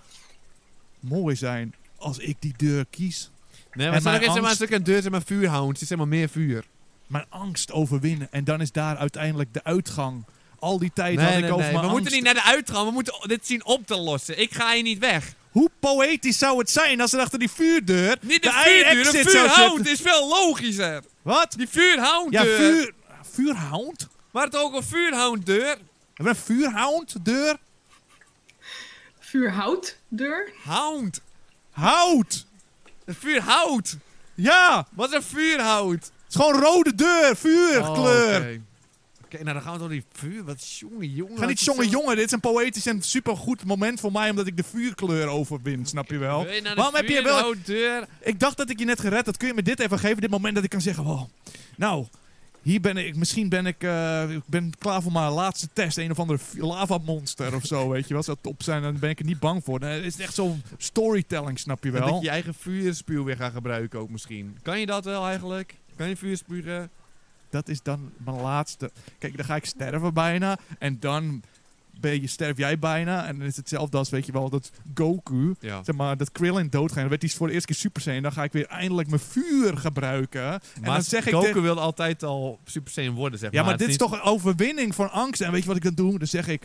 Speaker 1: mooi zijn als ik die deur kies?
Speaker 2: Nee,
Speaker 1: En
Speaker 2: maar
Speaker 1: mijn
Speaker 2: er is maar een
Speaker 1: angst-
Speaker 2: stuk een deur, zeg maar vuurhound. Het is helemaal meer vuur.
Speaker 1: Mijn angst overwinnen. En dan is daar uiteindelijk de uitgang. Al die tijd had ik over
Speaker 2: We
Speaker 1: mijn angst-
Speaker 2: moeten niet naar de uitgang. We moeten dit zien op te lossen. Ik ga hier niet weg.
Speaker 1: Hoe poëtisch zou het zijn als er achter die vuurdeur...
Speaker 2: Niet de
Speaker 1: exit zou
Speaker 2: vuurduur. Een
Speaker 1: zitten?
Speaker 2: vuurhound is veel logischer.
Speaker 1: Wat?
Speaker 2: Die vuurhound
Speaker 1: Ja,
Speaker 2: deur.
Speaker 1: vuur... Vuurhound?
Speaker 2: Maar het ook een vuurhound deur.
Speaker 1: Hebben we een vuurhound? Deur?
Speaker 3: Vuurhoutdeur.
Speaker 2: Hound.
Speaker 1: Hout!
Speaker 2: Een vuurhout.
Speaker 1: Ja!
Speaker 2: Wat is een vuurhout?
Speaker 1: Het is gewoon rode deur.
Speaker 2: Oh,
Speaker 1: Vuurkleur.
Speaker 2: Oké, Oké, nou dan gaan we door die vuur. Wat jongen, jongen.
Speaker 1: Ga niet
Speaker 2: wat is
Speaker 1: jongen,
Speaker 2: zo-
Speaker 1: jongen. Dit is een poëtisch en supergoed moment voor mij, omdat ik de vuurkleur overwin, snap je wel?
Speaker 2: Wil je naar de
Speaker 1: Waarom heb je wel...
Speaker 2: vuurhout deur?
Speaker 1: Ik dacht dat ik je net gered had. Kun je me dit even geven? Dit moment dat ik kan zeggen, wow, nou, hier ben ik, misschien ben ik, eh, ik ben klaar voor mijn laatste test. Een of andere v- lavamonster of zo, weet je wel. Zou top zijn, dan ben ik er niet bang voor. Nee, Het is echt zo'n storytelling, snap je
Speaker 2: Dat
Speaker 1: wel?
Speaker 2: ik je eigen vuurspuw weer gaat gebruiken ook misschien. Kan je dat wel eigenlijk? Kan je vuurspugen?
Speaker 1: dat is dan mijn laatste. Kijk, dan ga ik sterven bijna. En dan ben je, sterf jij bijna. En dan is hetzelfde als, weet je wel, dat Goku.
Speaker 2: Ja.
Speaker 1: Zeg maar, dat Krillin doodgaan. Dan werd hij voor de eerste keer Super Saiyan. Dan ga ik weer eindelijk mijn vuur gebruiken. en
Speaker 2: Maar
Speaker 1: dan zeg ik...
Speaker 2: Goku
Speaker 1: tegen-
Speaker 2: wil altijd al Super Saiyan worden, zeg
Speaker 1: ja, maar
Speaker 2: Het
Speaker 1: dit is
Speaker 2: niet-
Speaker 1: toch een overwinning van angst. En weet je wat ik dan doe? Dan zeg ik...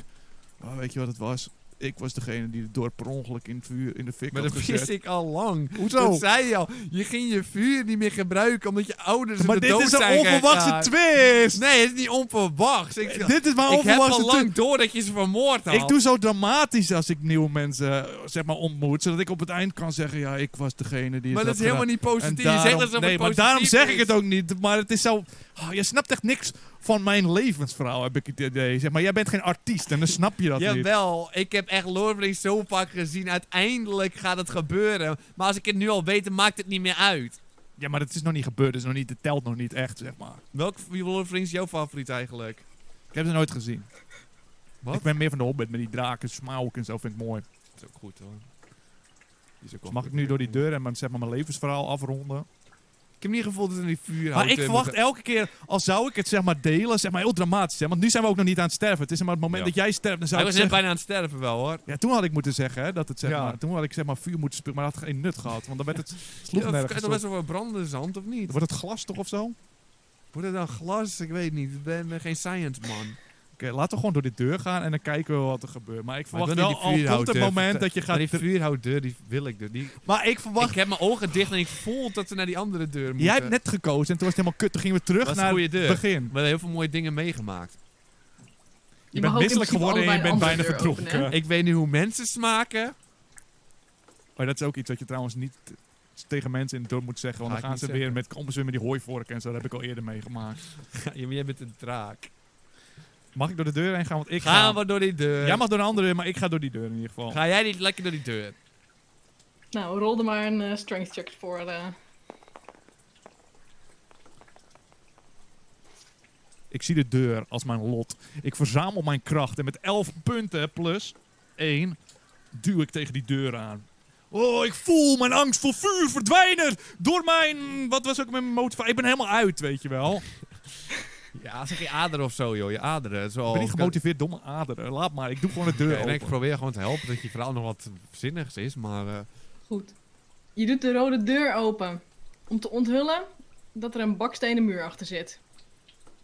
Speaker 1: oh, weet je wat het was? Ik was degene die het door per ongeluk in, het vuur, in de fik
Speaker 2: Maar
Speaker 1: had
Speaker 2: dat wist
Speaker 1: gezet.
Speaker 2: ik al lang.
Speaker 1: [LAUGHS] Hoezo?
Speaker 2: Dat zei je al. Je ging je vuur niet meer gebruiken omdat je ouders in
Speaker 1: Maar
Speaker 2: de
Speaker 1: dit
Speaker 2: dood
Speaker 1: is
Speaker 2: zijn
Speaker 1: een onverwachte
Speaker 2: geraakt.
Speaker 1: twist!
Speaker 2: Nee, het is niet onverwachts. Ik,
Speaker 1: Eh, Dit is maar
Speaker 2: ik heb
Speaker 1: onverwachte
Speaker 2: al
Speaker 1: twist.
Speaker 2: lang door dat je ze vermoord had.
Speaker 1: Ik doe zo dramatisch als ik nieuwe mensen eh, zeg maar, ontmoet. Zodat ik op het eind kan zeggen: ja, ik was degene die.
Speaker 2: maar
Speaker 1: het
Speaker 2: dat is helemaal niet positief. je zegt dat ze
Speaker 1: Nee, maar daarom zeg ik het ook niet. Maar het is zo. oh, je snapt echt niks van mijn levensverhaal, heb ik het idee. Zeg maar, jij bent geen artiest en dan snap je dat niet.
Speaker 2: Jawel, ik heb echt Lord of the Rings zo vaak gezien. Uiteindelijk gaat het gebeuren. Maar als ik het nu al weet, dan maakt het niet meer uit.
Speaker 1: Ja, maar dat is nog niet gebeurd. Dat, is nog niet, dat telt nog niet echt, zeg maar.
Speaker 2: Welk Lord of the Rings is jouw favoriet eigenlijk?
Speaker 1: Ik heb ze nooit gezien.
Speaker 2: Wat?
Speaker 1: Ik ben meer van de Hobbit met die draken, smauk en zo vind ik mooi.
Speaker 2: Dat is ook goed hoor. Die is
Speaker 1: Dus
Speaker 2: ook wel
Speaker 1: mag ik
Speaker 2: goed.
Speaker 1: nu door die deur en mijn, zeg maar, mijn levensverhaal afronden?
Speaker 2: Ik heb niet gevoeld dat er die vuur
Speaker 1: Maar ik verwacht elke keer, al zou ik het zeg maar delen, zeg maar heel dramatisch. Hè? Want nu zijn we ook nog niet aan het sterven. Het is maar het moment
Speaker 2: Ja.
Speaker 1: dat jij sterft, dan
Speaker 2: Hij
Speaker 1: zou ik
Speaker 2: was net
Speaker 1: zeggen...
Speaker 2: bijna aan het sterven wel hoor.
Speaker 1: Ja, toen had ik moeten zeggen hè, dat het zeg
Speaker 2: Ja.
Speaker 1: maar... Toen had ik zeg maar vuur moeten spelen, maar dat had geen nut gehad. Want dan
Speaker 2: [LAUGHS]
Speaker 1: werd het... sloeg
Speaker 2: Ja, of kan je
Speaker 1: nergens
Speaker 2: toch
Speaker 1: op.
Speaker 2: best wel wat brandende zand of niet?
Speaker 1: Wordt het glas toch of zo? Oké,
Speaker 2: Wordt het dan glas? Ik weet niet. Ik ben, ben geen science man.
Speaker 1: laten we gewoon door die deur gaan en dan kijken we wat er gebeurt. Maar ik
Speaker 2: Maar ik
Speaker 1: verwacht
Speaker 2: wil
Speaker 1: wel
Speaker 2: niet die
Speaker 1: al komt het
Speaker 2: vuurhoutdeur
Speaker 1: moment
Speaker 2: vertel-
Speaker 1: dat je
Speaker 2: Maar
Speaker 1: gaat...
Speaker 2: die vuurhouddeur, die wil ik. dus. Die,
Speaker 1: Maar ik
Speaker 2: Ik
Speaker 1: verwacht...
Speaker 2: heb mijn ogen dicht en ik voel dat ze naar die andere deur moeten.
Speaker 1: Jij hebt net gekozen en toen was het helemaal kut. Toen gingen we terug
Speaker 2: was een
Speaker 1: naar
Speaker 2: goede
Speaker 1: het
Speaker 2: deur.
Speaker 1: begin.
Speaker 2: We hebben heel veel mooie dingen meegemaakt.
Speaker 1: Je bent misselijk geworden en je bent bijna verdronken.
Speaker 2: Ik weet nu hoe mensen
Speaker 1: [LAUGHS]
Speaker 2: smaken.
Speaker 1: Maar dat is ook iets wat je trouwens niet tegen mensen in het dorp moet zeggen. Want
Speaker 2: Ga
Speaker 1: dan gaan
Speaker 2: ik
Speaker 1: ze
Speaker 2: niet
Speaker 1: weer
Speaker 2: zeggen.
Speaker 1: met, komen ze weer met die hooivorken en zo. Dat heb ik al eerder meegemaakt.
Speaker 2: Ja, maar jij bent een draak.
Speaker 1: Mag ik door de deur heen gaan? Want ik ga.
Speaker 2: Gaan we door die deur.
Speaker 1: Jij mag door een andere deur, maar ik ga door die deur in ieder geval.
Speaker 2: Ga jij niet lekker door die deur?
Speaker 3: Nou, rol er maar een eh, strength check voor. eh.
Speaker 1: Ik zie de deur als mijn lot. Ik verzamel mijn kracht en met 11 punten plus 1 duw ik tegen die deur aan. Oh, ik voel mijn angst voor vuur verdwijnen door mijn... Wat was ook mijn motivatie? Ik ben helemaal uit, weet je wel.
Speaker 2: Ja, zeg je aderen of zo, joh. Je aderen. Zo
Speaker 1: ik ben niet gemotiveerd, domme aderen. Laat maar, ik doe gewoon de
Speaker 2: [LAUGHS]
Speaker 1: deur
Speaker 2: Oh, en ik
Speaker 1: open.
Speaker 2: probeer gewoon te helpen dat je verhaal nog wat zinnigs is, maar... eh,
Speaker 3: Goed. Je doet de rode deur open om te onthullen dat er een bakstenen muur achter zit.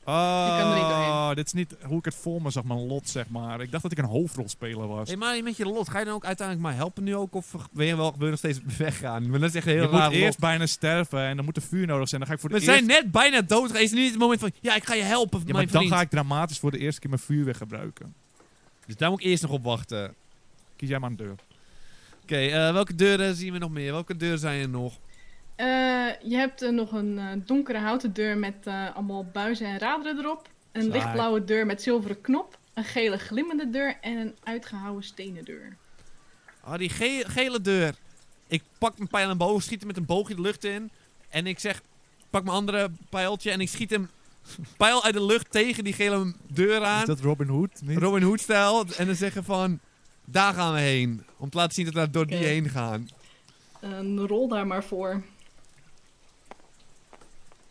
Speaker 3: kan er niet
Speaker 1: Oh,
Speaker 3: doorheen.
Speaker 1: dit is niet hoe ik het voor me zag, mijn lot, zeg maar. Ik dacht dat ik een hoofdrolspeler was.
Speaker 2: Hey, maar met je lot, ga je dan ook uiteindelijk maar helpen nu ook? Of ben je wel weer nog steeds [LAUGHS] weggaan? Maar dat is echt een
Speaker 1: Je
Speaker 2: heel
Speaker 1: moet
Speaker 2: raar lot.
Speaker 1: eerst bijna sterven en dan moet er vuur nodig zijn. Dan ga ik voor de
Speaker 2: We
Speaker 1: eerste
Speaker 2: zijn net bijna dood. Is nu niet het moment van, ja, ik ga je helpen,
Speaker 1: Ja, maar
Speaker 2: mijn
Speaker 1: dan
Speaker 2: vriend.
Speaker 1: ga ik dramatisch voor de eerste keer mijn vuur weer gebruiken.
Speaker 2: Dus daar moet ik eerst nog op wachten. Oké,
Speaker 1: Kies jij maar een deur.
Speaker 2: eh, welke deuren zien we nog meer? Welke deuren zijn er nog?
Speaker 3: Eh, je hebt eh, nog een eh, donkere houten deur met eh, allemaal buizen en raderen erop. Een
Speaker 1: Saai.
Speaker 3: lichtblauwe deur met zilveren knop. een gele glimmende deur en een uitgehouwen stenen deur.
Speaker 2: Ah, die ge- gele deur. Ik pak mijn pijl en boog, schiet hem met een boogje de lucht in. En ik zeg, pak mijn andere pijltje en ik schiet hem [LAUGHS] pijl uit de lucht tegen die gele deur aan.
Speaker 1: Is dat Robin Hood? Niet?
Speaker 2: Robin Hood stijl. En dan zeggen van, daar gaan we heen. Om te laten zien dat we door die
Speaker 3: Oké.
Speaker 2: heen gaan.
Speaker 3: Een rol daar maar voor.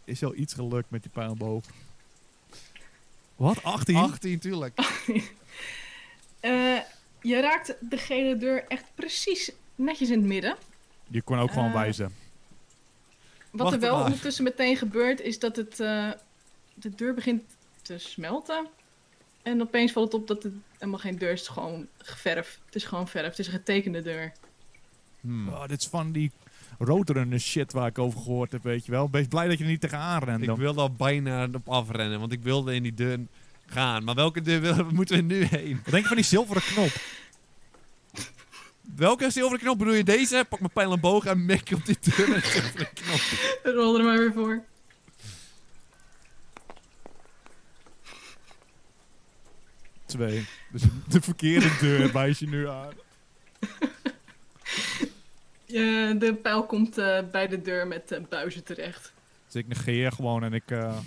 Speaker 1: is al iets gelukt met die pijlboog. Wat? 18?
Speaker 2: 18, tuurlijk.
Speaker 3: Eh, je raakt de gele deur echt precies netjes in het midden.
Speaker 1: Je kon ook
Speaker 2: Ah.
Speaker 1: gewoon
Speaker 3: Eh,
Speaker 1: wijzen.
Speaker 3: Wat
Speaker 2: Wacht
Speaker 3: er wel
Speaker 2: maar.
Speaker 3: ondertussen meteen gebeurt, is dat het, eh, de deur begint te smelten. En opeens valt het op dat het helemaal geen deur is. Het is gewoon verf. Het is gewoon verf. Het is een getekende deur.
Speaker 2: Hmm.
Speaker 1: Oh, dit is van die roterende shit waar ik over gehoord heb, weet je wel. Wees blij dat je er niet tegenaan rent
Speaker 2: Ik
Speaker 1: dan.
Speaker 2: wil daar bijna op afrennen, want ik wilde in die deur gaan. Maar welke deur willen- moeten we nu heen?
Speaker 1: Wat denk je van die zilveren knop?
Speaker 2: Welke zilveren knop bedoel je deze? Pak mijn pijl en boog en mik op die
Speaker 1: [LAUGHS]
Speaker 2: deur met de zilveren knop.
Speaker 3: Rol er maar weer voor.
Speaker 1: Twee. Dus de verkeerde deur wijs je nu aan.
Speaker 3: Eh, de pijl komt eh, bij de deur met eh, buizen terecht.
Speaker 1: Dus ik negeer gewoon en ik eh,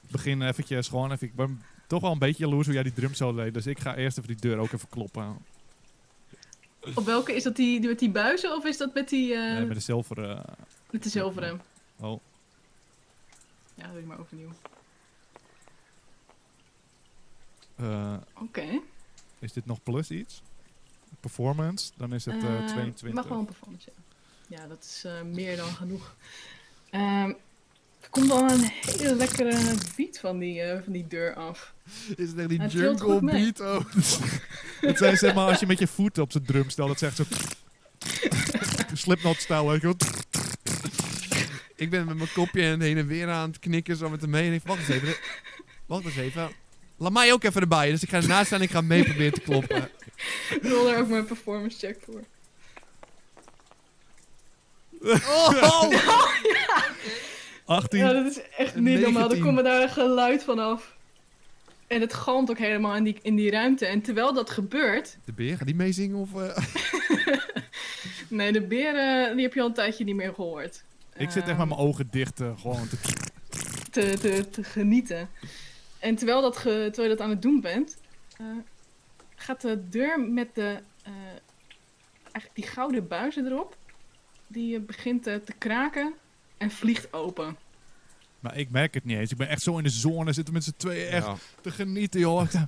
Speaker 1: begin eventjes gewoon even... Ik ben toch wel een beetje jaloers hoe jij die drum zo leed. Dus ik ga eerst even die deur ook even kloppen.
Speaker 3: Op welke? Is dat die, die met die buizen of is dat met die... eh,
Speaker 1: Nee, met
Speaker 3: met...
Speaker 1: de zilveren...
Speaker 3: de zilveren?
Speaker 1: Oh,
Speaker 3: Ja, doe ik maar overnieuw. Oké.
Speaker 1: eh, is dit nog plus iets? Performance? Dan is het eh,
Speaker 3: Eh,
Speaker 1: 22.
Speaker 3: Mag wel een performance, ja. Ja, dat is eh, meer dan genoeg. Ehm, er komt wel een hele lekkere beat van die, eh, van die deur af.
Speaker 2: Is het echt die
Speaker 3: Het trilt
Speaker 2: jungle
Speaker 3: goed mee.
Speaker 2: beat? Oh.
Speaker 1: Het zijn zeg maar als je met je voet op zijn drum stelt, dat zegt zo. Slipknot stijl, weet je wel.
Speaker 2: Ik ben met mijn kopje en heen en weer aan het knikken, zo met hem mee. En ik, wacht eens even. Wacht eens even. Laat mij ook even erbij. Dus ik ga ernaast staan en ik ga mee proberen te kloppen.
Speaker 3: Ik wil daar ook mijn performance check voor.
Speaker 2: Oh!
Speaker 1: 18.
Speaker 3: Ja, dat is echt niet normaal. Er
Speaker 2: 19.
Speaker 3: komt daar een geluid van af. En het galmt ook helemaal in die, in die ruimte. En terwijl dat gebeurt...
Speaker 2: De beer, gaat die meezingen? Of, eh?
Speaker 3: Nee, de beren die heb je al een tijdje niet meer gehoord. Ehm,
Speaker 1: Ik zit echt met mijn ogen dicht, eh, gewoon te
Speaker 3: te, te, te genieten. En terwijl, dat ge- terwijl je dat aan het doen bent, eh, gaat de deur met de, eh, eigenlijk die gouden buizen erop, die eh, begint eh, te kraken en vliegt open.
Speaker 1: Maar ik merk het niet eens. Ik ben echt zo in de zone. Zitten met z'n tweeën echt
Speaker 2: Ja.
Speaker 1: te genieten, joh. Ik dacht,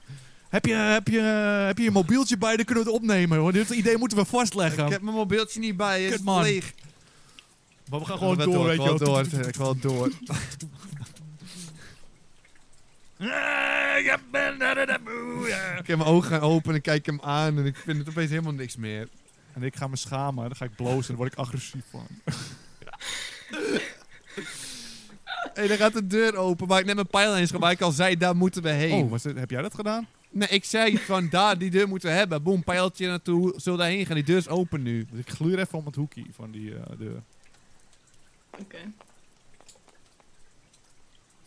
Speaker 1: Heb je, heb, je, heb je je mobieltje bij? Dan kunnen we het opnemen, hoor. Dit idee moeten we vastleggen.
Speaker 2: Ik heb mijn mobieltje niet bij, het
Speaker 1: Kut,
Speaker 2: is
Speaker 1: man.
Speaker 2: leeg.
Speaker 1: Maar we gaan gewoon
Speaker 2: Ik
Speaker 1: door,
Speaker 2: wil
Speaker 1: weet je wel.
Speaker 2: door, Ik wil door.
Speaker 1: [LAUGHS] Eh, Ik ben naar de moe, ja.
Speaker 2: Ik heb mijn ogen gaan open en kijk hem aan en ik vind het opeens helemaal niks meer.
Speaker 1: En ik ga me schamen. Dan ga ik blozen. Dan word ik agressief van.
Speaker 2: Hé, dan gaat de deur open waar ik net mijn pijl heen schoot, waar ik al zei, daar moeten we heen.
Speaker 1: Oh, was dit- heb jij dat gedaan?
Speaker 2: Nee, ik zei van, daar, die deur moeten we hebben. Boom, pijltje naartoe, zullen we daarheen gaan, die deur is open nu.
Speaker 1: Dus ik gluur even om het hoekje van die eh, deur.
Speaker 3: Oké.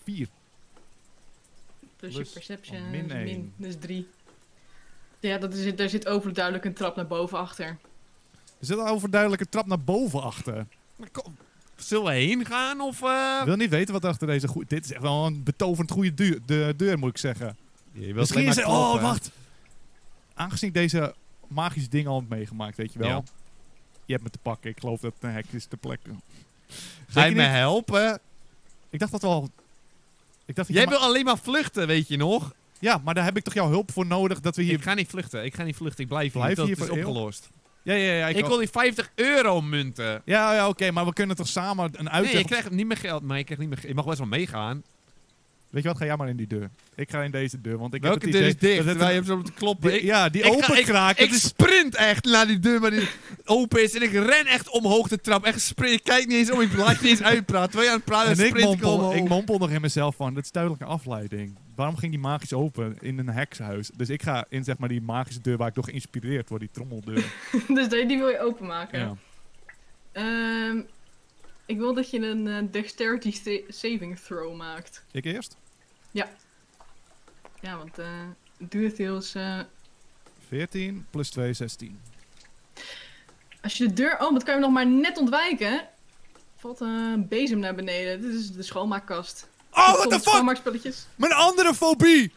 Speaker 1: Vier.
Speaker 3: Dus
Speaker 1: Plus-
Speaker 3: je perception
Speaker 1: oh, min
Speaker 3: is
Speaker 1: één.
Speaker 3: dus drie. Ja, dat is, daar zit overduidelijk een trap naar boven achter. [LAUGHS]
Speaker 1: Er zit een overduidelijke trap naar boven achter.
Speaker 2: Maar kom, zullen we heen gaan of... eh?
Speaker 1: Ik wil niet weten wat er achter deze goede... Dit is echt wel een betoverend goede duur, de, deur, moet ik zeggen.
Speaker 2: Je wilt
Speaker 1: Misschien
Speaker 2: alleen
Speaker 1: is
Speaker 2: maar
Speaker 1: het... Oh,
Speaker 2: kloppen.
Speaker 1: wacht. Aangezien ik deze magische dingen al heb meegemaakt, weet je wel.
Speaker 2: Ja.
Speaker 1: Je hebt me te pakken. Ik geloof dat het een hek is te plekken.
Speaker 2: Ga
Speaker 1: Zeker
Speaker 2: je me
Speaker 1: niet.
Speaker 2: helpen?
Speaker 1: Ik dacht dat wel... Ik dacht dat
Speaker 2: Jij
Speaker 1: je ma-
Speaker 2: wil alleen maar vluchten, weet je nog?
Speaker 1: Ja, maar daar heb ik toch jouw hulp voor nodig dat we hier...
Speaker 2: Ik ga niet vluchten, ik ga niet vluchten, ik blijf,
Speaker 1: Blijf
Speaker 2: hier tot
Speaker 1: hier
Speaker 2: het
Speaker 1: voor
Speaker 2: is
Speaker 1: eeuw?
Speaker 2: opgelost.
Speaker 1: Ja, ja, ja.
Speaker 2: Ik,
Speaker 1: Ik,
Speaker 2: wil die 50 euro munten.
Speaker 1: Ja, ja, oké. maar we kunnen toch samen een uitweg...
Speaker 2: Nee, je krijgt niet meer geld, maar je, krijgt niet meer ge- je mag best wel meegaan.
Speaker 1: Weet je wat? Ga jij maar in die deur. Ik ga in deze deur, want ik
Speaker 2: Welke
Speaker 1: heb
Speaker 2: deur
Speaker 1: het idee...
Speaker 2: is
Speaker 1: dat
Speaker 2: dicht?
Speaker 1: het
Speaker 2: Wij
Speaker 1: een-
Speaker 2: hebben zo te kloppen.
Speaker 1: die-
Speaker 2: Ik,
Speaker 1: ja, die dus-
Speaker 2: ik ga-
Speaker 1: openkraak.
Speaker 2: ik
Speaker 1: dat is-
Speaker 2: sprint echt naar die deur, maar die open is. En ik ren echt omhoog de trap. Echt sprint. Ik kijk niet eens om, ik laat je niet eens uitpraten. Terwijl je aan het praten
Speaker 1: En
Speaker 2: bent,
Speaker 1: ik
Speaker 2: sprint ik
Speaker 1: mompel,
Speaker 2: omhoog.
Speaker 1: ik mompel nog in mezelf van, dat is duidelijk een afleiding. Waarom ging die magisch open in een hekshuis? Dus ik ga in zeg maar die magische deur waar ik door geïnspireerd word, die
Speaker 2: [LAUGHS]
Speaker 1: trommeldeur.
Speaker 3: dus die die wil je openmaken.
Speaker 1: ja.
Speaker 3: Ehm, ik wil dat je een eh, dexterity sa- saving throw maakt.
Speaker 1: Ik eerst?
Speaker 3: Ja, want eh, DureTales. eh
Speaker 1: 14 plus 2, 16.
Speaker 3: als je de deur opent, kan je hem nog maar net ontwijken. Valt een bezem naar beneden. Dit is de schoonmaakkast.
Speaker 1: Oh,
Speaker 3: Hier
Speaker 1: what the
Speaker 3: komen
Speaker 1: fuck!
Speaker 3: Schoonmaakspulletjes.
Speaker 1: Mijn andere fobie!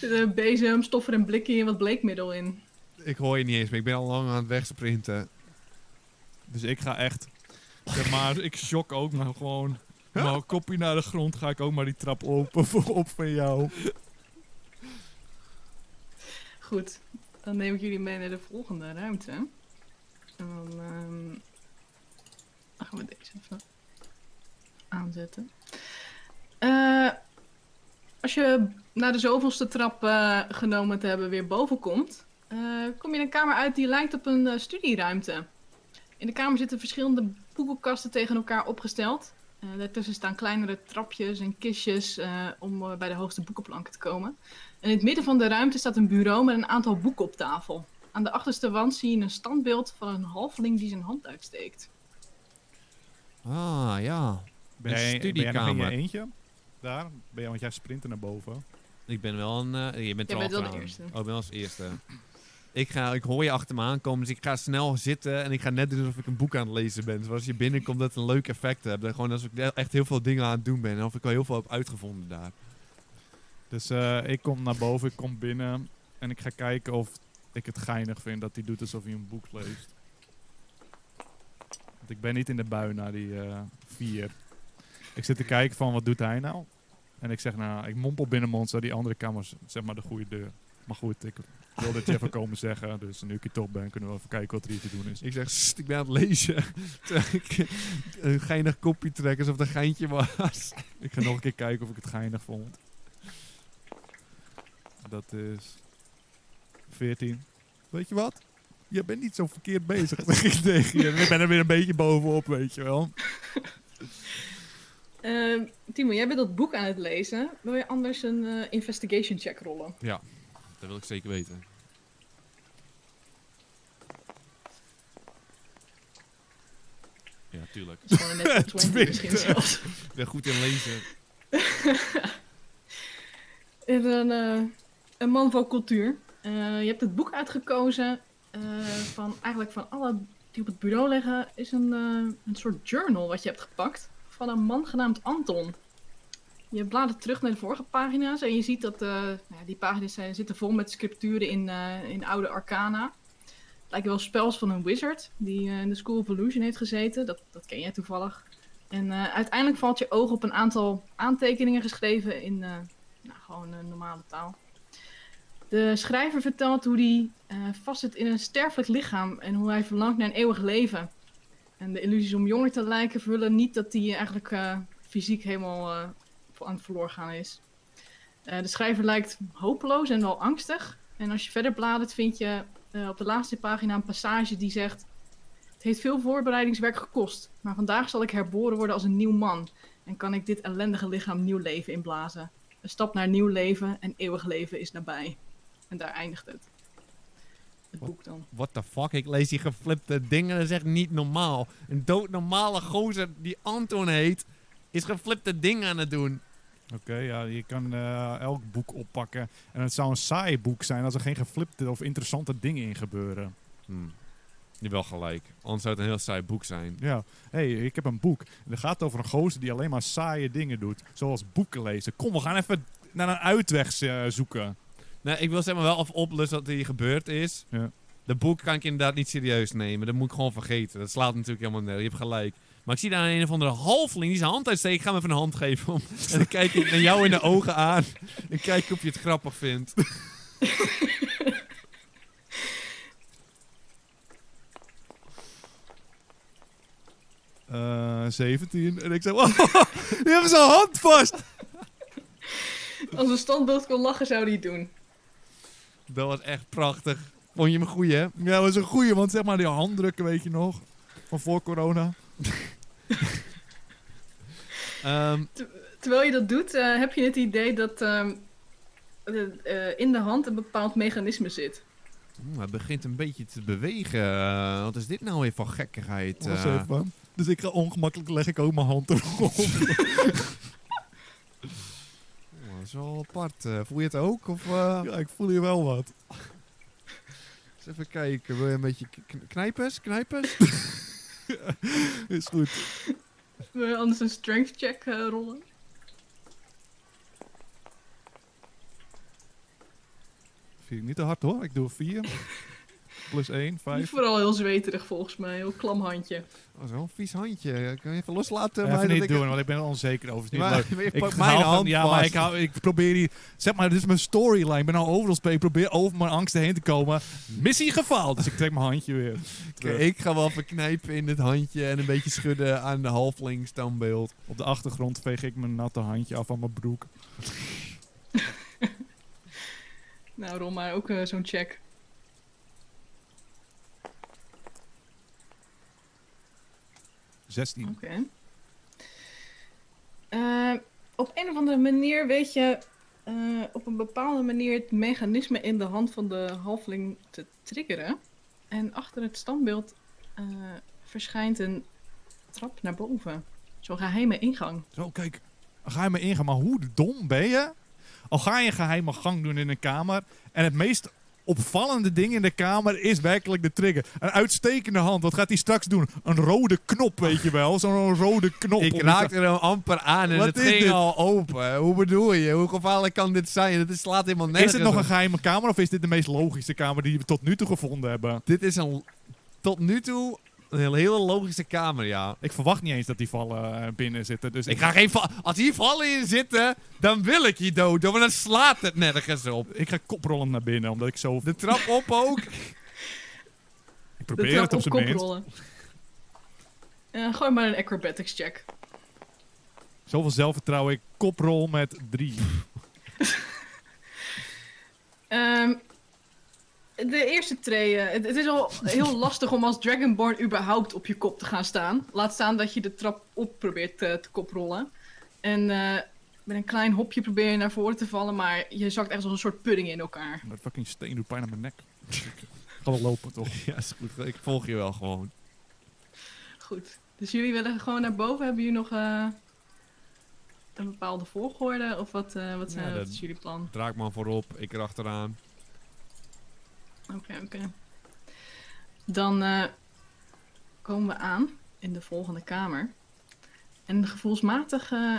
Speaker 3: Er zit een bezem, stoffer en blikkie en wat bleekmiddel in.
Speaker 2: Ik hoor je niet eens meer. Ik ben al lang aan het wegsprinten.
Speaker 1: Dus ik ga echt... Zeg maar, [LAUGHS] ik shock ook, maar gewoon... Mijn kopje naar de grond ga ik ook maar die trap open [LAUGHS] voor op van jou.
Speaker 3: Goed, dan neem ik jullie mee naar de volgende ruimte. En dan ehm, dan gaan we deze even aanzetten. Eh, als je na de zoveelste trap eh, genomen te hebben weer boven komt, eh, kom je in een kamer uit die lijkt op een eh, studieruimte. In de kamer zitten verschillende boekenkasten tegen elkaar opgesteld. Eh, daartussen staan kleinere trapjes en kistjes eh, om eh, bij de hoogste boekenplanken te komen. En in het midden van de ruimte staat een bureau met een aantal boeken op tafel. Aan de achterste wand zie je een standbeeld van een halfling die zijn hand uitsteekt.
Speaker 2: Ah, ja.
Speaker 1: Ben
Speaker 2: Een
Speaker 1: jij, ben jij nog in je
Speaker 2: studiekamer.
Speaker 1: eentje? Daar? Ben jij, want jij sprinten naar boven.
Speaker 2: Ik ben wel een... eh, je bent
Speaker 3: Jij
Speaker 2: er al
Speaker 3: bent wel de
Speaker 2: gedaan.
Speaker 3: eerste.
Speaker 2: Oh, ik ben wel als eerste. Ik, ga, ik hoor je achter me aankomen, dus ik ga snel zitten en ik ga net doen alsof ik een boek aan het lezen ben. Zoals je binnenkomt, dat het een leuk effect hebt. Dat Gewoon alsof ik e- echt heel veel dingen aan het doen ben en of ik al heel veel heb uitgevonden daar.
Speaker 1: Dus eh, ik kom naar boven, ik kom binnen. En ik ga kijken of ik het geinig vind dat hij doet alsof hij een boek leest. Want ik ben niet in de bui naar die eh, vier. Ik zit te kijken van, wat doet hij nou? En ik zeg, nou, ik mompel binnenmonds naar die andere kamers, zeg maar de goede deur. Maar goed, ik wil dit je even komen zeggen. Dus nu ik hier top ben, kunnen we even kijken wat er hier te doen is.
Speaker 2: Ik zeg, "Sst, ik ben aan het lezen. [LAUGHS] Terwijl ik een geinig kopje trek, alsof het een geintje was.
Speaker 1: Ik ga nog een keer kijken of ik het geinig vond. Dat is 14. Weet je wat? Je bent niet zo verkeerd bezig, [LAUGHS] zeg ik tegen je. Ik ben er weer een beetje bovenop, weet je wel.
Speaker 3: Ehm, Timo, jij bent dat boek aan het lezen. Wil je anders een eh, investigation check rollen?
Speaker 2: Dat wil ik zeker weten. Ja, tuurlijk.
Speaker 3: Dat is gewoon een net 20 misschien
Speaker 1: Twintig.
Speaker 3: zelfs.
Speaker 2: Ik ben goed in lezen.
Speaker 3: En een, eh, een man van cultuur. Eh, je hebt het boek uitgekozen eh, van eigenlijk van alle die op het bureau liggen, is een, eh, een soort journal wat je hebt gepakt van een man genaamd Anton. Je bladert terug naar de vorige pagina's en je ziet dat eh, nou ja, die pagina's zijn, zitten vol met scripturen in, eh, in oude arcana. Het lijken wel spels van een wizard die eh, in de School of Illusion heeft gezeten. Dat, dat ken jij toevallig. En eh, uiteindelijk valt je oog op een aantal aantekeningen geschreven in, eh, nou, gewoon een normale taal. De schrijver vertelt hoe hij vast vastzit in een sterfelijk lichaam en hoe hij verlangt naar een eeuwig leven. En de illusies om jonger te lijken vullen niet dat hij eigenlijk eh, fysiek helemaal eh, aan het verloren gaan is. Eh, de schrijver lijkt hopeloos en wel angstig. En als je verder bladert vind je eh, op de laatste pagina een passage die zegt... Het heeft veel voorbereidingswerk gekost, maar vandaag zal ik herboren worden als een nieuw man. En kan ik dit ellendige lichaam nieuw leven inblazen. Een stap naar nieuw leven en eeuwig leven is nabij. En daar eindigt het. Het
Speaker 2: Wat?
Speaker 3: boek dan.
Speaker 2: What the fuck, ik lees die geflipte dingen, dat is echt niet normaal. Een doodnormale gozer die Anton heet, is geflipte dingen aan het doen.
Speaker 1: Oké, ja, je kan eh, elk boek oppakken. En het zou een saai boek zijn als er geen geflipte of interessante dingen in gebeuren.
Speaker 2: Hm. Je wel gelijk, anders zou het een heel saai boek zijn.
Speaker 1: Ja, hé, hey, ik heb een boek. En dat gaat over een gozer die alleen maar saaie dingen doet. Zoals boeken lezen. Kom, we gaan even naar een uitweg eh, zoeken.
Speaker 2: Nou, ik wil zeg maar wel of oplossen wat hier gebeurd is.
Speaker 1: Ja.
Speaker 2: De boek kan ik inderdaad niet serieus nemen, dat moet ik gewoon vergeten. Dat slaat natuurlijk helemaal nergens, je hebt gelijk. Maar ik zie daar een of andere halfling die zijn hand uitsteekt. Ik ga hem even een hand geven. Om. [LAUGHS] En dan kijk ik naar jou in de ogen aan. En kijk of je het grappig
Speaker 1: [LAUGHS]
Speaker 2: vindt.
Speaker 1: Eh 17. En ik zeg, oh, die hebben zijn hand vast.
Speaker 3: Als een standbeeld kon lachen, zou hij het doen.
Speaker 2: Dat was echt prachtig. Vond je hem goed, hè?
Speaker 1: Ja, dat was een goeie, want zeg maar die handdrukken, weet je nog. Van voor corona.
Speaker 2: Ehm,
Speaker 3: Terwijl je dat doet, eh, heb je het idee dat ehm, de- eh, in de hand een bepaald mechanisme zit.
Speaker 2: oeh, hmm, hij begint een beetje te bewegen. Eh, wat is dit nou weer van gekkigheid?
Speaker 1: Was
Speaker 2: eh?
Speaker 1: Oh, even. Dus ik ga [LAUGHS] ongemakkelijk, leg ik ook mijn hand erop.
Speaker 2: Oeh, oh, dat is wel apart. Eh, voel je het ook? Of, eh,
Speaker 1: Ja, ik voel hier wel wat.
Speaker 2: eens even kijken, wil je een beetje k- kn- knijpers? Knijpers?
Speaker 1: Is goed.
Speaker 3: Wil je anders een strength check eh, rollen?
Speaker 1: Vind ik niet te hard hoor. Ik doe 4. Plus 1,
Speaker 3: Niet
Speaker 1: 5.
Speaker 3: Vooral heel zweterig volgens mij, heel klam handje.
Speaker 2: Oh, zo'n vies handje. Kun je even loslaten?
Speaker 1: Ja,
Speaker 2: maar
Speaker 1: even
Speaker 2: dat
Speaker 1: niet
Speaker 2: ik-
Speaker 1: doen, want ik ben er onzeker over. Het is niet
Speaker 2: Maar-
Speaker 1: leuk.
Speaker 2: maar [LAUGHS] je
Speaker 1: Ik
Speaker 2: pakt
Speaker 1: hou
Speaker 2: mijn
Speaker 1: van-
Speaker 2: hand
Speaker 1: Ja, maar
Speaker 2: vast.
Speaker 1: ik, hou, ik probeer die... Zeg maar, dit is mijn storyline. Ik ben al overal spelen. Ik probeer over mijn angsten heen te komen. Missie gefaald. Dus ik trek mijn handje weer.
Speaker 2: Oké, ik ga wel verknijpen in het handje en een beetje schudden aan de halfling standbeeld.
Speaker 1: Op de achtergrond veeg ik mijn natte handje af van mijn broek.
Speaker 3: Nou, rol maar ook eh, zo'n check. Oké.
Speaker 1: 16.
Speaker 3: Eh, op een of andere manier weet je eh, op een bepaalde manier het mechanisme in de hand van de halfling te triggeren. En achter het standbeeld eh, verschijnt een trap naar boven. Zo'n geheime ingang.
Speaker 1: Zo, kijk. Een geheime ingang. Maar hoe dom ben je? Al ga je een geheime gang doen in een kamer. En het meest opvallende ding in de kamer is werkelijk de trigger. Een uitstekende hand. Wat gaat hij straks doen? Een rode knop, weet je wel. Zo'n rode knop. om
Speaker 2: Ik
Speaker 1: iets
Speaker 2: raakte er hem amper aan en
Speaker 1: oh, Wat
Speaker 2: het
Speaker 1: is
Speaker 2: ging
Speaker 1: dit?
Speaker 2: al open. Hoe bedoel je? Hoe gevaarlijk kan dit zijn? Het is- slaat helemaal nergens
Speaker 1: Is het nog
Speaker 2: op.
Speaker 1: een geheime kamer of is dit de meest logische kamer die we tot nu toe gevonden hebben?
Speaker 2: Dit is een, tot nu toe een hele, hele logische kamer, ja.
Speaker 1: Ik verwacht niet eens dat die vallen eh, binnen zitten. Dus
Speaker 2: Ik ga geen va- Als hier vallen in zitten, dan wil ik hier dood. Want dan slaat het nergens op.
Speaker 1: ik ga koprollend naar binnen, omdat ik zo...
Speaker 2: De trap op ook.
Speaker 1: [LAUGHS] Ik
Speaker 3: De
Speaker 1: probeer
Speaker 3: trap
Speaker 1: het op
Speaker 3: op
Speaker 1: zijn
Speaker 3: kop
Speaker 1: minst.
Speaker 3: rollen. Eh, gooi maar een acrobatics check.
Speaker 1: Zoveel zelfvertrouwen. Ik koprol met drie.
Speaker 3: Ehm, de eerste tree. eh, het, het is al heel lastig om als Dragonborn überhaupt op je kop te gaan staan. Laat staan dat je de trap op probeert eh, te koprollen. En eh, met een klein hopje probeer je naar voren te vallen, maar je zakt echt als een soort pudding in elkaar.
Speaker 1: Dat fucking steen doet pijn aan mijn nek. Ik ga wel lopen, toch?
Speaker 2: Ja, is goed. Ik volg je wel gewoon.
Speaker 3: Goed. Dus jullie willen gewoon naar boven. Hebben jullie nog eh, een bepaalde volgorde? Of wat, eh, wat, zijn,
Speaker 2: Ja,
Speaker 3: wat
Speaker 2: dat-
Speaker 3: is jullie plan?
Speaker 2: Draakman voorop, ik erachteraan.
Speaker 3: Oké, oké. Dan eh, komen we aan in de volgende kamer. En gevoelsmatig eh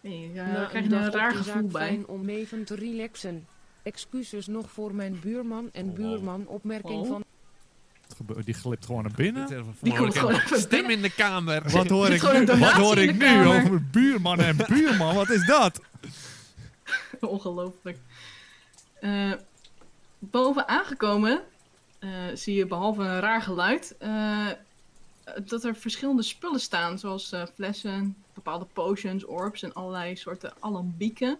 Speaker 3: nee, eh,
Speaker 4: Na
Speaker 3: krijg je er
Speaker 4: dag
Speaker 3: een
Speaker 4: op
Speaker 3: raar
Speaker 4: de
Speaker 3: gevoel
Speaker 4: zaak
Speaker 3: bij.
Speaker 4: fijn om even te relaxen. Excuses nog voor mijn buurman en
Speaker 1: Oh, wow.
Speaker 4: buurman opmerking
Speaker 3: Oh.
Speaker 4: van...
Speaker 1: Het gebe- Die glipt gewoon naar
Speaker 2: Dit
Speaker 1: binnen.
Speaker 2: is even
Speaker 3: Die komt
Speaker 2: voor-
Speaker 3: gewoon even
Speaker 2: Stem
Speaker 3: binnen.
Speaker 2: in de kamer.
Speaker 1: Wat [LAUGHS] hoor
Speaker 3: zit
Speaker 1: ik
Speaker 3: eh, gewoon
Speaker 1: nu? Wat
Speaker 3: een donatie
Speaker 1: hoor
Speaker 3: in
Speaker 1: ik
Speaker 3: de
Speaker 1: nu
Speaker 3: kamer.
Speaker 1: over buurman en buurman? Wat is dat?
Speaker 3: [LAUGHS] Ongelooflijk. Eh, boven aangekomen eh, zie je behalve een raar geluid eh, dat er verschillende spullen staan, zoals eh, flessen, bepaalde potions, orbs en allerlei soorten alambieken.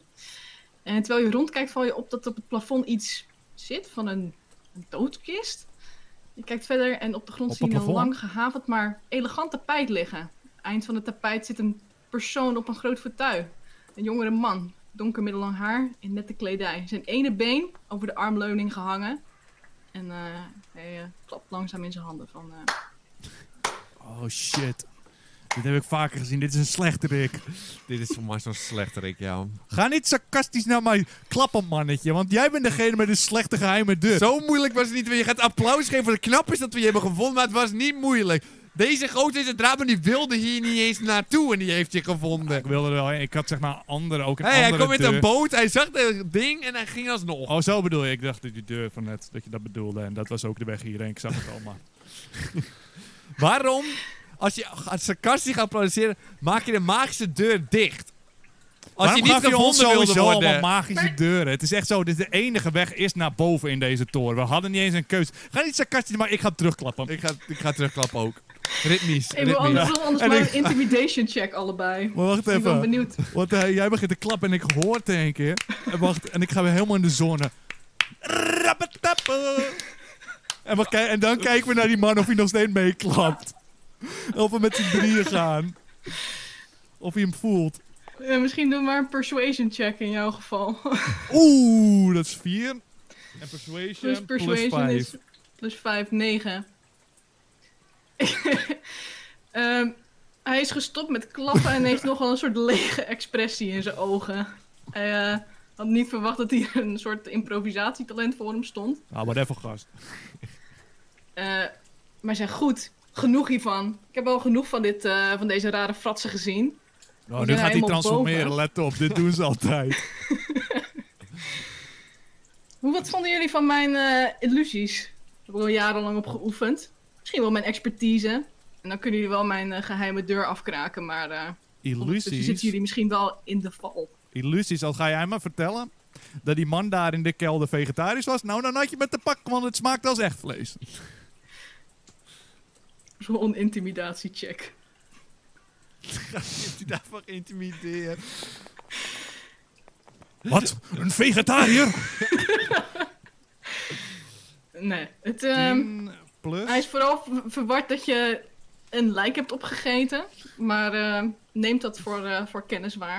Speaker 3: En terwijl je rondkijkt, val je op dat op het plafond iets zit van een, een doodkist. Je kijkt verder en op de grond
Speaker 1: Op
Speaker 3: zie
Speaker 1: het
Speaker 3: je een
Speaker 1: plafond?
Speaker 3: lang gehavend maar elegant tapijt liggen. Eind van het tapijt zit een persoon op een groot fauteuil. Een jongere man, donker middellang haar, in nette kledij. Zijn ene been over de armleuning gehangen. En eh, hij eh, klapt langzaam in zijn handen van... eh,
Speaker 1: Oh shit. Dit heb ik vaker gezien. Dit is een slechterik.
Speaker 2: Dit is voor mij zo'n slechterik, ja.
Speaker 1: Ga niet sarcastisch naar mij klappen, mannetje. Want jij bent degene met de slechte geheime deur.
Speaker 2: [LAUGHS] Zo moeilijk was het niet. Je gaat applaus geven voor de knappers dat we je hebben gevonden, maar het was niet moeilijk. Deze gozer is een draadman, die wilde hier niet eens naartoe en die heeft je gevonden.
Speaker 1: Ik wilde er wel heen. Ik had zeg maar andere ook een
Speaker 2: Hé, hij
Speaker 1: andere
Speaker 2: kwam met
Speaker 1: deur.
Speaker 2: een boot, hij zag dat ding en hij ging alsnog.
Speaker 1: Oh, zo bedoel je. Ik dacht dat die deur van net, dat je dat bedoelde. En dat was ook de weg hierheen. Ik zag het allemaal.
Speaker 2: Waarom, als je gaat sarcastisch gaat applaudisseren, maak je de magische deur dicht? Als
Speaker 1: Waarom
Speaker 2: je niet
Speaker 1: gaf je ons
Speaker 2: gevonden wilde
Speaker 1: sowieso
Speaker 2: worden.
Speaker 1: allemaal magische deuren? Het is echt zo, dit is de enige weg is naar boven in deze toren. We hadden niet eens een keus. Ga niet sarcastisch, maar ik ga terugklappen.
Speaker 2: Ik ga, ik ga terugklappen ook. Ritmisch,
Speaker 3: Ik wil
Speaker 2: ritmisch.
Speaker 3: anders, wil anders
Speaker 1: En
Speaker 3: maar
Speaker 1: ik-
Speaker 3: een intimidation check allebei.
Speaker 1: Maar wacht
Speaker 3: Ik ben
Speaker 1: even.
Speaker 3: benieuwd.
Speaker 1: Want eh, jij begint te klappen en ik hoor het in één keer. En wacht, en ik ga weer helemaal in de zonne. Rappetappen. En, we kij- en dan kijken we naar die man of hij nog steeds meeklapt. Of we met z'n drieën gaan. Of hij hem voelt.
Speaker 3: Eh, misschien doen we maar een persuasion check in jouw geval. [LAUGHS] Dus
Speaker 1: Oeh, dat is vier. En persuasion
Speaker 3: dus
Speaker 1: plus,
Speaker 3: persuasion
Speaker 1: vijf.
Speaker 3: is plus 5, 9. [LAUGHS] Ehm, hij is gestopt met klappen en heeft nogal een soort lege expressie in zijn ogen. Hij eh, Had niet verwacht dat hier een soort improvisatietalent voor hem stond.
Speaker 1: Ah, whatever, gast.
Speaker 3: Eh, maar zeg goed, genoeg hiervan. Ik heb al genoeg van, dit, eh, van deze rare fratsen gezien.
Speaker 1: Nou,
Speaker 3: zijn
Speaker 1: nu gaat
Speaker 3: er
Speaker 1: hij
Speaker 3: helemaal
Speaker 1: transformeren,
Speaker 3: boven.
Speaker 1: let op. Dit doen ze altijd.
Speaker 3: Hoe, wat vonden jullie van mijn eh, illusies? Daar heb ik al jarenlang op geoefend. Misschien wel mijn expertise. En dan kunnen jullie wel mijn eh, geheime deur afkraken, maar eh ondertussen zitten
Speaker 1: Illusies.
Speaker 3: jullie misschien wel in de val.
Speaker 1: Illusies, al ga jij maar vertellen dat die man daar in de kelder vegetarisch was. Nou, dan had je met de pak, want het smaakt als echt vlees.
Speaker 3: Zo'n intimidatiecheck.
Speaker 2: Heeft hij daarvoor intimideerd?
Speaker 1: Wat? Een vegetariër?
Speaker 3: Nee, het, ehm,
Speaker 1: 10 plus?
Speaker 3: hij is vooral v- verward dat je een lijk hebt opgegeten. Maar eh, neemt dat voor, eh, voor kennis waar.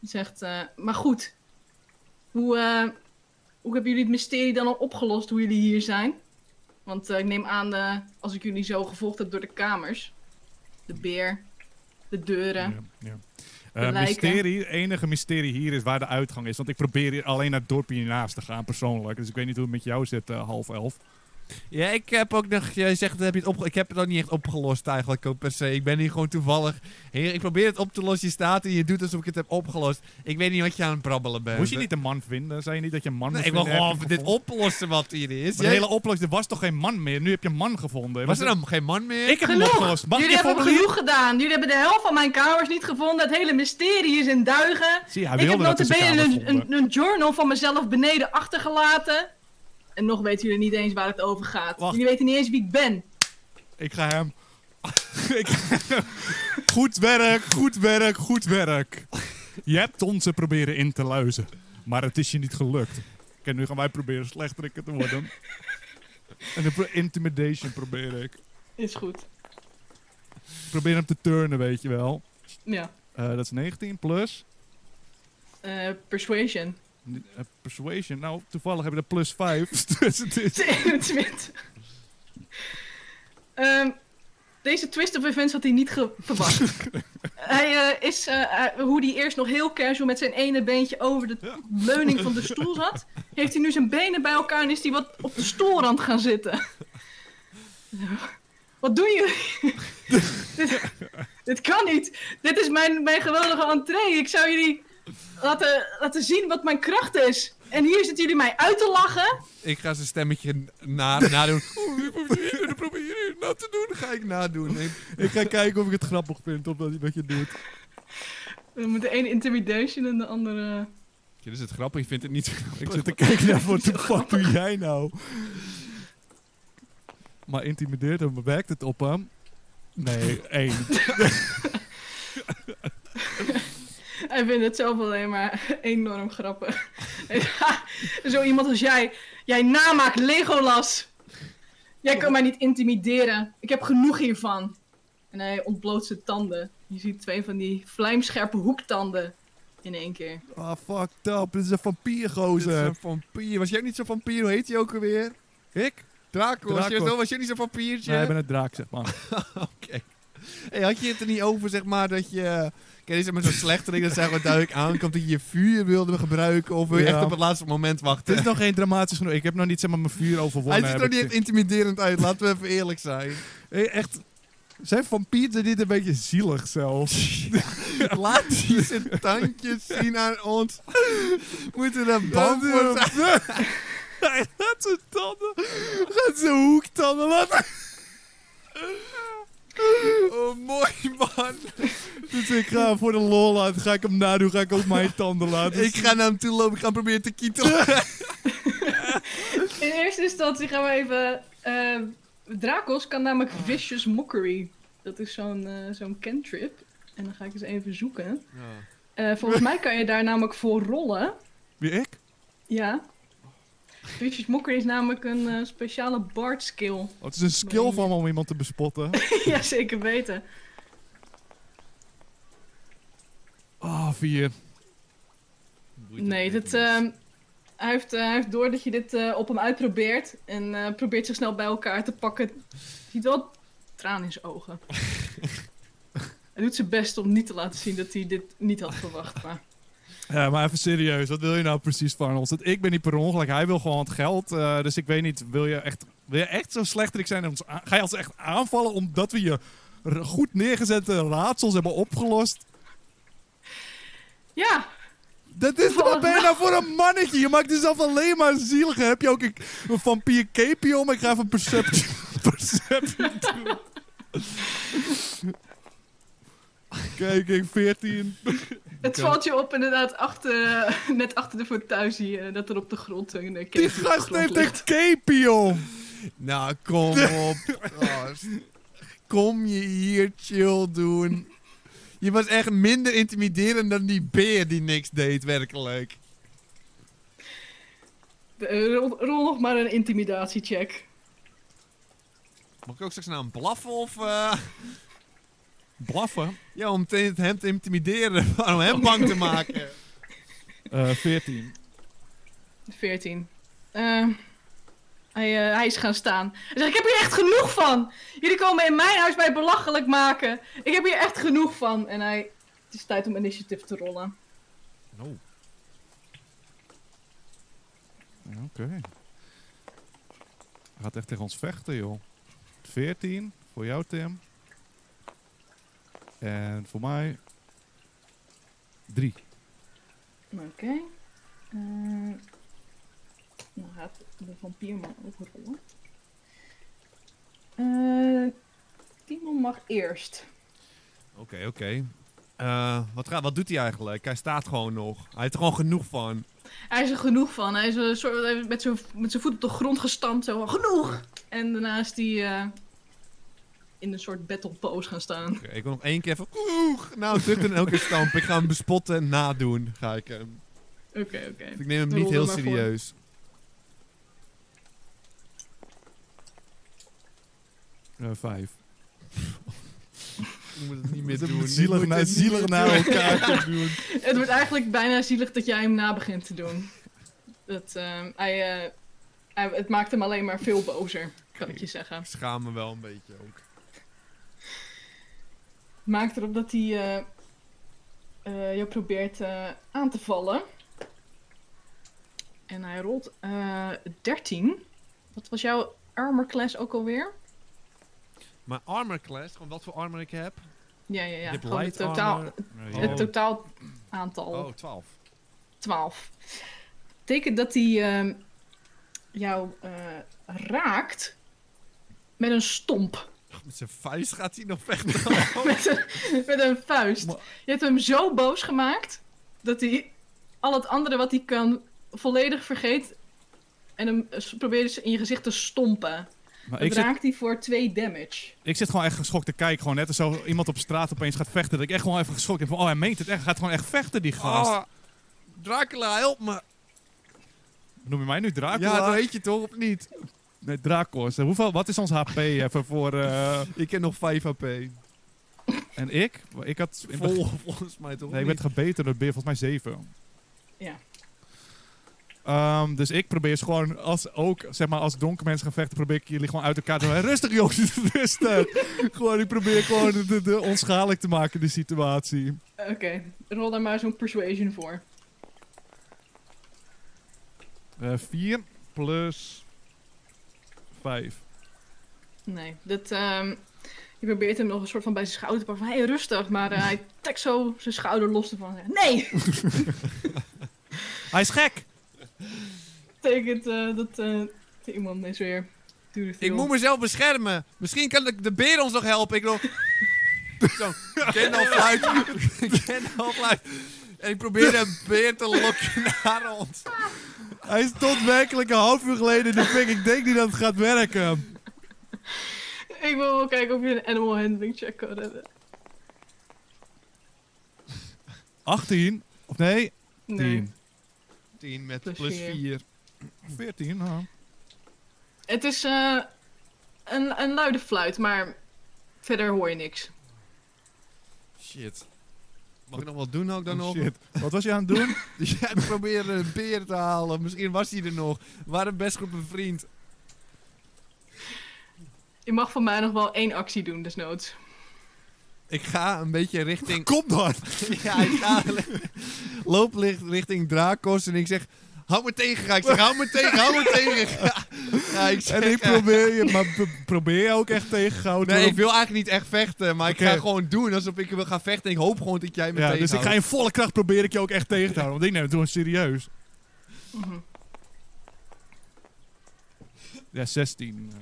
Speaker 3: Hij zegt, eh, maar goed. Hoe, eh, hoe hebben jullie het mysterie dan al opgelost hoe jullie hier zijn? Want eh, ik neem aan, eh, als ik jullie zo gevolgd heb door de kamers. De beer, de deuren.
Speaker 1: Ja, ja. Eh,
Speaker 3: lijken.
Speaker 1: mysterie, enige mysterie hier is waar de uitgang is. Want ik probeer hier alleen naar het dorpje hiernaast te gaan, persoonlijk. Dus ik weet niet hoe het met jou zit, eh, half elf.
Speaker 2: Ja, ik heb ook nog... Jij zegt, heb je het opge- ik heb het ook niet echt opgelost eigenlijk ook per se. Ik ben hier gewoon toevallig... Heer, ik probeer het op te lossen. Je staat hier, je doet alsof ik het heb opgelost. Ik weet niet wat je aan het brabbelen bent.
Speaker 1: Moest je niet een man vinden? Zei je niet dat je een man
Speaker 2: Eh, Nee,
Speaker 1: moest
Speaker 2: ik wil
Speaker 1: vinden?
Speaker 2: gewoon
Speaker 1: Heb je
Speaker 2: dit
Speaker 1: gevonden?
Speaker 2: oplossen wat hier is.
Speaker 1: Maar
Speaker 2: Jij-
Speaker 1: De hele oplossing, er was toch geen man meer? Nu heb je een man gevonden.
Speaker 2: Was er dan geen man meer?
Speaker 1: Ik heb hem
Speaker 3: Genoeg!
Speaker 1: opgelost. Mag ik
Speaker 3: jullie
Speaker 1: je
Speaker 3: hebben
Speaker 1: formulier-
Speaker 3: genoeg gedaan. Jullie hebben de helft van mijn kamers niet gevonden. Het hele mysterie is in duigen.
Speaker 1: Zie, hij
Speaker 3: ik
Speaker 1: wilde
Speaker 3: heb
Speaker 1: dat in zijn
Speaker 3: notabene
Speaker 1: kamer
Speaker 3: een,
Speaker 1: vonden.
Speaker 3: een, een journal van mezelf beneden achtergelaten. En nog weten jullie niet eens waar het over gaat.
Speaker 1: Wacht.
Speaker 3: Jullie weten niet eens wie ik ben.
Speaker 1: Ik ga hem... [LAUGHS] Ik ga hem- goed werk, goed werk, goed werk. Je hebt ons er proberen in te luizen. Maar het is je niet gelukt. Kijk, nu gaan wij proberen slechterikken te worden. En de pro- intimidation probeer ik.
Speaker 3: Is goed.
Speaker 1: Ik probeer hem te turnen, weet je wel.
Speaker 3: Ja.
Speaker 1: Eh, dat is 19 plus.
Speaker 3: Eh, persuasion.
Speaker 1: Eh, persuasion. Nou, toevallig heb je dat plus 5. [LAUGHS] Dus het is...
Speaker 3: 21. [LAUGHS] Ehm, deze twist of events had hij niet ge- verwacht. hij eh, is, eh, eh, hoe hij eerst nog heel casual met zijn ene beentje over de leuning van de stoel zat, heeft hij nu zijn benen bij elkaar en is hij wat op de stoelrand gaan zitten. [LAUGHS] wat doen jullie? [LAUGHS] dit, dit kan niet. Dit is mijn, mijn geweldige entree. Ik zou jullie laten, laten zien wat mijn kracht is. En hier zitten jullie mij uit te lachen.
Speaker 2: Ik ga zijn stemmetje
Speaker 1: [LAUGHS]
Speaker 2: na nadoen. Oh, Oeh, ik probeer hier, ik probeer hier na te doen. Ga ik nadoen. Nee.
Speaker 1: Ik ga kijken of ik het grappig vind, of dat wat je doet.
Speaker 3: We moeten één intimidation en de andere.
Speaker 2: Dit is het grappig, ik vind het niet zo
Speaker 1: Ik
Speaker 2: grappig.
Speaker 1: zit te kijken naar wat
Speaker 2: [LAUGHS]
Speaker 1: de fuck doe jij nou? Maar intimideert hem, werkt het op hem? Nee,
Speaker 2: [LAUGHS]
Speaker 1: één.
Speaker 3: Hij vindt het zelf alleen maar [LAUGHS] enorm grappig. [LAUGHS] Zo iemand als jij. Jij namaakt Legolas. Jij kan mij niet intimideren. Ik heb genoeg hiervan. En hij ontbloot zijn tanden. Je ziet twee van die vlijmscherpe hoektanden in één keer.
Speaker 1: Ah, fucked up. Dit is een
Speaker 2: Dit is
Speaker 1: vampiergozer.
Speaker 2: een vampier. Was jij ook niet zo'n vampier? Hoe heet hij ook alweer?
Speaker 1: Ik?
Speaker 2: Draco. Was, jij,
Speaker 1: Draco.
Speaker 2: zo- was jij niet zo'n vampiertje?
Speaker 1: Nee, ik ben een draak, zeg
Speaker 2: [LAUGHS]
Speaker 1: maar.
Speaker 2: Hey, had je het er niet over, zeg maar, dat je... Kijk, is met zo'n slechterik dat zeg maar duidelijk aankomt dat je je vuur wilde gebruiken of wil je
Speaker 1: Ja.
Speaker 2: echt op het laatste moment
Speaker 1: Het
Speaker 2: wachten?
Speaker 1: is nog geen dramatisch genoeg. Ik heb nog niet zeg maar, mijn vuur overwonnen.
Speaker 2: Hij ziet er
Speaker 1: heb
Speaker 2: ook niet
Speaker 1: ik
Speaker 2: echt intimiderend uit, laten we even eerlijk zijn.
Speaker 1: gezien. Hey, echt. Zijn vampieren dit een beetje zielig zelfs?
Speaker 2: [LAUGHS] Laat die zijn tandjes zien aan ons. Moeten we er bang
Speaker 1: Dan
Speaker 2: voor zijn?
Speaker 1: Hij gaat zijn tanden. Gaat zijn hoektanden
Speaker 2: [LAUGHS]
Speaker 1: laten.
Speaker 2: Oh, mooi man.
Speaker 1: Dus ik ga voor de lol laten. Ga ik hem nadoen. Ga ik ook mijn tanden laten.
Speaker 2: Ik ga naar hem toe lopen, ik ga hem proberen te kietelen.
Speaker 3: In eerste instantie gaan we even. eh Dracos kan namelijk Vicious Mockery. Dat is zo'n eh, zo'n cantrip. En dan ga ik eens even zoeken. Eh, volgens mij kan je daar namelijk voor rollen.
Speaker 1: Wie ik?
Speaker 3: Ja. Vicious Mockery is namelijk een eh, speciale bard skill.
Speaker 1: Oh, het is een skill van me om iemand te bespotten.
Speaker 3: [LAUGHS] ja, zeker weten.
Speaker 1: Ah, vier.
Speaker 3: Nee, dat, ehm, hij, heeft, eh, hij heeft door dat je dit eh, op hem uitprobeert. En eh, probeert zich snel bij elkaar te pakken. Je ziet wel traan in zijn
Speaker 1: [LAUGHS]
Speaker 3: ogen. hij doet zijn best om niet te laten zien dat hij dit niet had verwacht. Maar
Speaker 1: Ja, maar even serieus, wat wil je nou precies van ons? Dat ik ben niet per ongeluk, hij wil gewoon het geld. eh, dus ik weet niet, wil je echt, wil je echt zo slechterik zijn? en Ons aan- ga je ons echt aanvallen omdat we je r- goed neergezette raadsels hebben opgelost?
Speaker 3: Ja,
Speaker 1: Dat is, wat ben je nou voor een mannetje? Je maakt jezelf alleen maar zielig. Heb je ook een, een vampier cape om? Ik ga even [LAUGHS] perceptie, perceptie doen. Kijk, ik 14.
Speaker 3: het
Speaker 2: Oké.
Speaker 3: valt je op inderdaad achter, eh, net achter de fauteuil zie je dat er op de grond een eh,
Speaker 1: Die
Speaker 3: kees op de
Speaker 1: gast
Speaker 3: grond
Speaker 1: heeft
Speaker 3: ligt.
Speaker 1: een cape om.
Speaker 2: Nou, kom [LAUGHS] op. gast. kom je hier chill doen. Je was echt minder intimiderend dan die beer die niks deed, werkelijk.
Speaker 3: Eh, rol, rol nog maar een intimidatiecheck.
Speaker 2: Mag ik ook straks naar hem blaffen of... eh,
Speaker 1: Blaffen.
Speaker 2: ja, om te- hem te intimideren. [LAUGHS] om hem bang te maken.
Speaker 1: Eh 14.
Speaker 3: 14. Eh, hij, eh, hij is gaan staan. Hij zegt, ik heb hier echt genoeg van. Jullie komen in mijn huis mij belachelijk maken. Ik heb hier echt genoeg van. En hij, het is tijd om initiatief te rollen.
Speaker 2: Oh.
Speaker 1: Ja, Oké. Hij gaat echt tegen ons vechten, joh. 14 voor jou, Tim. En voor mij. 3.
Speaker 3: Oké. Eh, dan gaat de vampierman ook rollen. Eh, Timon mag eerst.
Speaker 2: Oké, oké. Eh, wat, gaat- wat doet hij eigenlijk? Hij staat gewoon nog. Hij heeft er gewoon genoeg van.
Speaker 3: Hij is er genoeg van. Hij is een soort, hij is met zijn met zijn voet op de grond gestampt. Zo, van, genoeg! En daarna is hij eh, in een soort battle pose gaan staan. [LAUGHS]
Speaker 2: Oké, ik wil nog één keer van... Koeg! Nou, druk en elke stamp. Ik ga hem bespotten en nadoen. Ga ik hem.
Speaker 3: Oké, oké.
Speaker 2: Ik neem hem
Speaker 3: Rol
Speaker 2: niet
Speaker 3: er
Speaker 2: heel
Speaker 3: maar voor.
Speaker 2: serieus.
Speaker 1: Eh 5.
Speaker 2: Ik moet het niet [LAUGHS] meer
Speaker 1: Ze
Speaker 2: doen.
Speaker 1: moeten zielig
Speaker 2: Ik moet
Speaker 1: naar-
Speaker 2: het niet
Speaker 1: zielig
Speaker 2: meer
Speaker 1: naar
Speaker 2: doen.
Speaker 1: elkaar
Speaker 2: te [LAUGHS] doen.
Speaker 3: Het wordt eigenlijk bijna zielig dat jij hem na begint te doen. Dat, eh, hij, eh, hij- het maakt hem alleen maar veel bozer, kan ik je zeggen.
Speaker 2: Ik schaam me wel een beetje ook.
Speaker 3: maakt erop dat hij eh, eh, je probeert eh, aan te vallen. En hij rolt eh 13. Wat was jouw armor class ook alweer?
Speaker 2: Maar armor class, gewoon wat voor armor ik heb.
Speaker 3: Ja, ja, ja.
Speaker 2: Je hebt
Speaker 3: Gewoon het
Speaker 2: light
Speaker 3: totaal,
Speaker 2: armor.
Speaker 3: het
Speaker 2: Oh.
Speaker 3: totaal aantal
Speaker 2: Oh, 12.
Speaker 3: 12. Betekent dat hij ehm, jou eh, raakt met een stomp. [LAUGHS]
Speaker 2: Met zijn vuist gaat hij nog [LAUGHS] vechten.
Speaker 3: met, een, met een vuist.
Speaker 1: Maar-
Speaker 3: Je hebt hem zo boos gemaakt dat hij al het andere wat hij kan volledig vergeet. En hem eh, s- probeert ze in je gezicht te stompen.
Speaker 1: Maar
Speaker 3: Dan
Speaker 1: ik zit,
Speaker 3: raakt hij voor 2 damage.
Speaker 1: ik zit gewoon echt geschokt te kijken. Gewoon net als zo iemand op straat opeens gaat vechten. Dat ik echt gewoon even geschokt ben van, oh hij meent het echt. Hij gaat gewoon echt vechten, die gast.
Speaker 2: Oh, Dracula, help me.
Speaker 1: Noem je mij nu Dracula?
Speaker 2: Ja, dat weet je toch of niet?
Speaker 1: Nee, Dracos. Eh, Hoeveel, wat is ons HP even voor... eh,
Speaker 2: Ik heb nog 5 HP.
Speaker 1: en ik? Ik had... in het begin-
Speaker 2: Vol, volgens mij toch?
Speaker 1: Nee, ik
Speaker 2: niet?
Speaker 1: werd gebeten door beer, volgens mij zeven.
Speaker 3: Ja.
Speaker 1: Ehm, dus ik probeer ze gewoon, als ook, zeg maar, als donker mensen gaan vechten, probeer ik jullie gewoon uit elkaar te houden. Rustig jongens, [LAUGHS] rustig. gewoon, ik probeer gewoon de, de, de onschadelijk te maken, de situatie.
Speaker 3: Oké, rol daar maar zo'n persuasion voor.
Speaker 1: Eh vier plus vijf.
Speaker 3: Nee, dat, ehm, je probeert hem nog een soort van bij zijn schouder te pakken. Van, hé, rustig. Maar eh,
Speaker 2: [LAUGHS]
Speaker 3: hij trekt zo zijn schouder los ervan. en zegt, Nee! [LAUGHS]
Speaker 1: Hij is gek!
Speaker 3: Betekent eh, dat eh, dat iemand is weer...
Speaker 2: Ik moet mezelf beschermen. Misschien kan de, de beer ons nog helpen. Ik wil... [LAUGHS] Zo, Kendall [LAUGHS] fluit. Kendall fluit. En ik probeer de beer te lokken [LAUGHS] naar ons.
Speaker 1: Hij is tot werkelijk een half uur geleden in de fik. Ik denk niet dat het gaat werken.
Speaker 3: Ik wil wel kijken of je een animal handling check kan redden.
Speaker 1: 18, of nee,
Speaker 3: Nee.
Speaker 1: 10.
Speaker 2: 10 met
Speaker 3: Plus
Speaker 2: plus
Speaker 3: vier.
Speaker 2: 4.
Speaker 1: 14, nou.
Speaker 3: Het is eh, een, een luide fluit, maar verder hoor je niks.
Speaker 2: Shit. Mag ik nog wat doen ook dan nog?
Speaker 1: Oh,
Speaker 2: [LAUGHS]
Speaker 1: Shit. Wat was je aan het doen?
Speaker 2: Jij probeerde een beer te halen. Misschien was hij er nog. We waren best goed bevriend.
Speaker 3: Je mag van mij nog wel één actie doen, desnoods.
Speaker 2: ik ga een beetje richting
Speaker 1: Kom dan!
Speaker 2: [LAUGHS] Ja, ik ga loop licht- richting Dracos en ik zeg... Hou me tegen, ga ik zeg. Hou me tegen, hou me
Speaker 1: [LAUGHS]
Speaker 2: tegen. Ja, Ja, ik zeg,
Speaker 1: En ik
Speaker 2: eh,
Speaker 1: probeer je, maar p- probeer je ook echt tegengehouden
Speaker 2: Nee,
Speaker 1: te
Speaker 2: ik wil eigenlijk niet echt vechten, maar ik
Speaker 1: Oké.
Speaker 2: ga gewoon doen alsof ik wil gaan vechten. En ik hoop gewoon dat
Speaker 1: worden? Ja,
Speaker 2: jij me tegenhoudt.
Speaker 1: dus ik ga in volle kracht proberen ik je ook echt tegen te houden. Want ik neem het gewoon serieus.
Speaker 3: Mhm.
Speaker 1: Ja, 16. eh,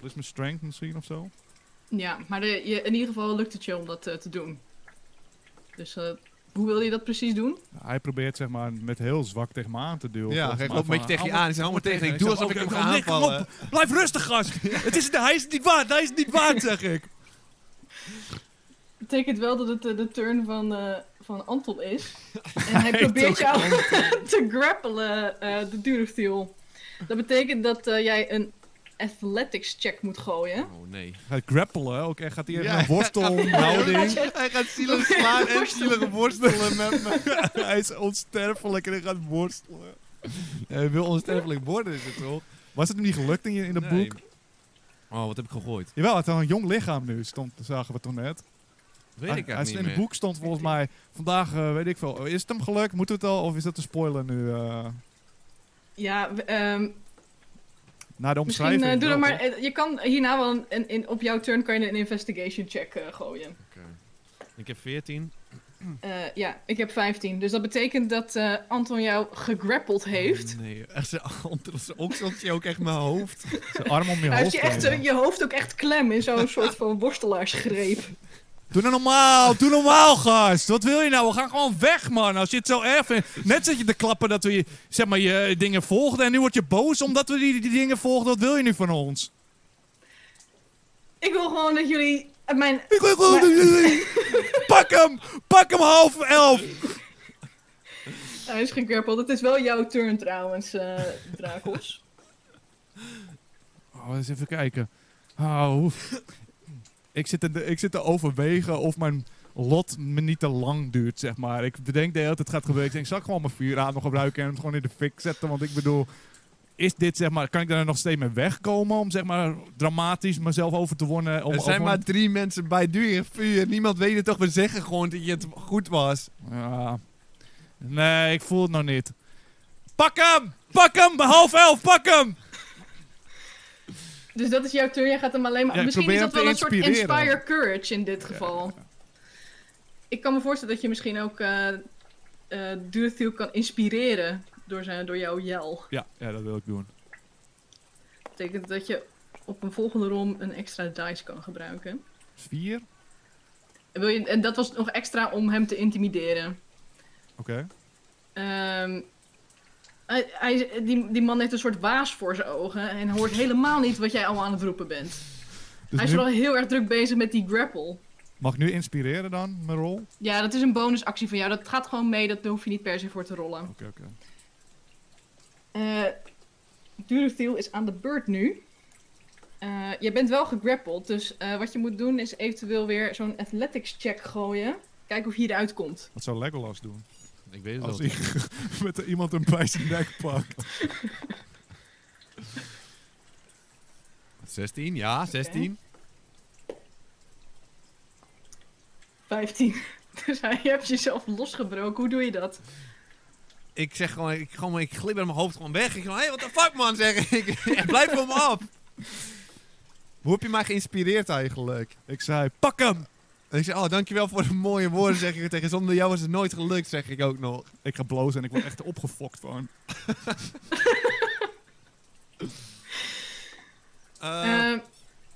Speaker 1: Wat is mijn strength misschien of zo?
Speaker 3: Ja, maar de- je, in ieder geval lukt het je om dat eh, te doen. Dus eh, hoe wil je dat precies doen?
Speaker 1: Hij probeert zeg maar met heel zwak tegen me aan te duwen.
Speaker 2: Ja,
Speaker 1: volgens
Speaker 2: ik
Speaker 1: mij,
Speaker 2: loop een beetje
Speaker 1: van,
Speaker 2: tegen je aan. Ik zeg, hou me tegen. Ik doe
Speaker 1: zeg,
Speaker 2: alsof ik
Speaker 1: oké,
Speaker 2: hem
Speaker 1: oké,
Speaker 2: ga
Speaker 1: lik hem op.
Speaker 2: aanvallen.
Speaker 1: Blijf rustig, gast! het is, hij is het niet waard, hij is het niet waard, zeg ik.
Speaker 3: betekent wel dat het eh, de turn van, eh, van Anton
Speaker 1: [LAUGHS]
Speaker 3: is. En hij probeert jou [LAUGHS] te grappelen, eh de Durestiel. Dat betekent dat eh, jij een athletics check moet gooien.
Speaker 2: Oh nee.
Speaker 1: Gaat grappelen, ook echt gaat hij echt
Speaker 2: Ja.
Speaker 1: naar worstel, houding.
Speaker 2: Hij gaat zielig slaan en zielig worstelen met me.
Speaker 1: [LAUGHS] hij is onsterfelijk en hij gaat worstelen.
Speaker 2: Hij wil onsterfelijk worden, is het toch?
Speaker 1: Was het hem niet gelukt in, je, in dat
Speaker 2: Nee.
Speaker 1: boek?
Speaker 2: Oh, wat heb ik gegooid?
Speaker 1: Jawel, het had een jong lichaam nu, stond, zagen we toch net.
Speaker 2: Weet ik
Speaker 1: Hij-
Speaker 2: eigenlijk
Speaker 1: hij-
Speaker 2: niet
Speaker 1: in
Speaker 2: meer.
Speaker 1: het boek stond volgens mij, vandaag eh, weet ik veel, is het hem gelukt? Moet het al? Of is dat een spoiler nu? eh,
Speaker 3: Ja, we- ehm,
Speaker 1: na de
Speaker 3: misschien
Speaker 1: omschrijving.
Speaker 3: eh, doe
Speaker 1: wel,
Speaker 3: dat maar.
Speaker 1: toch?
Speaker 3: eh, je kan hierna wel een, een- in, op jouw turn kan je een investigation check eh, gooien.
Speaker 2: Oké. Ik heb 14.
Speaker 1: Hm.
Speaker 3: Eh, ja, ik heb 15. Dus dat betekent dat eh, Anton jou gegrappeld
Speaker 1: Hm.
Speaker 3: heeft.
Speaker 2: Nee, [LAUGHS] echt zijn andere okseltje ook echt mijn hoofd.
Speaker 1: Zijn arm om je
Speaker 3: [LAUGHS] Hij heeft
Speaker 1: hoofd.
Speaker 3: je, echt,
Speaker 1: gehouden.
Speaker 3: eh, je hoofd ook echt klem in zo'n soort
Speaker 1: [LAUGHS]
Speaker 3: van wortelaarsgreep.
Speaker 1: Doe nou normaal, doe normaal, gast. Wat wil je nou? We gaan gewoon weg, man. Als je het zo erg vindt. Net zit je te klappen dat we je, zeg maar, je eh, dingen volgden. En nu word je boos omdat we die, die dingen volgden. Wat wil je nu van ons?
Speaker 3: Ik wil gewoon dat jullie mijn
Speaker 1: Ik wil gewoon dat jullie- [LAUGHS] Pak hem! Pak hem half elf!
Speaker 3: Hij is gegrappeld. Het is wel jouw turn trouwens, eh Drakos.
Speaker 1: Oh, eens even kijken. Oh, oef. ik, zit te, ik zit te overwegen of mijn lot me niet te lang duurt, zeg maar. Ik bedenk de hele tijd het gaat gebeuren. Ik denk, zal ik gewoon mijn vuurramen gebruiken en hem gewoon in de fik zetten? Want ik bedoel, is dit, zeg maar, kan ik daar nog steeds mee wegkomen om, zeg maar, dramatisch mezelf over te wonnen? Om,
Speaker 2: Er zijn
Speaker 1: over-
Speaker 2: maar drie mensen bij duur vuur. Niemand weet het toch. We zeggen gewoon dat je het goed was.
Speaker 1: Ja. Nee, ik voel het nog niet. Pak hem! Pak hem! Half elf, pak hem!
Speaker 3: Dus dat is jouw turn. Jij gaat hem alleen maar.
Speaker 1: Ja, ik
Speaker 3: misschien is
Speaker 1: probeer hem
Speaker 3: dat wel
Speaker 1: te
Speaker 3: een soort
Speaker 1: inspireren.
Speaker 3: inspire courage in dit geval. Ik kan me voorstellen dat je misschien ook eh eh, Durthiel kan inspireren door, zijn, door jouw yell.
Speaker 1: Ja, ja, dat wil ik doen.
Speaker 3: Dat betekent dat je op een volgende rom een extra dice kan gebruiken.
Speaker 1: Vier?
Speaker 3: En, wil je, en dat was nog extra om hem te intimideren.
Speaker 1: Oké.
Speaker 3: Ehm, hij, hij- die, die man heeft een soort waas voor zijn ogen en hoort helemaal niet wat jij allemaal aan het roepen bent.
Speaker 1: Dus
Speaker 3: hij is
Speaker 1: nu-
Speaker 3: wel heel erg druk bezig met die grapple.
Speaker 1: mag ik nu inspireren dan, mijn rol? Oké,
Speaker 3: Ja, dat is een bonusactie van jou. Dat gaat gewoon mee, dat daar hoef je niet per se voor te rollen.
Speaker 1: oké.
Speaker 3: Eh Durestiel is aan de beurt nu. Eh je bent wel gegrappeld, dus eh, wat je moet doen is eventueel weer zo'n athletics check gooien. Kijken of je eruit komt.
Speaker 1: Wat zou Legolas doen? [LAUGHS]
Speaker 2: Ik weet
Speaker 1: Als hij met iemand een bij zijn nek pakt.
Speaker 2: 16, ja, 16.
Speaker 3: 15. [LAUGHS] Dus hij- je hebt jezelf losgebroken. Hoe doe je dat?
Speaker 2: Ik zeg gewoon, ik, gewoon, ik glibber mijn hoofd gewoon weg. Ik zeg, hé, hey, wat de fuck man, zeg ik. [LAUGHS] En Blijf van me af. Hoe heb je mij geïnspireerd eigenlijk?
Speaker 1: Ik zei, pak hem!
Speaker 2: En ik zeg, oh, dankjewel voor de mooie woorden, zeg ik tegen. Zonder jou was het nooit gelukt, zeg ik ook nog.
Speaker 1: Ik ga blozen en ik word echt opgefokt van.
Speaker 2: Eh,
Speaker 3: Eh,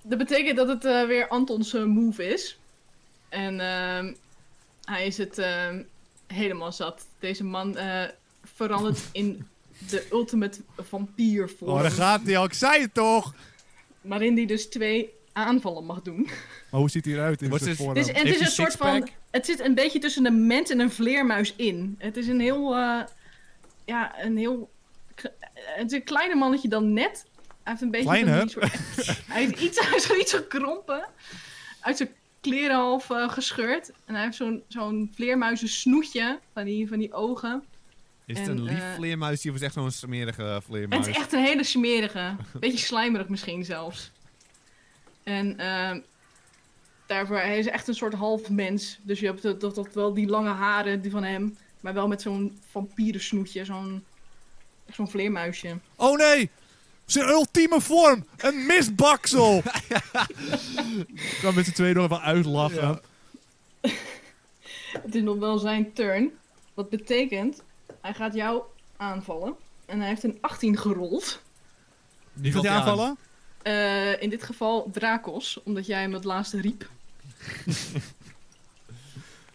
Speaker 3: dat betekent dat het eh, weer Antons eh, move is. En ehm, hij is het ehm, helemaal zat. Deze man eh, verandert
Speaker 1: [LAUGHS]
Speaker 3: in de ultimate vampier
Speaker 1: Oh, daar
Speaker 3: vorm.
Speaker 1: gaat hij al. Ik zei het toch!
Speaker 3: waarin hij dus twee aanvallen mag doen.
Speaker 1: Maar hoe ziet hij eruit in
Speaker 2: Wordt
Speaker 1: zijn
Speaker 2: het-
Speaker 1: vorm?
Speaker 3: Dus, en het
Speaker 2: heeft
Speaker 3: is
Speaker 2: hij
Speaker 3: een soort van.
Speaker 2: sixpack?
Speaker 3: Het zit een beetje tussen een mens en een vleermuis in. Het is een heel. eh, ja, een heel. k- Het is een kleiner mannetje dan net. Hij heeft een beetje. van
Speaker 1: Kleiner?
Speaker 3: die soort- [LAUGHS] hij, is iets, hij is gewoon iets gekrompen. Uit zijn kleren half eh, gescheurd. En hij heeft zo'n zo'n vleermuizen snoetje van die, van die ogen.
Speaker 2: is het
Speaker 3: en,
Speaker 2: een lief
Speaker 3: eh,
Speaker 2: vleermuis hier of is het echt zo'n smerige
Speaker 3: En
Speaker 2: vleermuis?
Speaker 3: het is echt een hele smerige. Beetje slijmerig misschien zelfs. En ehm, daarvoor. Hij is echt een soort half mens. Dus je hebt dat, dat, dat wel die lange haren die van hem. Maar wel met zo'n vampierensnoetje. Zo'n zo'n vleermuisje.
Speaker 1: Oh nee! Zijn ultieme vorm! Een [LAUGHS] misbaksel! Ik kan met z'n tweeën nog wel uitlachen.
Speaker 2: Ja.
Speaker 3: Het is nog wel zijn turn. Wat betekent, hij gaat jou aanvallen. En hij heeft een 18 gerold.
Speaker 1: Die gaat je aanvallen?
Speaker 3: Eh, in dit geval Drakos, omdat jij hem het laatste riep.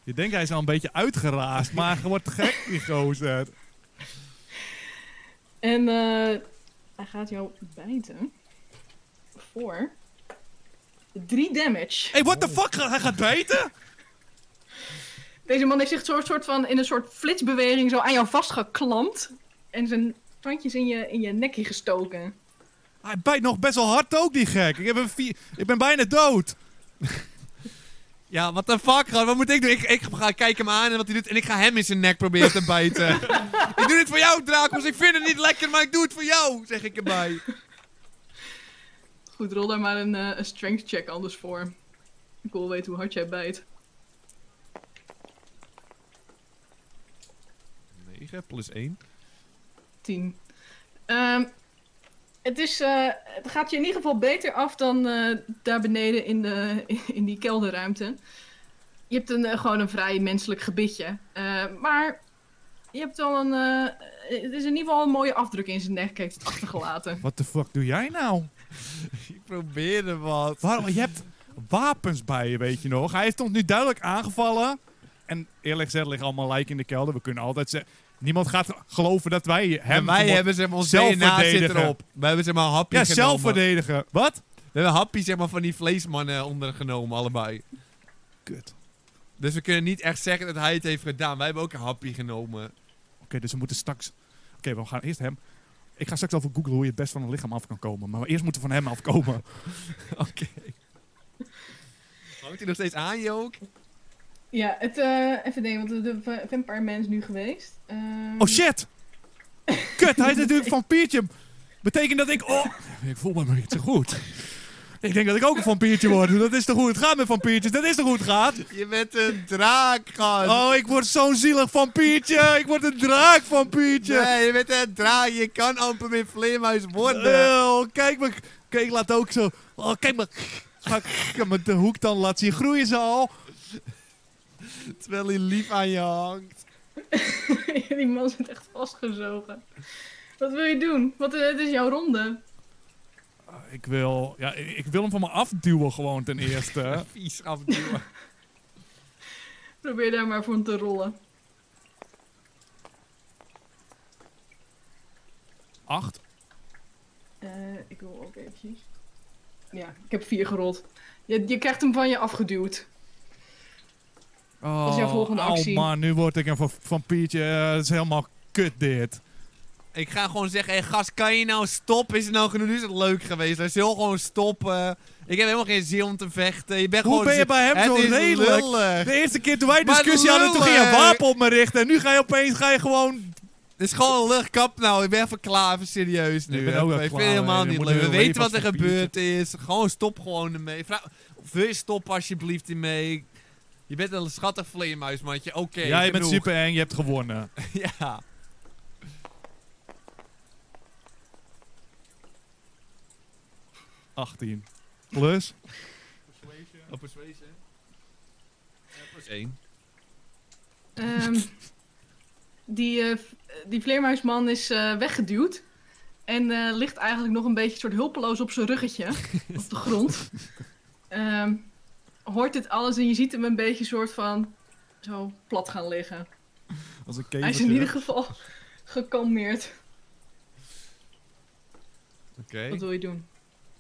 Speaker 1: Je denkt hij is al een beetje uitgeraasd, maar hij wordt gek die gozer.
Speaker 3: En eh, hij gaat jou bijten. Voor 3 damage.
Speaker 1: Hey, what the fuck? Hij gaat bijten?
Speaker 3: Deze man heeft zich zo, soort van in een soort flitsbeweging zo aan jou vastgeklampt. En zijn tandjes in je, in je nekje gestoken.
Speaker 1: Hij bijt nog best wel hard ook, die gek. Ik, heb een vi- ik ben bijna dood.
Speaker 2: [LAUGHS] Ja, what the fuck, gast? Wat moet ik doen? Ik, ik ga kijken hem aan en wat hij doet. En ik ga hem in zijn nek proberen te [LAUGHS] bijten. ik doe dit voor jou, Dracos. Ik vind het niet lekker, maar ik doe het voor jou, zeg ik erbij.
Speaker 3: Goed, rol daar maar een, eh, een strength check anders voor. Ik wil weten hoe hard jij bijt.
Speaker 2: 9 plus 1.
Speaker 3: 10. Ehm, het, is, eh, het gaat je in ieder geval beter af dan eh, daar beneden in, de, [LAUGHS] in die kelderruimte. Je hebt een, eh, gewoon een vrij menselijk gebitje. Eh, maar je hebt wel een. eh, het is in ieder geval een mooie afdruk in zijn nek, heeft het achtergelaten.
Speaker 1: What the fuck doe jij nou?
Speaker 2: Ik probeerde wat.
Speaker 1: Waarom? Je hebt wapens bij je, weet je nog. Hij is ons nu duidelijk aangevallen. En eerlijk gezegd liggen allemaal lijken in de kelder. We kunnen altijd zeggen... Niemand gaat geloven dat wij hem...
Speaker 2: en wij
Speaker 1: vermo-
Speaker 2: hebben zeg maar ons
Speaker 1: zelf
Speaker 2: DNA zit
Speaker 1: verdedigen.
Speaker 2: erop. We hebben zeg maar een hapje
Speaker 1: Ja,
Speaker 2: genomen.
Speaker 1: zelf verdedigen. Wat?
Speaker 2: We hebben een hapje zeg maar van die vleesmannen ondergenomen, allebei.
Speaker 1: Kut.
Speaker 2: Dus we kunnen niet echt zeggen dat hij het heeft gedaan. Wij hebben ook een hapje genomen.
Speaker 1: Oké, dus we moeten straks... Oké, we gaan eerst hem... Ik ga straks even googlen hoe je het best van een lichaam af kan komen. Maar eerst moeten we van hem [LAUGHS] afkomen.
Speaker 2: Oké. Hangt hij nog steeds aan je ook?
Speaker 3: [LAUGHS] Ja, het, eh, even denken, want de, de vampire man is nu geweest. Ehm,
Speaker 1: Oh
Speaker 3: [LAUGHS]
Speaker 1: shit! Kut, hij is natuurlijk vampiertje. Betekent dat ik... Oh, ik voel me maar niet zo goed. Ik denk dat ik ook een vampiertje word. Dat is toch hoe het gaat met vampiertjes? Dat is toch hoe het gaat?
Speaker 2: Je bent een draak, gast.
Speaker 1: Oh, ik word zo'n zielig vampiertje. Ik word een draak vampiertje.
Speaker 2: Nee, je bent een draai. Je kan amper meer vleermuis worden.
Speaker 1: Oh, kijk me. Kijk, laat ook zo. Oh, kijk me. Ga ik met de hoek dan laten zien groeien ze al.
Speaker 2: terwijl hij lief aan je hangt.
Speaker 3: die man zit echt vastgezogen. Wat wil je doen? Wat, eh, het is jouw ronde.
Speaker 1: Ik wil, ja, ik ik wil hem van me afduwen gewoon ten eerste. [LAUGHS]
Speaker 2: Vies afduwen.
Speaker 3: Probeer daar maar voor te rollen.
Speaker 1: Acht.
Speaker 3: Eh, ik wil ook eventjes. Ja, ik heb vier gerold. Je, je krijgt hem van je afgeduwd.
Speaker 1: Oh,
Speaker 3: is jouw volgende actie?
Speaker 1: Oh man, nu word ik een va- vampiertje. Eh, Het is helemaal kut dit.
Speaker 2: Ik ga gewoon zeggen, hé gast, kan je nou stoppen? Is het nou genoeg? Nu is het leuk geweest. Hij zal gewoon stoppen. Ik heb helemaal geen zin om te vechten. Je bent
Speaker 1: Hoe
Speaker 2: gewoon
Speaker 1: ben je bij hem
Speaker 2: Het
Speaker 1: zo
Speaker 2: is
Speaker 1: redelijk?
Speaker 2: lullig.
Speaker 1: De eerste keer toen wij
Speaker 2: Maar
Speaker 1: discussie hadden, toen ging je een
Speaker 2: lullig.
Speaker 1: wapen op me richten. En nu ga je opeens ga je gewoon...
Speaker 2: Het is gewoon een luchtkap nou. Ik ben even klaar, even serieus nu.
Speaker 1: Ik ben ook wel
Speaker 2: ik vind
Speaker 1: klaar,
Speaker 2: het helemaal
Speaker 1: hè. Je
Speaker 2: niet
Speaker 1: moet
Speaker 2: leuk.
Speaker 1: weer
Speaker 2: We
Speaker 1: leven
Speaker 2: weten wat er
Speaker 1: als een
Speaker 2: gebeurd is. Gewoon stop gewoon ermee. Vraag, wil je stoppen alsjeblieft ermee? Je bent een schattig vleermuismandje. Oké,
Speaker 1: ja, je bent
Speaker 2: genoeg.
Speaker 1: super eng, je hebt gewonnen.
Speaker 2: [LAUGHS] ja.
Speaker 1: Achttien. Plus.
Speaker 2: Op persuasion. Ja, plus één.
Speaker 3: [LAUGHS] Ehm, die, eh, v- die vleermuisman is eh, weggeduwd. En eh, ligt eigenlijk nog een beetje soort hulpeloos op zijn [LAUGHS] ruggetje. op de grond. Ehm, hoort dit alles en je ziet hem een beetje soort van zo plat gaan liggen.
Speaker 1: Als een
Speaker 3: Hij is in ieder geval [LAUGHS] gekalmeerd.
Speaker 2: Oké.
Speaker 3: Wat wil je doen?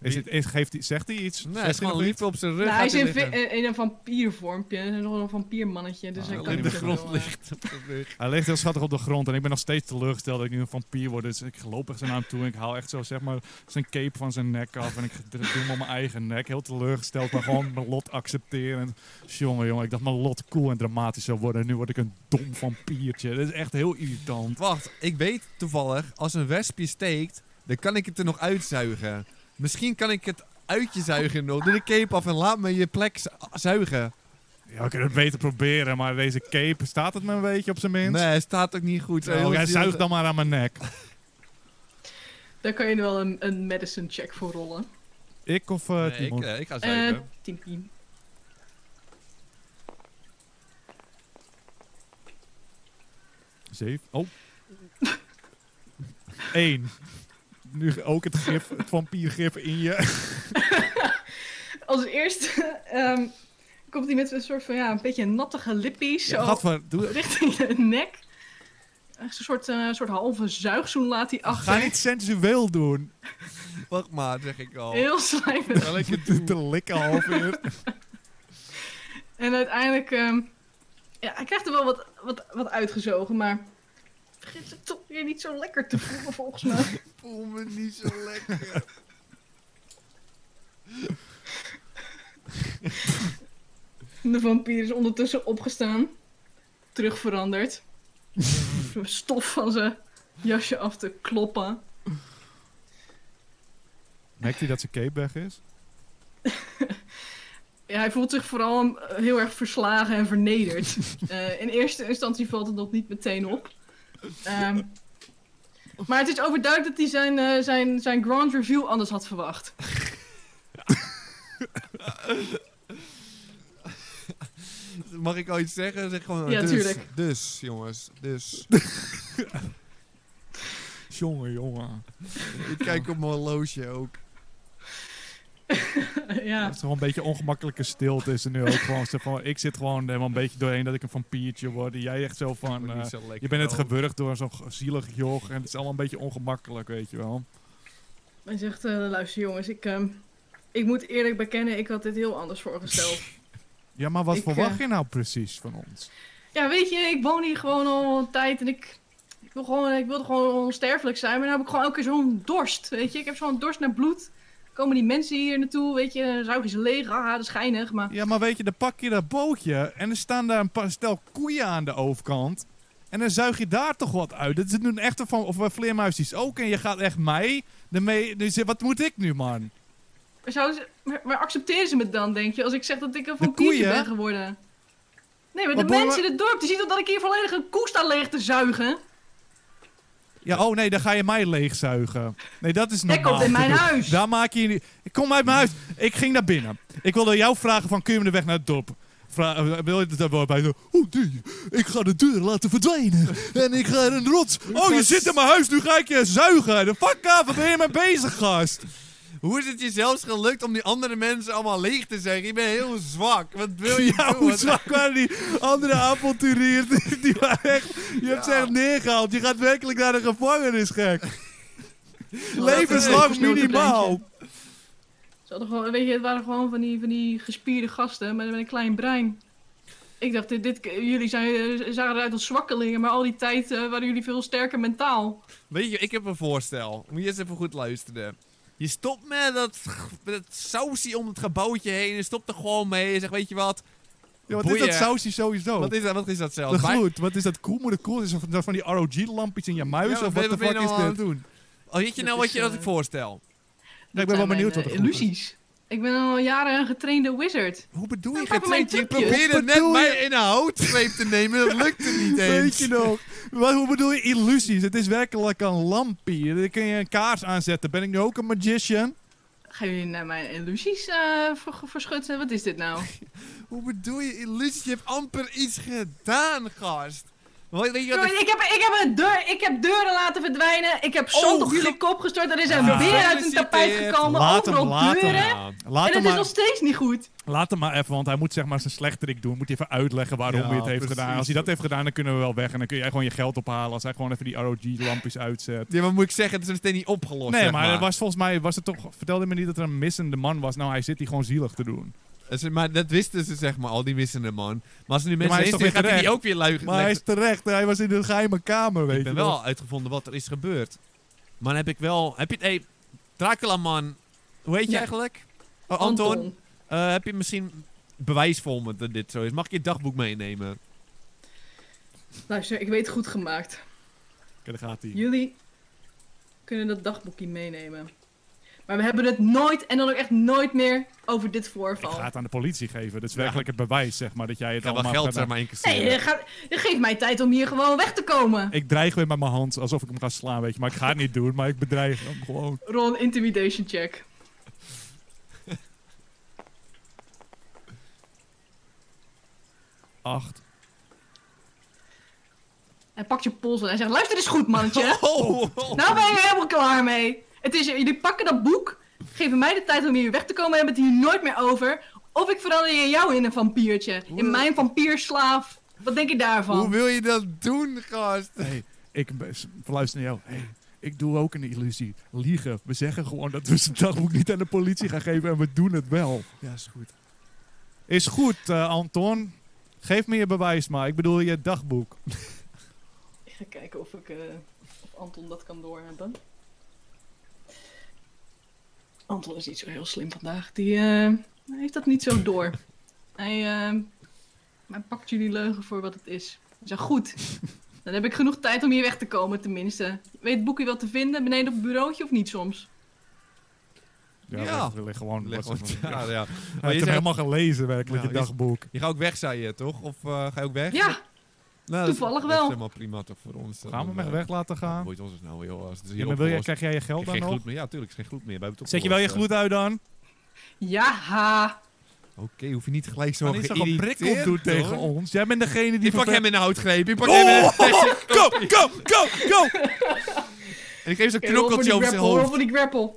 Speaker 1: Is het, is, geeft hij, zegt hij iets?
Speaker 2: Nee,
Speaker 1: Zegt
Speaker 2: hij is gewoon
Speaker 1: nog
Speaker 2: lief op zijn rug.
Speaker 3: Nou, hij is
Speaker 2: gaat
Speaker 3: in,
Speaker 2: hij
Speaker 3: vi-
Speaker 2: liggen. Oh,
Speaker 3: in een vampiervormpje. Hij is nog een vampiermannetje. Dus
Speaker 1: Ah,
Speaker 3: hij
Speaker 1: alleen
Speaker 3: kan
Speaker 2: nou, in
Speaker 3: niet
Speaker 2: de grond
Speaker 3: echt veel, eh,
Speaker 2: ligt op zijn rug.
Speaker 1: iets? Hij ligt heel schattig op de grond en ik ben nog steeds teleurgesteld dat ik nu een vampier word. Dus ik loop echt zo naar hem toe en ik haal echt zo zeg maar zijn cape van zijn nek af en ik doe hem op mijn eigen nek. Heel teleurgesteld, maar gewoon mijn lot accepteren. En, jongen, jongen, ik dacht mijn lot cool en dramatisch zou worden. En nu word ik een dom vampiertje. Dat is echt heel irritant.
Speaker 2: Wacht, ik weet toevallig, als een wespje steekt, dan kan ik het er nog uitzuigen. Misschien kan ik het uit je zuigen nog. Doe de cape af en laat me je plek zu- zuigen.
Speaker 1: Ja, we kunnen het beter proberen, maar deze cape, staat het me een beetje op zijn minst?
Speaker 2: Nee, staat ook niet goed.
Speaker 1: Oh, jij zuigt dan maar aan mijn nek.
Speaker 3: Daar kan je wel een, een medicine check voor rollen.
Speaker 1: Ik of eh,
Speaker 2: Nee, ik,
Speaker 1: Timon?
Speaker 2: eh, ik ga
Speaker 3: Eh
Speaker 2: zuigen.
Speaker 3: 10 piem.
Speaker 1: Zeven. Oh. Eén. Nu ook het gif, het vampiergif in je.
Speaker 3: Als eerste [LAUGHS] ehm, komt hij met een soort van, ja, een beetje nattige lippies. zo
Speaker 1: Gadver, doe
Speaker 3: [LAUGHS] richting de nek. Echt Een soort, eh, soort halve zuigzoen laat hij achter.
Speaker 1: Ga niet sensueel doen.
Speaker 2: Wacht maar, zeg ik al.
Speaker 3: Heel
Speaker 1: [LAUGHS]
Speaker 3: slijmerig.
Speaker 1: Wel lekker te, te likken half uur.
Speaker 3: En uiteindelijk... ehm, ja, hij krijgt er wel wat, wat, wat uitgezogen, maar... Vergeet het toch weer niet zo lekker te voelen, volgens mij.
Speaker 2: Ik voel me niet zo lekker.
Speaker 3: De vampier is ondertussen opgestaan. Terugveranderd. Zo'n Stof van zijn jasje af te kloppen.
Speaker 1: Merkt hij dat zijn cape weg is?
Speaker 3: Ja, hij voelt zich vooral eh, heel erg verslagen en vernederd. Eh, in eerste instantie valt het nog niet meteen op. Ehm, maar het is overduidelijk dat hij zijn, eh, zijn, zijn grand review anders had verwacht.
Speaker 2: Mag ik al iets zeggen? Zeg gewoon.
Speaker 3: Ja,
Speaker 2: dus,
Speaker 3: tuurlijk.
Speaker 2: Dus,
Speaker 1: [LAUGHS]
Speaker 2: jongens. Dus.
Speaker 1: Jongen, jongen.
Speaker 2: ik kijk op mijn horloge ook.
Speaker 1: Het
Speaker 3: ja.
Speaker 1: is gewoon een beetje ongemakkelijke stilte is er nu ook gewoon. Zo van, ik zit gewoon helemaal een beetje doorheen dat ik een vampiertje word. En jij echt zo
Speaker 2: Ik
Speaker 1: van...
Speaker 2: word
Speaker 1: eh,
Speaker 2: niet zo lekker
Speaker 1: je bent net
Speaker 2: ook.
Speaker 1: gewurgd door zo'n g- zielig joch. En het is allemaal een beetje ongemakkelijk, weet je wel.
Speaker 3: Hij zegt, eh, luister jongens, ik, ehm, ik moet eerlijk bekennen, ik had dit heel anders voorgesteld.
Speaker 1: Ja, maar wat
Speaker 3: Ik,
Speaker 1: verwacht
Speaker 3: eh,
Speaker 1: je nou precies van ons?
Speaker 3: ja, weet je, ik woon hier gewoon al een tijd en ik, ik, wil gewoon, ik wilde gewoon onsterfelijk zijn. Maar nu heb ik gewoon elke keer zo'n dorst, weet je. Ik heb zo'n dorst naar bloed. Komen die mensen hier naartoe, weet je, dan zuigen ze leeg. Ah, dat is geinig, maar...
Speaker 1: Ja, maar weet je, dan pak je dat bootje en er staan daar een paar stel koeien aan de overkant. En dan zuig je daar toch wat uit. Dat is nu een echte van, of eh, vleermuisjes ook. En je gaat echt mij ermee. Dus eh, wat moet ik nu, man?
Speaker 3: Maar, zouden ze, maar, maar accepteren ze me dan, denk je, als ik zeg dat ik een
Speaker 1: De
Speaker 3: vampiertje
Speaker 1: koeien?
Speaker 3: ben geworden? Nee, maar,
Speaker 1: Maar
Speaker 3: de
Speaker 1: boy,
Speaker 3: mensen
Speaker 1: maar-
Speaker 3: in het dorp, die zien toch dat ik hier volledig een koe sta leeg te zuigen?
Speaker 1: Ja, oh nee, dan ga je mij leegzuigen. Nee, dat is
Speaker 3: Jij
Speaker 1: normaal.
Speaker 3: komt in mijn
Speaker 1: gedoe.
Speaker 3: huis.
Speaker 1: Daar maak je je niet... Ik kom uit mijn huis. Ik ging naar binnen. Ik wilde jou vragen van, kun je me de weg naar het dorp? Vra- eh, wil je dat wel bij? Oh nee, ik ga de deur laten verdwijnen. En ik ga in een rots. Oh, je zit in mijn huis, nu ga ik je zuigen. De fuck af, wat ben je mee bezig, gast?
Speaker 2: Hoe is het je zelfs gelukt om die andere mensen allemaal leeg te zeggen? Je bent heel zwak. Wat
Speaker 1: [LAUGHS]
Speaker 2: wil je
Speaker 1: Ja,
Speaker 2: doen?
Speaker 1: hoe zwak waren die andere avonturiers? Die, die waren echt, je hebt ze echt neergehaald. Je gaat werkelijk naar de gevangenis, gek. Levenslang
Speaker 3: een
Speaker 1: minimaal.
Speaker 3: Ze hadden gewoon, weet je, het waren gewoon van die, van die gespierde gasten met, met een klein brein. Ik dacht, dit, dit, jullie zijn, eh, zagen eruit als zwakkelingen, maar al die tijd eh, waren jullie veel sterker mentaal.
Speaker 2: Weet je, ik heb een voorstel. Moet je eens even goed luisteren. Je stopt met dat, met dat sausie om het gebouwtje heen. Je stopt er gewoon mee. Je zegt, weet je wat?
Speaker 1: Ja, wat is
Speaker 2: Boeien.
Speaker 1: dat sausje sowieso?
Speaker 2: Wat is dat, wat is dat zelf?
Speaker 1: Oh. de gloed, wat is dat koel? Moet het koel is dat van- van die ROG-lampjes in je muis? of wat de fuck is dit?
Speaker 2: doen? Oh, weet je
Speaker 3: Dit
Speaker 2: nou
Speaker 3: is,
Speaker 2: wat, je, wat
Speaker 3: eh,
Speaker 2: ik voorstel?
Speaker 1: Ja, ik ben wel benieuwd wat
Speaker 3: de
Speaker 1: er
Speaker 3: illusies. Ik ben al jaren een getrainde wizard.
Speaker 2: Hoe bedoel je
Speaker 3: Nou, pak
Speaker 2: getraind?
Speaker 3: mijn
Speaker 2: Je
Speaker 3: trucjes.
Speaker 2: probeerde
Speaker 1: Wat
Speaker 2: net
Speaker 1: bedoel je?
Speaker 2: mij in een houtsleep te nemen. Dat lukte
Speaker 1: [LAUGHS]
Speaker 2: niet
Speaker 1: Weet je
Speaker 2: eens.
Speaker 1: nog? Wat, hoe bedoel je illusies? Het is werkelijk een lampje. Daar kun je een kaars aanzetten. Ben ik nu ook een magician?
Speaker 3: Gaan jullie naar mijn illusies eh, ver- verschutten? Wat is dit
Speaker 1: [LAUGHS]
Speaker 3: nou?
Speaker 2: Hoe bedoel je illusie? Je hebt amper iets gedaan, gast. Wat- Weet je wat
Speaker 3: Sorry,
Speaker 2: ik-
Speaker 3: ik, heb, ik, heb een deur, ik heb deuren laten verdwijnen. Ik heb zand
Speaker 2: Oh,
Speaker 3: op jullie
Speaker 2: jullie-
Speaker 3: kop gestort. Er is een
Speaker 1: Ah.
Speaker 3: weer uit een tapijt
Speaker 2: Gefeliciteerd.
Speaker 3: gekomen.
Speaker 1: Laat hem,
Speaker 3: overal
Speaker 1: laat hem.
Speaker 3: deuren.
Speaker 1: Laat hem
Speaker 3: en het is
Speaker 1: maar,
Speaker 3: nog steeds niet goed.
Speaker 1: laat hem maar even, want hij moet zeg maar zijn slechterik doen. Moet hij even uitleggen waarom
Speaker 2: Ja,
Speaker 1: hij het heeft
Speaker 2: precies.
Speaker 1: gedaan. Als hij dat heeft gedaan, dan kunnen we wel weg. En dan kun jij gewoon je geld ophalen als hij gewoon even die ROG-lampjes uitzet.
Speaker 2: Ja, maar moet ik zeggen, het is nog steeds niet opgelost.
Speaker 1: Nee,
Speaker 2: zeg
Speaker 1: maar, er was volgens mij, was het toch, vertelde me niet dat er een missende man was. Nou, hij zit hier gewoon zielig te doen.
Speaker 2: Dus, maar dat wisten ze, zeg maar, al die missende man. Maar als er nu mensen
Speaker 1: hij is
Speaker 2: heen
Speaker 1: toch
Speaker 2: sturen,
Speaker 1: weer
Speaker 2: gaat hij die
Speaker 1: terecht?
Speaker 2: ook weer luigen.
Speaker 1: Maar hij is terecht, hij was in een geheime kamer, weet
Speaker 2: ik ben
Speaker 1: je wel.
Speaker 2: wel uitgevonden wat er is gebeurd. Maar dan heb ik wel... Heb je... Hey, Dracula-man. Hoe heet je
Speaker 3: Ja.
Speaker 2: eigenlijk? Oh, Anton. Eh, heb je misschien bewijs voor me dat dit zo is? Mag ik je dagboek meenemen?
Speaker 3: Luister, ik weet het goed gemaakt.
Speaker 1: Kijk, daar gaat hij.
Speaker 3: Jullie kunnen dat dagboekje meenemen. Maar we hebben het nooit en dan ook echt nooit meer over dit
Speaker 1: Ik
Speaker 3: voorval.
Speaker 1: ga het aan de politie geven. Dat is werkelijk het bewijs, zeg maar, dat jij
Speaker 2: Ik
Speaker 1: het
Speaker 2: ga wel
Speaker 1: allemaal
Speaker 2: geld
Speaker 1: gedaan-
Speaker 2: er maar in
Speaker 3: Nee,
Speaker 2: casseren.
Speaker 3: je gaat- je geeft mij tijd om hier gewoon weg te komen.
Speaker 1: Ik dreig weer met mijn hand, alsof ik hem ga slaan, weet je. Maar ik ga het niet doen, maar ik bedreig hem gewoon.
Speaker 3: Rol een intimidation check.
Speaker 1: Acht.
Speaker 3: Hij pakt je pols en hij zegt, luister eens goed [LAUGHS]
Speaker 2: [LAUGHS]
Speaker 3: mannetje.
Speaker 2: Oh, oh.
Speaker 3: Nou ben je er helemaal klaar mee. Het is, jullie pakken dat boek, geven mij de tijd om hier weg te komen en hebben het hier nooit meer over. Of ik verander je jou in een vampiertje. In mijn vampierslaaf. Wat denk je
Speaker 2: Hoe
Speaker 3: daarvan?
Speaker 2: wil je dat doen, gast?
Speaker 1: Hey, ik ben- s- verluister naar jou. Hey, ik doe ook een illusie. Liegen. We zeggen gewoon dat we zijn dagboek niet aan de politie gaan geven en we doen het wel.
Speaker 2: Ja, is goed.
Speaker 1: Is goed, eh, Anton. Geef me je bewijs maar. Ik bedoel je dagboek.
Speaker 3: Ik ga kijken of, ik, eh, of Anton dat kan doorhebben. Anton is niet zo heel slim vandaag. Die eh, hij heeft dat niet zo door. Hij, eh, hij pakt jullie leugen voor wat het is. Hij zegt, goed, dan heb ik genoeg tijd om hier weg te komen tenminste. Weet het boekje wel te vinden, beneden op het bureautje of niet soms?
Speaker 1: Ja,
Speaker 2: Ja.
Speaker 1: we liggen gewoon...
Speaker 2: [LAUGHS] Leg
Speaker 1: wat
Speaker 2: wat-
Speaker 1: ze van- [LAUGHS]
Speaker 2: ja, ja.
Speaker 1: Hij
Speaker 2: Maar
Speaker 1: heeft
Speaker 2: je,
Speaker 1: hem
Speaker 2: zei-
Speaker 1: helemaal gelezen, werkelijk,
Speaker 2: Nou,
Speaker 1: je
Speaker 2: is-
Speaker 1: dagboek.
Speaker 2: je gaat ook weg, zei je, toch? Of eh, ga je ook weg?
Speaker 3: Ja,
Speaker 2: Nou, dat is-
Speaker 3: toevallig
Speaker 2: dat
Speaker 3: wel.
Speaker 2: is helemaal prima toch voor ons. eh,
Speaker 1: Gaan we hem echt weg laten gaan?
Speaker 2: Hoe ons nou, joh. Als het is
Speaker 1: Ja,
Speaker 2: hier
Speaker 1: maar wil jij, krijg
Speaker 2: opgelost.
Speaker 1: jij je geld dan
Speaker 2: geen
Speaker 1: nog?
Speaker 2: gloed meer. Ja, tuurlijk, is geen gloed meer. We hebben het
Speaker 1: Zet je wel je
Speaker 2: opgelost,
Speaker 1: gloed uit dan?
Speaker 3: ja, ha.
Speaker 2: eh. Oké, hoef je niet gelijk zo
Speaker 1: Maar niet zo'n prikkel
Speaker 2: geïrriteerd,
Speaker 1: doet
Speaker 2: hoor.
Speaker 1: tegen ons. Jij bent degene die...
Speaker 2: Je pakt
Speaker 1: verve-
Speaker 2: hem in de houtgreep. Je pakt
Speaker 1: Oh,
Speaker 2: hem in de... [LAUGHS]
Speaker 1: Go, go, go, go!
Speaker 2: En ik geef zo'n
Speaker 3: Oké, rol voor
Speaker 2: knokkeltje
Speaker 3: die
Speaker 2: over zijn
Speaker 3: grapple, rol
Speaker 2: hoofd.
Speaker 3: voor die grapple.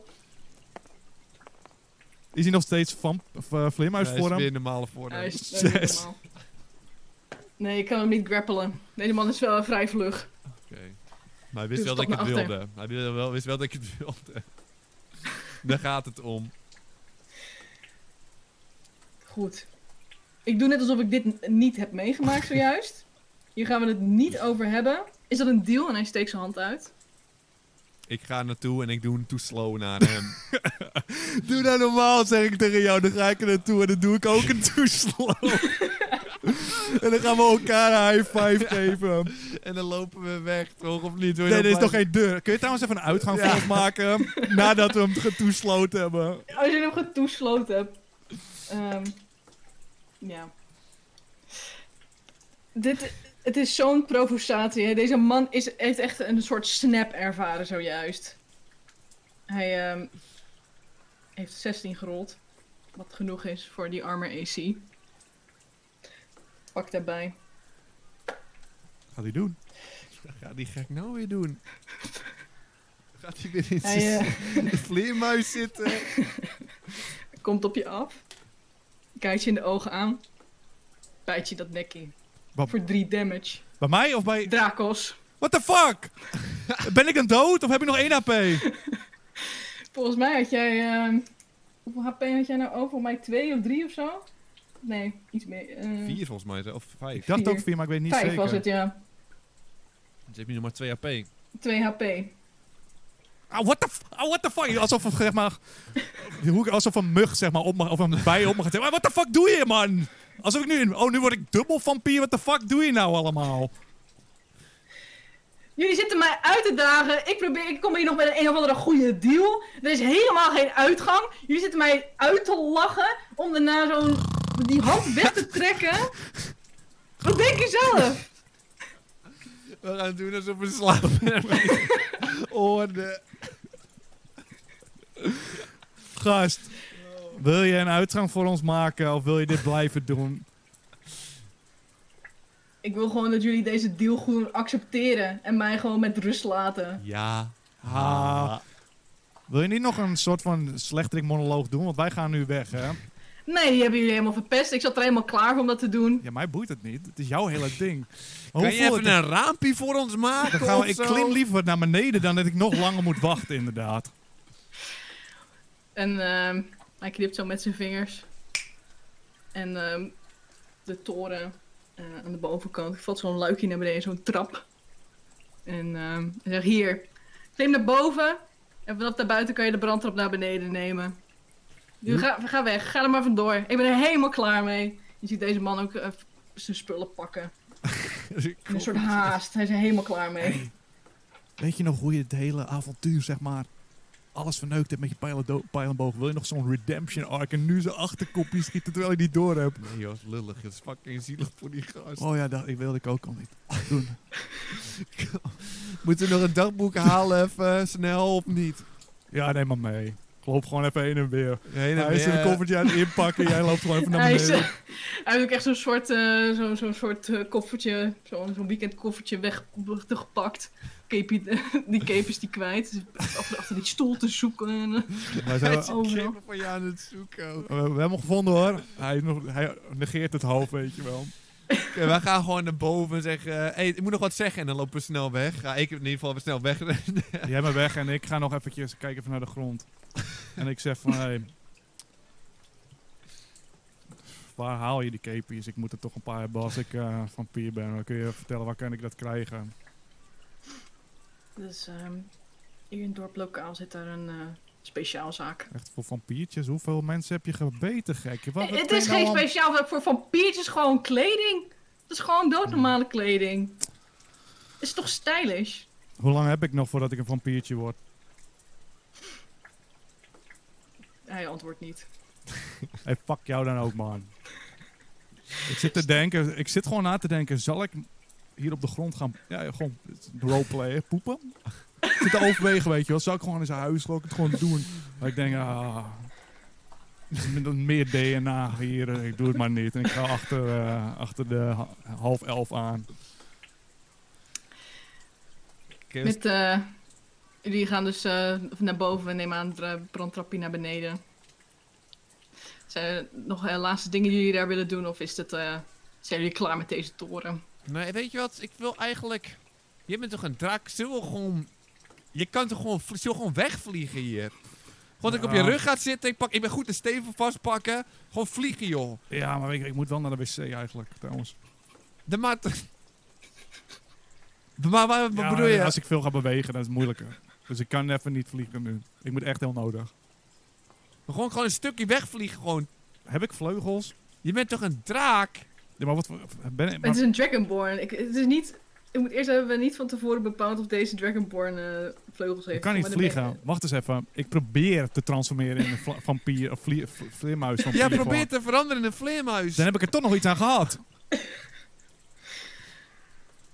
Speaker 1: Is hij nog steeds vamp, of, eh, vleermuis
Speaker 2: Hij is
Speaker 1: voor hem?
Speaker 2: weer in normale vorm.
Speaker 3: Hij is- dat is niet
Speaker 1: Zes.
Speaker 3: normaal. Nee, ik kan hem niet grappelen. Nee, de man is wel eh, vrij vlug.
Speaker 2: Oké. Maar hij wist
Speaker 3: Dus
Speaker 2: wel dat ik
Speaker 3: stap
Speaker 2: het
Speaker 3: naar achter.
Speaker 2: wilde. Hij wist wel, wist wel dat ik het wilde. Daar gaat het om.
Speaker 3: Goed. Ik doe net alsof ik dit n- niet heb meegemaakt zojuist. Hier gaan we het niet over hebben. Is dat een deal? En hij steekt zijn hand uit.
Speaker 2: Ik ga naartoe en ik doe een too slow naar hem.
Speaker 1: [LAUGHS] Doe nou normaal, zeg ik tegen jou. Dan ga ik er naartoe en dan doe ik ook [LAUGHS] een toeslag. en dan gaan we elkaar een high five geven.
Speaker 2: [LAUGHS] en dan lopen we weg, toch? Of niet? Wil je
Speaker 1: Nee, er is
Speaker 2: dat
Speaker 1: nog
Speaker 2: blijven-
Speaker 1: geen deur. Kun je trouwens even een uitgang voor
Speaker 2: Ja.
Speaker 1: ons maken?
Speaker 2: [LAUGHS]
Speaker 1: Nadat we hem getoesloten hebben.
Speaker 3: Als je hem getoesloot hebt. Ehm, ja. Dit, het is zo'n provocatie. Hè. Deze man is, heeft echt een soort snap ervaren zojuist. Hij ehm, heeft 16 gerold. Wat genoeg is voor die armor AC. Pak daarbij.
Speaker 1: Gaat hij doen.
Speaker 2: Ja, die ga ik nou weer doen. Gaat hij weer in
Speaker 1: [LAUGHS]
Speaker 3: Hij
Speaker 2: zijn
Speaker 3: eh,
Speaker 2: vleermuis zitten?
Speaker 3: komt op je af, kijkt je in de ogen aan, bijt je dat nek in.
Speaker 1: Wat-
Speaker 3: Voor 3 damage.
Speaker 1: Bij mij of bij...
Speaker 3: Drakos,
Speaker 1: What the fuck? ben ik dan dood of heb ik nog 1 AP?
Speaker 3: volgens mij had jij. ehm, hoeveel HP had jij nou over? Volgens mij 2 of 3 of zo? Nee, iets meer. eh,
Speaker 2: Vier volgens mij, of
Speaker 1: Ik
Speaker 2: vijf.
Speaker 1: dacht
Speaker 3: Vier.
Speaker 1: ook 4, maar ik weet niet
Speaker 3: vijf
Speaker 1: zeker.
Speaker 3: was het, ja.
Speaker 2: Dus heb je nog maar twee AP.
Speaker 3: 2 HP.
Speaker 1: Ah, what the, f- ah, what the fuck? Alsof, een, zeg maar, hoe ik- alsof een mug zeg maar, op me, of een bij op me gaat zeggen. What the fuck doe je, man? Alsof ik nu... Oh, nu word ik dubbel vampier. What the fuck doe je nou allemaal?
Speaker 3: Jullie zitten mij uit te dagen. Ik, probeer, ik kom hier nog met een, een of andere goede deal. Er is helemaal geen uitgang. Jullie zitten mij uit te lachen om daarna zo'n. die hand weg te trekken. Wat denk je zelf?
Speaker 2: We gaan doen alsof we
Speaker 1: [LAUGHS]
Speaker 2: slapen. oh, de...
Speaker 1: Gast, wil je een uitgang voor ons maken of wil je dit blijven doen?
Speaker 3: Ik wil gewoon dat jullie deze deal gewoon accepteren en mij gewoon met rust laten.
Speaker 2: Ja.
Speaker 1: Ah. Wil je niet nog een soort van slechterik monoloog doen? Want wij gaan nu weg, hè?
Speaker 3: Nee, die hebben jullie helemaal verpest. Ik zat er helemaal klaar voor om dat te doen.
Speaker 1: Ja, mij boeit het niet. Het is jouw hele ding. Maar
Speaker 2: Kan
Speaker 1: hoe
Speaker 2: je
Speaker 1: voelt
Speaker 2: even
Speaker 1: het?
Speaker 2: een raampje voor ons maken
Speaker 1: Dan gaan we,
Speaker 2: of
Speaker 1: ik
Speaker 2: zo?
Speaker 1: klim liever naar beneden dan dat ik nog langer moet wachten, inderdaad.
Speaker 3: En ehm, hij knipt zo met zijn vingers. En ehm, de toren eh, aan de bovenkant valt zo'n luikje naar beneden, zo'n trap. En ehm hij zegt hier, klim naar boven en vanaf daarbuiten kan je de brandtrap naar beneden nemen. Nu ga, ga weg, ga er maar vandoor. Ik ben er helemaal klaar mee. Je ziet deze man ook eh, zijn spullen pakken. Een soort haast. Hij is er helemaal klaar mee.
Speaker 1: Weet je nog hoe je het hele avontuur, zeg maar, alles verneukt hebt met je pijl en do- pijl en boog. Wil je nog zo'n redemption arc en nu zijn achterkopje schieten terwijl je niet door hebt?
Speaker 2: Nee joh, is lullig. Het is fucking zielig voor die gast.
Speaker 1: Oh ja, dat ik wilde ik ook al niet doen.
Speaker 2: Moeten we nog een dagboek halen even snel of niet?
Speaker 1: Ja, neem maar mee. Loop gewoon even heen en weer.
Speaker 2: Heen en
Speaker 1: Hij is in
Speaker 2: weer.
Speaker 1: een koffertje aan het inpakken. Jij loopt gewoon even naar
Speaker 3: Hij, is,
Speaker 1: beneden.
Speaker 3: [LAUGHS] hij heeft ook echt zo'n soort, eh, zo, zo'n soort eh, koffertje, zo'n zo'n weekendkoffertje weg- weggepakt. Capie, [LAUGHS] die cape is die kwijt. Dus achter, achter die stoel te zoeken. en, eh,
Speaker 1: Maar
Speaker 2: Hij
Speaker 1: zijn
Speaker 2: is
Speaker 1: we,
Speaker 2: een
Speaker 3: overal.
Speaker 2: kippen van je aan het zoeken. ook.
Speaker 1: we hebben hem gevonden hoor. Hij, is nog, hij negeert het half, weet je wel.
Speaker 2: Oké, wij gaan gewoon naar boven en zeggen... Hé, hey, ik moet nog wat zeggen. En dan lopen we snel weg. Ga ik in ieder geval weer snel weg. [LAUGHS]
Speaker 1: Jij maar weg en ik ga nog eventjes kijken even naar de grond. En ik zeg van, hé... Hey, waar haal je die kepies? Ik moet er toch een paar hebben als ik eh, van Pier ben. Dan kun je vertellen, waar kan ik dat krijgen?
Speaker 3: Dus ehm, hier in het dorp lokaal zit daar een eh speciaalzaak.
Speaker 1: Echt voor vampiertjes? Hoeveel mensen heb je gebeten, gek? Wat, wat
Speaker 3: Eh, het
Speaker 1: ben
Speaker 3: is
Speaker 1: je nou
Speaker 3: geen
Speaker 1: aan-
Speaker 3: speciaal voor vampiertjes, gewoon kleding. Het is gewoon doodnormale kleding. Is toch stylish?
Speaker 1: Hoe lang heb ik nog voordat ik een vampiertje word?
Speaker 3: Hij antwoordt niet.
Speaker 1: Hey, fuck jou dan ook, man. ik zit te denken, ik zit gewoon na te denken, zal ik hier op de grond gaan, ja, gewoon roleplayen, poepen? ik zit te overwegen, weet je wel. Zou ik gewoon in zijn huis, zal ik het gewoon doen? Maar ik denk, ah, met dat meer DNA hier, eh, ik doe het maar niet. En ik ga achter, eh, achter de ha- half elf aan.
Speaker 2: Kerst-
Speaker 3: Met, eh, jullie gaan dus eh, naar boven en nemen aan de brandtrapje naar beneden. Zijn er nog eh, laatste dingen die jullie daar willen doen? Of is het, eh, zijn jullie klaar met deze toren?
Speaker 2: Nee, weet je wat? Ik wil eigenlijk... Je bent toch een draak? Zullen we gewoon... Je kan toch gewoon, zullen we gewoon wegvliegen hier? Gewoon dat ik op je
Speaker 1: Ja.
Speaker 2: rug ga zitten. Ik, pak, ik ben goed de steven vastpakken. Gewoon vliegen, joh.
Speaker 1: Ja, maar ik, ik moet wel naar de wc eigenlijk, trouwens.
Speaker 2: De mat... [LAUGHS] Maar waar- wat
Speaker 1: Ja,
Speaker 2: bedoel je?
Speaker 1: Als ik veel ga bewegen, dan is het moeilijker. Dus ik kan even niet vliegen nu. Ik moet echt heel nodig.
Speaker 2: Gewoon, gewoon een stukje wegvliegen, gewoon.
Speaker 1: Heb ik vleugels?
Speaker 2: Je bent toch een draak?
Speaker 1: Ja, maar wat voor- ben ik, maar-
Speaker 3: Het is een Dragonborn. Ik, het is niet, ik moet eerst hebben niet van tevoren bepaald of deze Dragonborn eh, vleugels
Speaker 1: ik
Speaker 3: heeft.
Speaker 1: kan niet
Speaker 3: Maar dan ben-
Speaker 1: vliegen. Wacht eens even. Ik probeer te transformeren in een vla- vampier of vlie- v- vleermuis.
Speaker 2: Jij
Speaker 1: Vampier
Speaker 2: probeert te veranderen in een vleermuis.
Speaker 1: Dan heb ik er toch nog iets aan gehad.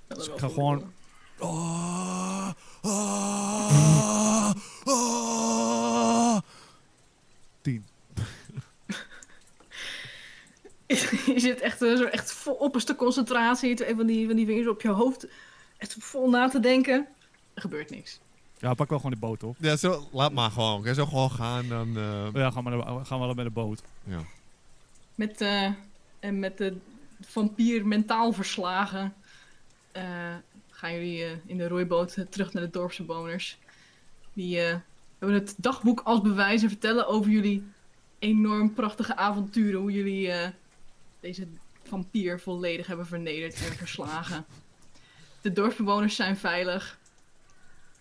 Speaker 3: Dat
Speaker 1: Dus
Speaker 3: wel
Speaker 1: ik ga
Speaker 3: goed.
Speaker 1: gewoon-
Speaker 2: Ah, ah, ah.
Speaker 1: Tien.
Speaker 3: [LAUGHS] je zit echt, eh, zo echt vol opperste concentratie. Twee van die, van die vingers op je hoofd. Echt vol na te denken. Er gebeurt niks.
Speaker 1: Ja, pak wel gewoon die boot op.
Speaker 2: Ja, zo, laat maar gewoon. Kan zo gewoon gaan, dan... eh,
Speaker 1: Ja, gaan we, naar- gaan we wel met de boot.
Speaker 2: ja.
Speaker 3: Met, eh, en met de vampier mentaal verslagen. eh, gaan jullie eh, in de roeiboot eh, terug naar de dorpsbewoners. Die eh, hebben het dagboek als bewijs en vertellen over jullie enorm prachtige avonturen. Hoe jullie eh, deze vampier volledig hebben vernederd en verslagen. De dorpsbewoners zijn veilig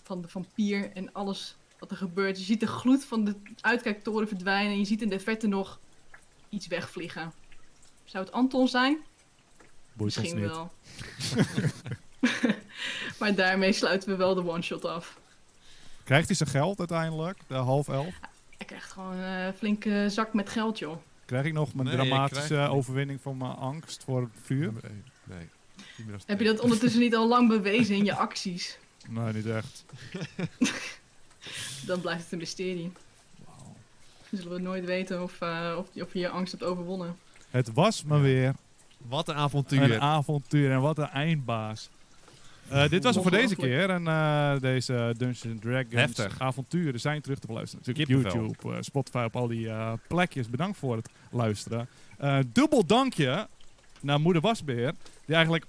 Speaker 3: van de vampier en alles wat er gebeurt. Je ziet de gloed van de uitkijktoren verdwijnen en je ziet in de verte nog iets wegvliegen. Zou het Anton zijn?
Speaker 1: Boeit ons
Speaker 3: Misschien
Speaker 1: niet.
Speaker 3: wel. [LAUGHS] maar daarmee sluiten we wel de one-shot af.
Speaker 1: Krijgt hij zijn geld uiteindelijk? De half elf?
Speaker 3: Hij krijgt gewoon eh, een flinke zak met geld, joh.
Speaker 1: Krijg ik nog mijn
Speaker 2: Nee, je
Speaker 1: dramatische
Speaker 2: krijgt niet.
Speaker 1: overwinning van mijn angst voor het vuur?
Speaker 2: Nee, nee. Niet meer als
Speaker 3: Heb je dat ondertussen niet al lang bewezen in je acties?
Speaker 1: Nee, niet echt.
Speaker 3: Dan blijft het een mysterie. Dan zullen we nooit weten of, eh, of, of je je angst hebt overwonnen.
Speaker 1: Het was maar weer
Speaker 2: Wat een avontuur.
Speaker 1: Een avontuur en wat een eindbaas. Eh, dit was het voor deze keer. En eh, deze Dungeons Dragons
Speaker 2: Heftig.
Speaker 1: avonturen zijn terug te beluisteren. Natuurlijk op
Speaker 2: Kippenvel.
Speaker 1: YouTube, eh, Spotify, op al die eh, plekjes. Bedankt voor het luisteren. Eh, dubbel dankje naar moeder Wasbeer. Die eigenlijk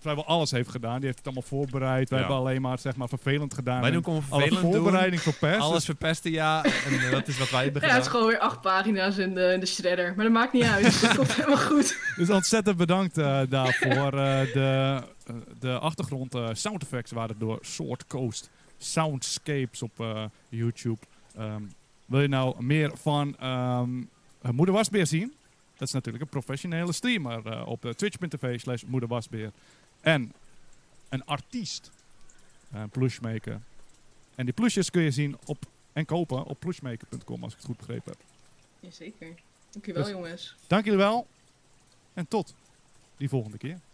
Speaker 1: vrijwel alles heeft gedaan. Die heeft het allemaal voorbereid. Wij
Speaker 2: Ja.
Speaker 1: hebben alleen maar, zeg maar vervelend gedaan.
Speaker 2: wij
Speaker 1: En
Speaker 2: doen gewoon
Speaker 1: alle
Speaker 2: vervelend doen.
Speaker 1: voorbereiding voor pers. dus
Speaker 2: Alles verpesten, ja. En eh, dat is wat wij hebben
Speaker 3: Ja, het is
Speaker 2: gedaan.
Speaker 3: gewoon weer acht pagina's in de, in de shredder. Maar dat maakt niet uit. Het komt helemaal goed.
Speaker 1: Dus ontzettend bedankt eh, daarvoor. Eh, de, eh, de achtergrond eh, sound effects waren door Sword Coast Soundscapes op eh, YouTube. Ehm, wil je nou meer van ehm, eh, Moeder Wasbeer zien? Dat is natuurlijk een professionele streamer eh, op eh, twitch.tv slash Moeder Wasbeer. En eh, een artiest, een plushmaker. En die plusjes kun je zien op en kopen op plushmaker.com als ik het goed begrepen heb.
Speaker 3: Jazeker. Dankjewel
Speaker 1: Dus-
Speaker 3: jongens.
Speaker 1: Dank jullie wel en tot die volgende keer.